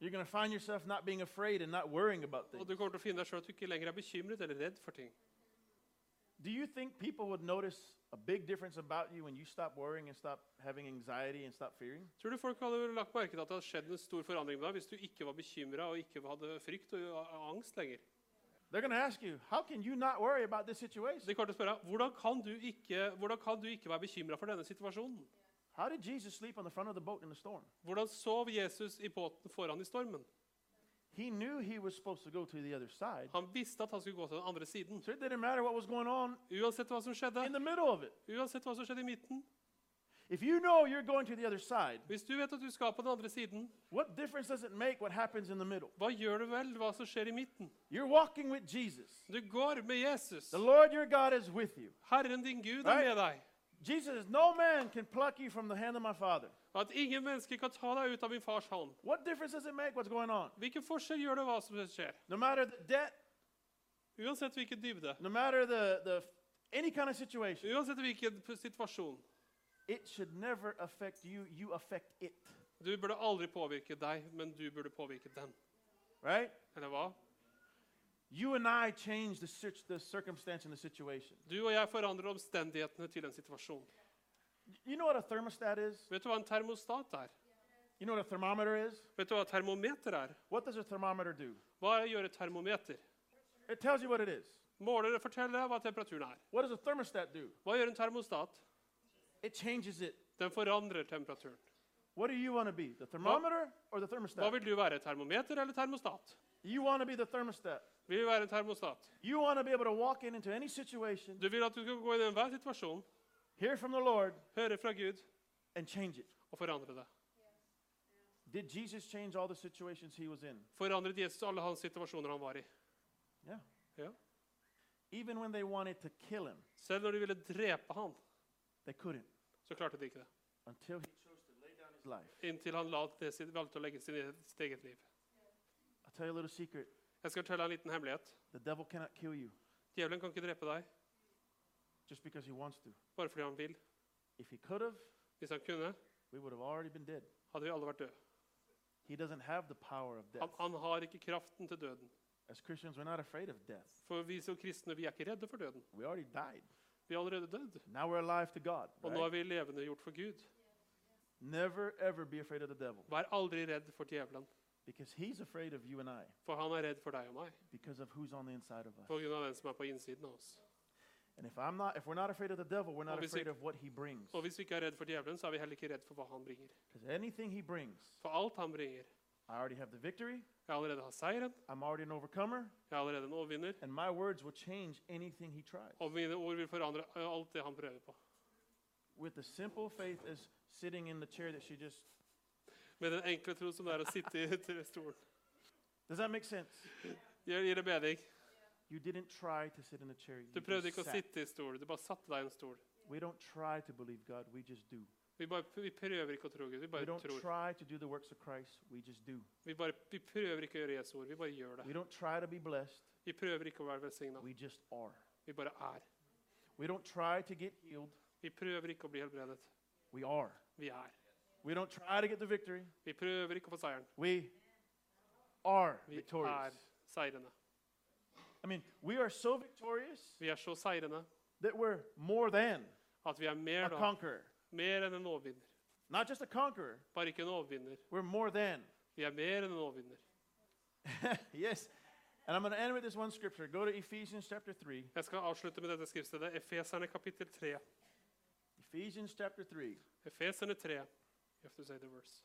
Speaker 4: You're going to find yourself not being afraid and not worrying about
Speaker 2: Og
Speaker 4: things.
Speaker 2: du kommer til å finne deg selv at du ikke lenger er bekymret eller redd for ting.
Speaker 4: Do you think people would notice a big difference about you when you stop worrying and stop having anxiety and stop fearing?
Speaker 2: Tror du folk hadde lagt merke til at det hadde skjedd en stor forandring med deg hvis du ikke var bekymra og ikke hadde frykt og og angst lenger?
Speaker 4: They're going to ask you, "How can you not worry about this situation?
Speaker 2: De kommer til å spørre hvordan kan du ikke, hvordan kan du ikke være bekymra for denne situasjonen?
Speaker 4: How did Jesus sleep on the front of the boat in the storm?"
Speaker 2: Hvordan sov Jesus i båten foran i stormen?
Speaker 4: He knew he was supposed to go to the other side.
Speaker 2: Han visste at han skulle gå til den andre siden.
Speaker 4: So it didn't matter what was going on
Speaker 2: Uansett hva som skjedde,
Speaker 4: in the middle of it.
Speaker 2: uansett hva som skjedde i midten.
Speaker 4: If you know you're going to the other side,
Speaker 2: Hvis du vet at du skal på den andre siden,
Speaker 4: what difference does it make what happens in the middle?
Speaker 2: hva gjør du vel hva som skjer i midten?
Speaker 4: You're walking with Jesus.
Speaker 2: Du går med Jesus.
Speaker 4: The Lord your God is with you.
Speaker 2: Herren din Gud er
Speaker 4: Right.
Speaker 2: med deg.
Speaker 4: Jesus says, No man can pluck you from the hand of my Father.
Speaker 2: At ingen mennesker kan ta deg ut av min fars hånd.
Speaker 4: What difference does it make what's going on?
Speaker 2: Hvilken forskjell gjør det hva som skjer?
Speaker 4: No matter the debt,
Speaker 2: Uansett hvilken dybde,
Speaker 4: no matter the, the any kind of situation,
Speaker 2: uansett hvilken p- situasjon.
Speaker 4: it should never affect you. You affect it.
Speaker 2: Du burde aldri påvirke deg, men du burde påvirke den.
Speaker 4: Right?
Speaker 2: Eller hva?
Speaker 4: You and I change the, cir- the circumstance and the situation.
Speaker 2: Du og jeg forandrer omstendighetene til en situasjon.
Speaker 4: You know what a thermostat is?
Speaker 2: Vet du hva en termostat er?
Speaker 4: You know what a thermometer is?
Speaker 2: Vet du hva et termometer er?
Speaker 4: What does a thermometer do?
Speaker 2: Hva gjør et termometer?
Speaker 4: It tells you what it is.
Speaker 2: Måler det forteller deg hva temperaturen er.
Speaker 4: What does a thermostat do?
Speaker 2: Hva gjør en termostat?
Speaker 4: It changes it.
Speaker 2: Den forandrer temperaturen.
Speaker 4: What do you want to be? The thermometer or the
Speaker 2: Hva
Speaker 4: thermostat?
Speaker 2: vil du være? Termometer eller termostat?
Speaker 4: You want to be the thermostat.
Speaker 2: Vil du være en termostat?
Speaker 4: You want to be able to walk in into any situation,
Speaker 2: Du vil at du skal gå inn i enhver situasjon,
Speaker 4: hear from the Lord,
Speaker 2: høre fra Gud
Speaker 4: and change it.
Speaker 2: og forandre det.
Speaker 4: Did Jesus change all the situations he was in?
Speaker 2: Forandret Jesus alle hans situasjoner han var i.
Speaker 4: Yeah.
Speaker 2: Ja.
Speaker 4: Even when they wanted to kill him,
Speaker 2: Selv når de ville drepe han,
Speaker 4: they couldn't
Speaker 2: så klarte de ikke det.
Speaker 4: until he chose to lay down his life.
Speaker 2: Inntil han la det sitt, valgte å legge sin, e- sitt eget liv.
Speaker 4: I'll tell you a little secret
Speaker 2: Jeg skal fortelle deg en liten hemmelighet.
Speaker 4: the devil cannot kill you
Speaker 2: Djevelen kan ikke drepe deg
Speaker 4: just because he wants to.
Speaker 2: bare fordi han vil.
Speaker 4: If he could have,
Speaker 2: Hvis han kunne,
Speaker 4: we would have already been dead.
Speaker 2: hadde vi alle vært døde.
Speaker 4: He doesn't have the power of death.
Speaker 2: Han, han har ikke kraften til døden.
Speaker 4: As Christians, we're not afraid of death.
Speaker 2: For vi som kristne vi er ikke redde for døden.
Speaker 4: We already died.
Speaker 2: Vi er allerede dødd.
Speaker 4: Now we're alive to God.
Speaker 2: Og nå
Speaker 4: right?
Speaker 2: er vi levende gjort for Gud.
Speaker 4: Never, ever be afraid of the devil
Speaker 2: Vær aldri redd for djevelen.
Speaker 4: because he's afraid of you and I
Speaker 2: For han er redd for deg og meg
Speaker 4: because of who's on the inside of us.
Speaker 2: på grunn av den som er på innsiden av oss.
Speaker 4: And if I'm not if we're not afraid of the devil, we're not
Speaker 2: Obviously.
Speaker 4: afraid of what he brings.
Speaker 2: Og hvis vi ikke er redd for djevelen, så er vi heller ikke redd for hva han bringer.
Speaker 4: Cuz anything he brings,
Speaker 2: For alt han bringer
Speaker 4: I already have the victory,
Speaker 2: Jeg allerede har seieren,
Speaker 4: I'm already an overcomer,
Speaker 2: jeg er allerede en overvinner,
Speaker 4: and my words will change anything he tries.
Speaker 2: og mine ord vil forandre eh, alt det han prøver på.
Speaker 4: With the simple faith as sitting in the chair that she just
Speaker 2: Med den enkle tro som det er å sitte i til stolen.
Speaker 4: Does that make sense?
Speaker 2: Gir gir det bedring.
Speaker 4: You didn't try to sit in the chair. You
Speaker 2: Du prøvde ikke
Speaker 4: just
Speaker 2: å
Speaker 4: sat.
Speaker 2: sitte i stol, du bare satte deg i en stol.
Speaker 4: We don't try to believe God, we just do.
Speaker 2: Vi, bare, vi prøver ikke å tro Gud, vi
Speaker 4: We
Speaker 2: bare
Speaker 4: don't
Speaker 2: tror.
Speaker 4: try to do the works of Christ, we just do.
Speaker 2: Vi, bare, vi prøver ikke å gjøre Jesu ord, vi bare gjør
Speaker 4: We
Speaker 2: det.
Speaker 4: don't try to be blessed,
Speaker 2: Vi prøver ikke å være velsigna,
Speaker 4: we just are.
Speaker 2: vi bare er.
Speaker 4: We don't try to get healed,
Speaker 2: Vi prøver ikke å bli helbredet,
Speaker 4: we are.
Speaker 2: vi er.
Speaker 4: We don't try to get the victory,
Speaker 2: Vi prøver ikke å få seieren,
Speaker 4: we are
Speaker 2: vi
Speaker 4: victorious.
Speaker 2: er seirende.
Speaker 4: I mean, we are so victorious
Speaker 2: Vi er så seirende
Speaker 4: that we're more than
Speaker 2: at vi er
Speaker 4: a
Speaker 2: mer, da,
Speaker 4: conqueror.
Speaker 2: mer enn en overvinner.
Speaker 4: Not just a conqueror,
Speaker 2: Bare ikke en overvinner,
Speaker 4: we're more than.
Speaker 2: vi er mer enn en overvinner.
Speaker 4: yes. And I'm going to end with this one scripture. Go to Ephesians chapter 3.
Speaker 2: Jeg skal avslutte med dette skriftstedet, Efeserne kapittel 3.
Speaker 4: Ephesians chapter 3.
Speaker 2: Efeserne 3, you have to say the verse.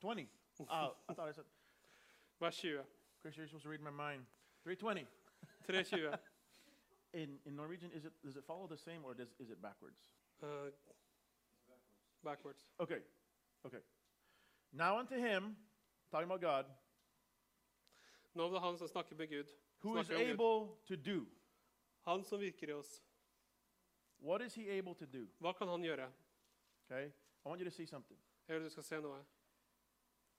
Speaker 4: 20. Oh, I thought I said,
Speaker 2: Vers 20.
Speaker 4: Chris, you're supposed to read my mind. 320.
Speaker 2: 3.20.
Speaker 4: In, in Norwegian, is it, does it follow the same or does, is it backwards?
Speaker 2: Uh, backwards.
Speaker 4: Okay. Okay. Now unto him, talking about God,
Speaker 2: Nå er det han som snakker med Gud.
Speaker 4: who is
Speaker 2: Snakker om Gud.
Speaker 4: able to do.
Speaker 2: Han som virker i oss.
Speaker 4: What is he able to do?
Speaker 2: Hva kan han gjøre?
Speaker 4: Okay. I want you to see something.
Speaker 2: Jeg vil du skal se noe.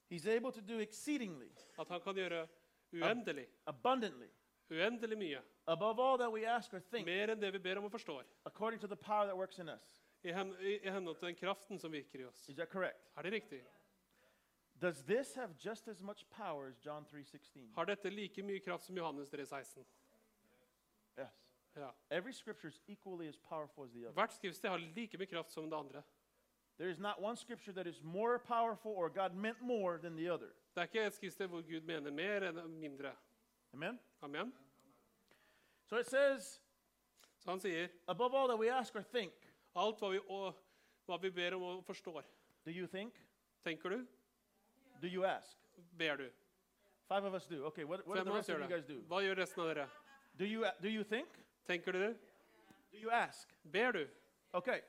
Speaker 4: He's able to do exceedingly,
Speaker 2: At han kan gjøre uendelig.
Speaker 4: abundantly,
Speaker 2: Uendelig mye.
Speaker 4: above all that we ask or think,
Speaker 2: Mer enn det vi ber om og forstår.
Speaker 4: according to the power that works in us.
Speaker 2: I, hen, i, I henhold til den kraften som virker i oss.
Speaker 4: Is that correct?
Speaker 2: Er det riktig?
Speaker 4: Does this have just as much power as John 3:16?
Speaker 2: Har dette like mye kraft som Johannes 3,16?
Speaker 4: Yes.
Speaker 2: Ja.
Speaker 4: Every scripture is equally as powerful as the other.
Speaker 2: Hvert skriftsted har like mye kraft som det andre.
Speaker 4: There is not one scripture that is more powerful or God meant more than the other.
Speaker 2: Det er ikke et skriftsted hvor Gud mener mer enn mindre.
Speaker 4: Amen.
Speaker 2: Amen.
Speaker 4: So it says,
Speaker 2: Så han sier
Speaker 4: above all that we ask or think.
Speaker 2: alt hva vi, å- hva vi ber om og forstår.
Speaker 4: Do you think?
Speaker 2: Tenker du?
Speaker 4: Do you ask?
Speaker 2: Ber du?
Speaker 4: Five of us do. Okay, what, what do
Speaker 2: Fem
Speaker 4: the
Speaker 2: av oss
Speaker 4: rest of
Speaker 2: gjør
Speaker 4: you
Speaker 2: det.
Speaker 4: guys do?
Speaker 2: Hva gjør resten av dere?
Speaker 4: Do you do you think?
Speaker 2: Tenker du?
Speaker 4: Do you ask?
Speaker 2: Ber du?
Speaker 4: Okay.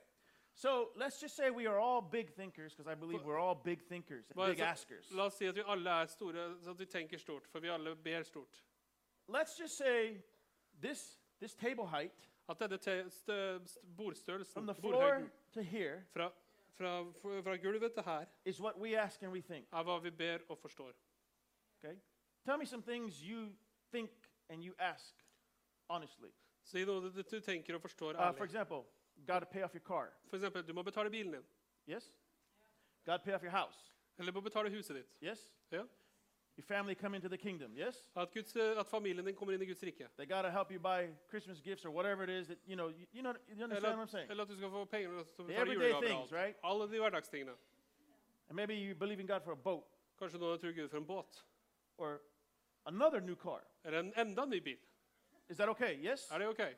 Speaker 4: So let's just say we are all big thinkers because I believe we're all big thinkers and
Speaker 2: Hva er
Speaker 4: big
Speaker 2: det som-
Speaker 4: askers.
Speaker 2: La oss si at vi alle er store, så at vi tenker stort, for vi alle ber stort.
Speaker 4: Let's just say this this table height
Speaker 2: At denne te- stø- st- bordstørrelsen,
Speaker 4: from the floor
Speaker 2: bordhøyden,
Speaker 4: to here
Speaker 2: fra, fra, fra, fra gulvet til her,
Speaker 4: is what we ask and we think.
Speaker 2: er hva vi ber og forstår.
Speaker 4: Okay? Tell me some things you think and you ask honestly.
Speaker 2: Si noe du, du tenker og forstår
Speaker 4: Uh, for
Speaker 2: ærlig.
Speaker 4: example, God to pay off your car.
Speaker 2: For eksempel, du må betale bilen din,
Speaker 4: Yes? God to pay off your house.
Speaker 2: eller du må betale huset ditt.
Speaker 4: Yes?
Speaker 2: Ja.
Speaker 4: Your family come into the kingdom. Yes?
Speaker 2: At, Guds, at familien din kommer inn i Guds rike.
Speaker 4: They got to help you buy Christmas gifts or whatever it is that, you know, you, you know, you understand
Speaker 2: Eller
Speaker 4: what I'm
Speaker 2: at,
Speaker 4: saying?
Speaker 2: eller at du skal få penger til å
Speaker 4: The
Speaker 2: betale
Speaker 4: everyday
Speaker 2: julegaver og
Speaker 4: things,
Speaker 2: alt.
Speaker 4: right?
Speaker 2: Alle de hverdagstingene.
Speaker 4: And maybe you believe in God for a boat
Speaker 2: Kanskje noen tror Gud for en båt.
Speaker 4: or another new car.
Speaker 2: Eller en enda ny bil.
Speaker 4: Is that okay? Yes?
Speaker 2: Er det ok?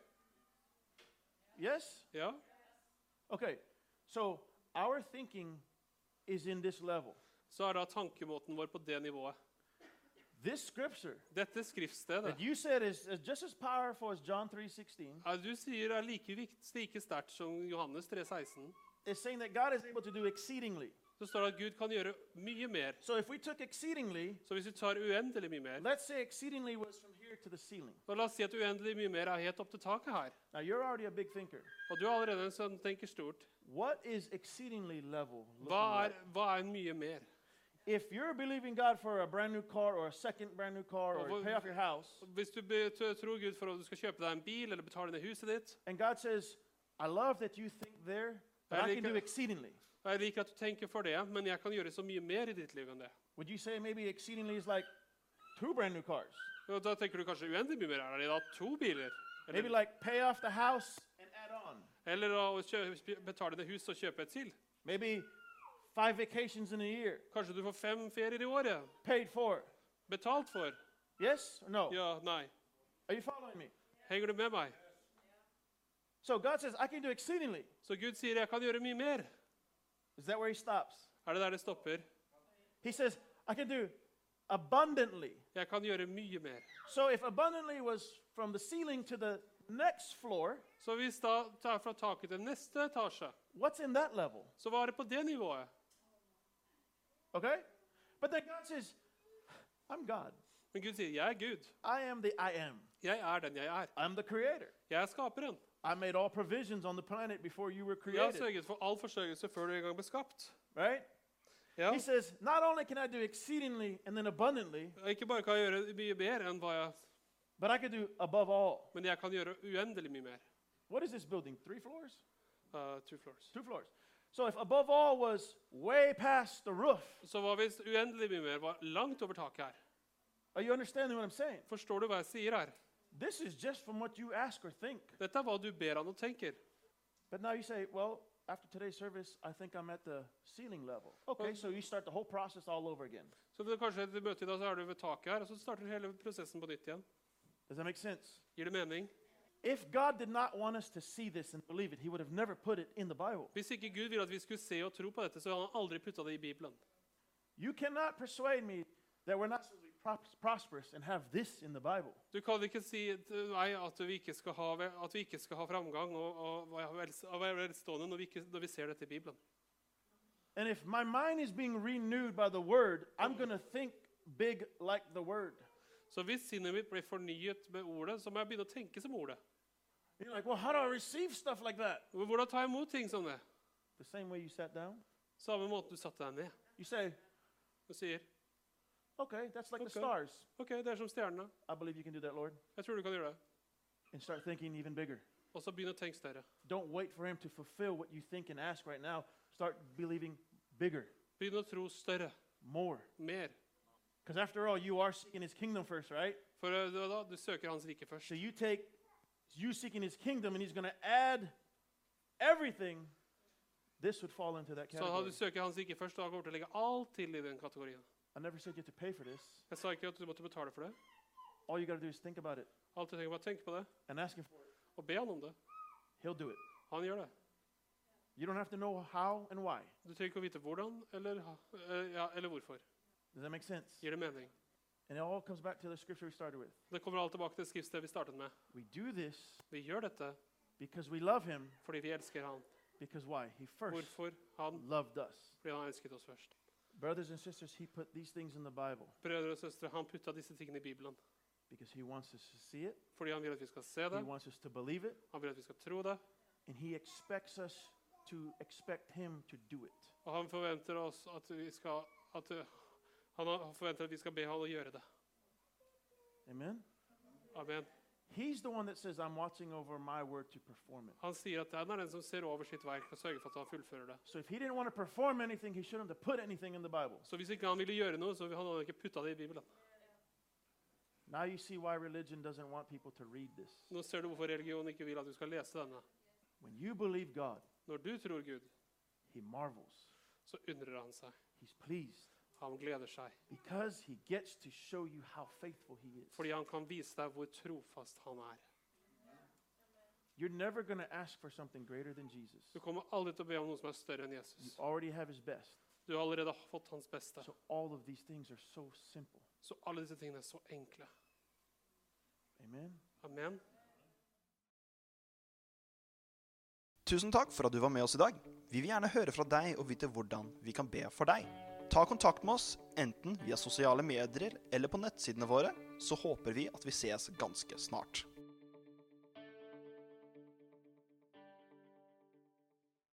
Speaker 4: Yes?
Speaker 2: Ja?
Speaker 4: Okay. So our thinking is in this level.
Speaker 2: så er da tankemåten vår på det nivået.
Speaker 4: This scripture
Speaker 2: Dette skriftstedet
Speaker 4: that you said is, is just as powerful as John 3:16
Speaker 2: er du sier er like, vikt, like sterkt som Johannes 3,16,
Speaker 4: is saying that God is able to do exceedingly.
Speaker 2: så står det at Gud kan gjøre mye mer.
Speaker 4: So if we took exceedingly,
Speaker 2: Så hvis vi tar uendelig mye mer
Speaker 4: let's say exceedingly was from here to the ceiling.
Speaker 2: og La oss si at uendelig mye mer er helt opp til taket her.
Speaker 4: Now you're already a big thinker.
Speaker 2: Og du er allerede en som tenker stort.
Speaker 4: What is exceedingly level? looking
Speaker 2: Hva er,
Speaker 4: like?
Speaker 2: hva er mye mer?
Speaker 4: If you're believing God for a brand new car or a second brand new car or
Speaker 2: Well,
Speaker 4: to pay off your house,
Speaker 2: Hvis du be, t- tror Gud for at du skal kjøpe deg en bil eller betale ned huset ditt
Speaker 4: and God says, "I love that you think there, but
Speaker 2: I
Speaker 4: I
Speaker 2: think
Speaker 4: can do
Speaker 2: I-
Speaker 4: exceedingly."
Speaker 2: og Jeg liker at du tenker for det, men jeg kan gjøre så mye mer i ditt liv enn det.
Speaker 4: Would you say maybe exceedingly is like two brand new cars?
Speaker 2: Og Da tenker du kanskje uendelig mye mer. Er det da to biler?
Speaker 4: Maybe
Speaker 2: Eller,
Speaker 4: like pay off the house and add on.
Speaker 2: eller da å kjø, betale ned hus og kjøpe et til?
Speaker 4: Maybe Five vacations in a year,
Speaker 2: Kanskje du får fem ferier i året.
Speaker 4: paid for.
Speaker 2: Betalt for.
Speaker 4: Yes or no?
Speaker 2: Ja, nei.
Speaker 4: Are you following me?
Speaker 2: Henger du med meg?
Speaker 4: So God says, I can do exceedingly.
Speaker 2: Så Gud sier, 'Jeg kan gjøre mye mer'.
Speaker 4: Is that where he stops?
Speaker 2: Er det der det stopper?
Speaker 4: He says, I can do abundantly.
Speaker 2: Jeg kan gjøre mye mer.
Speaker 4: So if abundantly was from the ceiling to the next floor,
Speaker 2: Så hvis da tar fra taket til neste etasje,
Speaker 4: what's in that level?
Speaker 2: så var det på det nivået.
Speaker 4: Okay? But then God says, I'm God.
Speaker 2: Men Gud sier, 'Jeg er Gud.
Speaker 4: I am the I am.
Speaker 2: Jeg er den jeg er.
Speaker 4: I'm the creator.
Speaker 2: Jeg er skaperen.
Speaker 4: I made all provisions on the planet before you were
Speaker 2: Jeg har
Speaker 4: created.
Speaker 2: sørget for all forsørgelse før du engang ble skapt.
Speaker 4: right?
Speaker 2: Ja.
Speaker 4: He says, not only can I do exceedingly and then abundantly,
Speaker 2: Og Ikke bare kan jeg gjøre mye mer, enn hva jeg,
Speaker 4: but I can do above all.
Speaker 2: men jeg kan gjøre uendelig mye mer.
Speaker 4: What is this building? Three floors?
Speaker 2: Uh, two floors.
Speaker 4: Two floors. So if above all was way past the roof,
Speaker 2: Så hva hvis uendelig mye mer var langt over taket her?
Speaker 4: are you understanding what I'm saying?
Speaker 2: Forstår du hva jeg sier her?
Speaker 4: This is just from what you ask or think.
Speaker 2: Dette er hva du ber han og tenker.
Speaker 4: But now you say, well, after today's service, I think I'm at the ceiling level. Okay, so you start the whole process all over again.
Speaker 2: Så det, kanskje etter møtet i dag så er du ved taket her, og så starter hele prosessen på nytt igjen.
Speaker 4: Does that make sense?
Speaker 2: Gir det mening?
Speaker 4: If God did not want us to see this and believe it, He would have never put it in the Bible.
Speaker 2: Hvis ikke Gud ville at vi skulle se og tro på dette, så hadde han aldri putta det i Bibelen.
Speaker 4: You cannot persuade me that we're not supposed to be pros- prosperous and have this in the Bible.
Speaker 2: Du kan ikke si til meg at vi ikke skal ha, ve- at vi ikke skal ha framgang og, og være vels- og være velstående når vi, ikke, når vi ser dette i Bibelen.
Speaker 4: And if my mind is being renewed by the Word, I'm going to think big like the Word.
Speaker 2: Så hvis sinnet mitt blir fornyet med ordet, så må jeg begynne å tenke som ordet.
Speaker 4: You're like, well, how do I receive stuff like that?
Speaker 2: Hvordan ta imot ting som det?
Speaker 4: The same way you sat down.
Speaker 2: Samme måten du satte deg ned.
Speaker 4: You say,
Speaker 2: Du sier
Speaker 4: okay, that's like
Speaker 2: Okay.
Speaker 4: the stars.
Speaker 2: OK, det er som stjernene.
Speaker 4: I believe you can do that, Lord.
Speaker 2: Jeg tror du kan gjøre det.
Speaker 4: And start thinking even bigger.
Speaker 2: Og så begynn å tenke større.
Speaker 4: Don't wait for Him to fulfill what you think and ask right now. Start believing bigger,
Speaker 2: Begynn å tro større.
Speaker 4: more.
Speaker 2: Mer.
Speaker 4: Because after all, you are seeking His kingdom first, right?
Speaker 2: For eh, da, da, du søker Hans rike først.
Speaker 4: So you take you seeking his kingdom and he's going to add everything. This would fall into that
Speaker 2: Så da du
Speaker 4: category.
Speaker 2: søker Hans rike først, da kommer du til å legge alt til i den kategorien.
Speaker 4: I never said you have to pay for this.
Speaker 2: Jeg sa ikke at du måtte betale for det.
Speaker 4: All you got to do is think about it
Speaker 2: Alt du trenger, bare tenke på det
Speaker 4: and ask him for it.
Speaker 2: og be han om det.
Speaker 4: He'll do it.
Speaker 2: Han gjør det.
Speaker 4: You don't have to know how and why.
Speaker 2: Du trenger ikke å vite hvordan eller, ha- eh, ja, eller hvorfor.
Speaker 4: Does that make sense?
Speaker 2: Gir det mening?
Speaker 4: And it all comes back to the scripture we started with.
Speaker 2: Det kommer alt tilbake til skriftstedet vi startet med.
Speaker 4: We do this
Speaker 2: Vi gjør dette
Speaker 4: because we love him.
Speaker 2: fordi vi elsker han.
Speaker 4: Because why? He first
Speaker 2: Hvorfor han?
Speaker 4: loved us.
Speaker 2: Fordi han elsket oss først.
Speaker 4: Brothers and sisters, he put these things in the Bible
Speaker 2: Brødre og søstre, han putta disse tingene i Bibelen.
Speaker 4: because he wants us to see it,
Speaker 2: Fordi han vil at vi skal se det,
Speaker 4: he wants us to believe it,
Speaker 2: han vil at vi skal tro det,
Speaker 4: and he expects us to expect him to do it.
Speaker 2: og han forventer oss at vi skal at eh, han har- forventer at vi skal be han å gjøre det.
Speaker 4: Amen.
Speaker 2: Amen.
Speaker 4: He's the one that says, I'm watching over my word to perform it.
Speaker 2: Han sier at han er den som ser over sitt verk og sørger for at han fullfører det.
Speaker 4: So if he didn't want to perform anything, he shouldn't have put anything in the Bible.
Speaker 2: Så hvis ikke han ville gjøre noe, så hadde han ikke putta det i Bibelen.
Speaker 4: Now you see why religion doesn't want people to read this.
Speaker 2: Nå ser du hvorfor religionen ikke vil at du skal lese denne.
Speaker 4: When you believe God,
Speaker 2: Når du tror Gud,
Speaker 4: he marvels,
Speaker 2: så undrer han seg.
Speaker 4: he's pleased
Speaker 2: Han gleder seg.
Speaker 4: because he gets to show you how faithful he is.
Speaker 2: Fordi han kan vise deg hvor trofast han er.
Speaker 4: You're never going to ask for something greater than Jesus.
Speaker 2: Du kommer aldri til å be om noe som er større enn
Speaker 4: You
Speaker 2: Jesus.
Speaker 4: already have his best.
Speaker 2: Du har allerede fått hans beste.
Speaker 4: So all of these things are so simple.
Speaker 2: Så alle disse tingene er så enkle.
Speaker 4: Amen.
Speaker 2: Amen.
Speaker 1: Tusen takk for at du var med oss i dag. Vi vil gjerne høre fra deg og vite hvordan vi kan be for deg. Ta kontakt med oss enten via sosiale medier eller på nettsidene våre, så håper vi at vi ses ganske snart.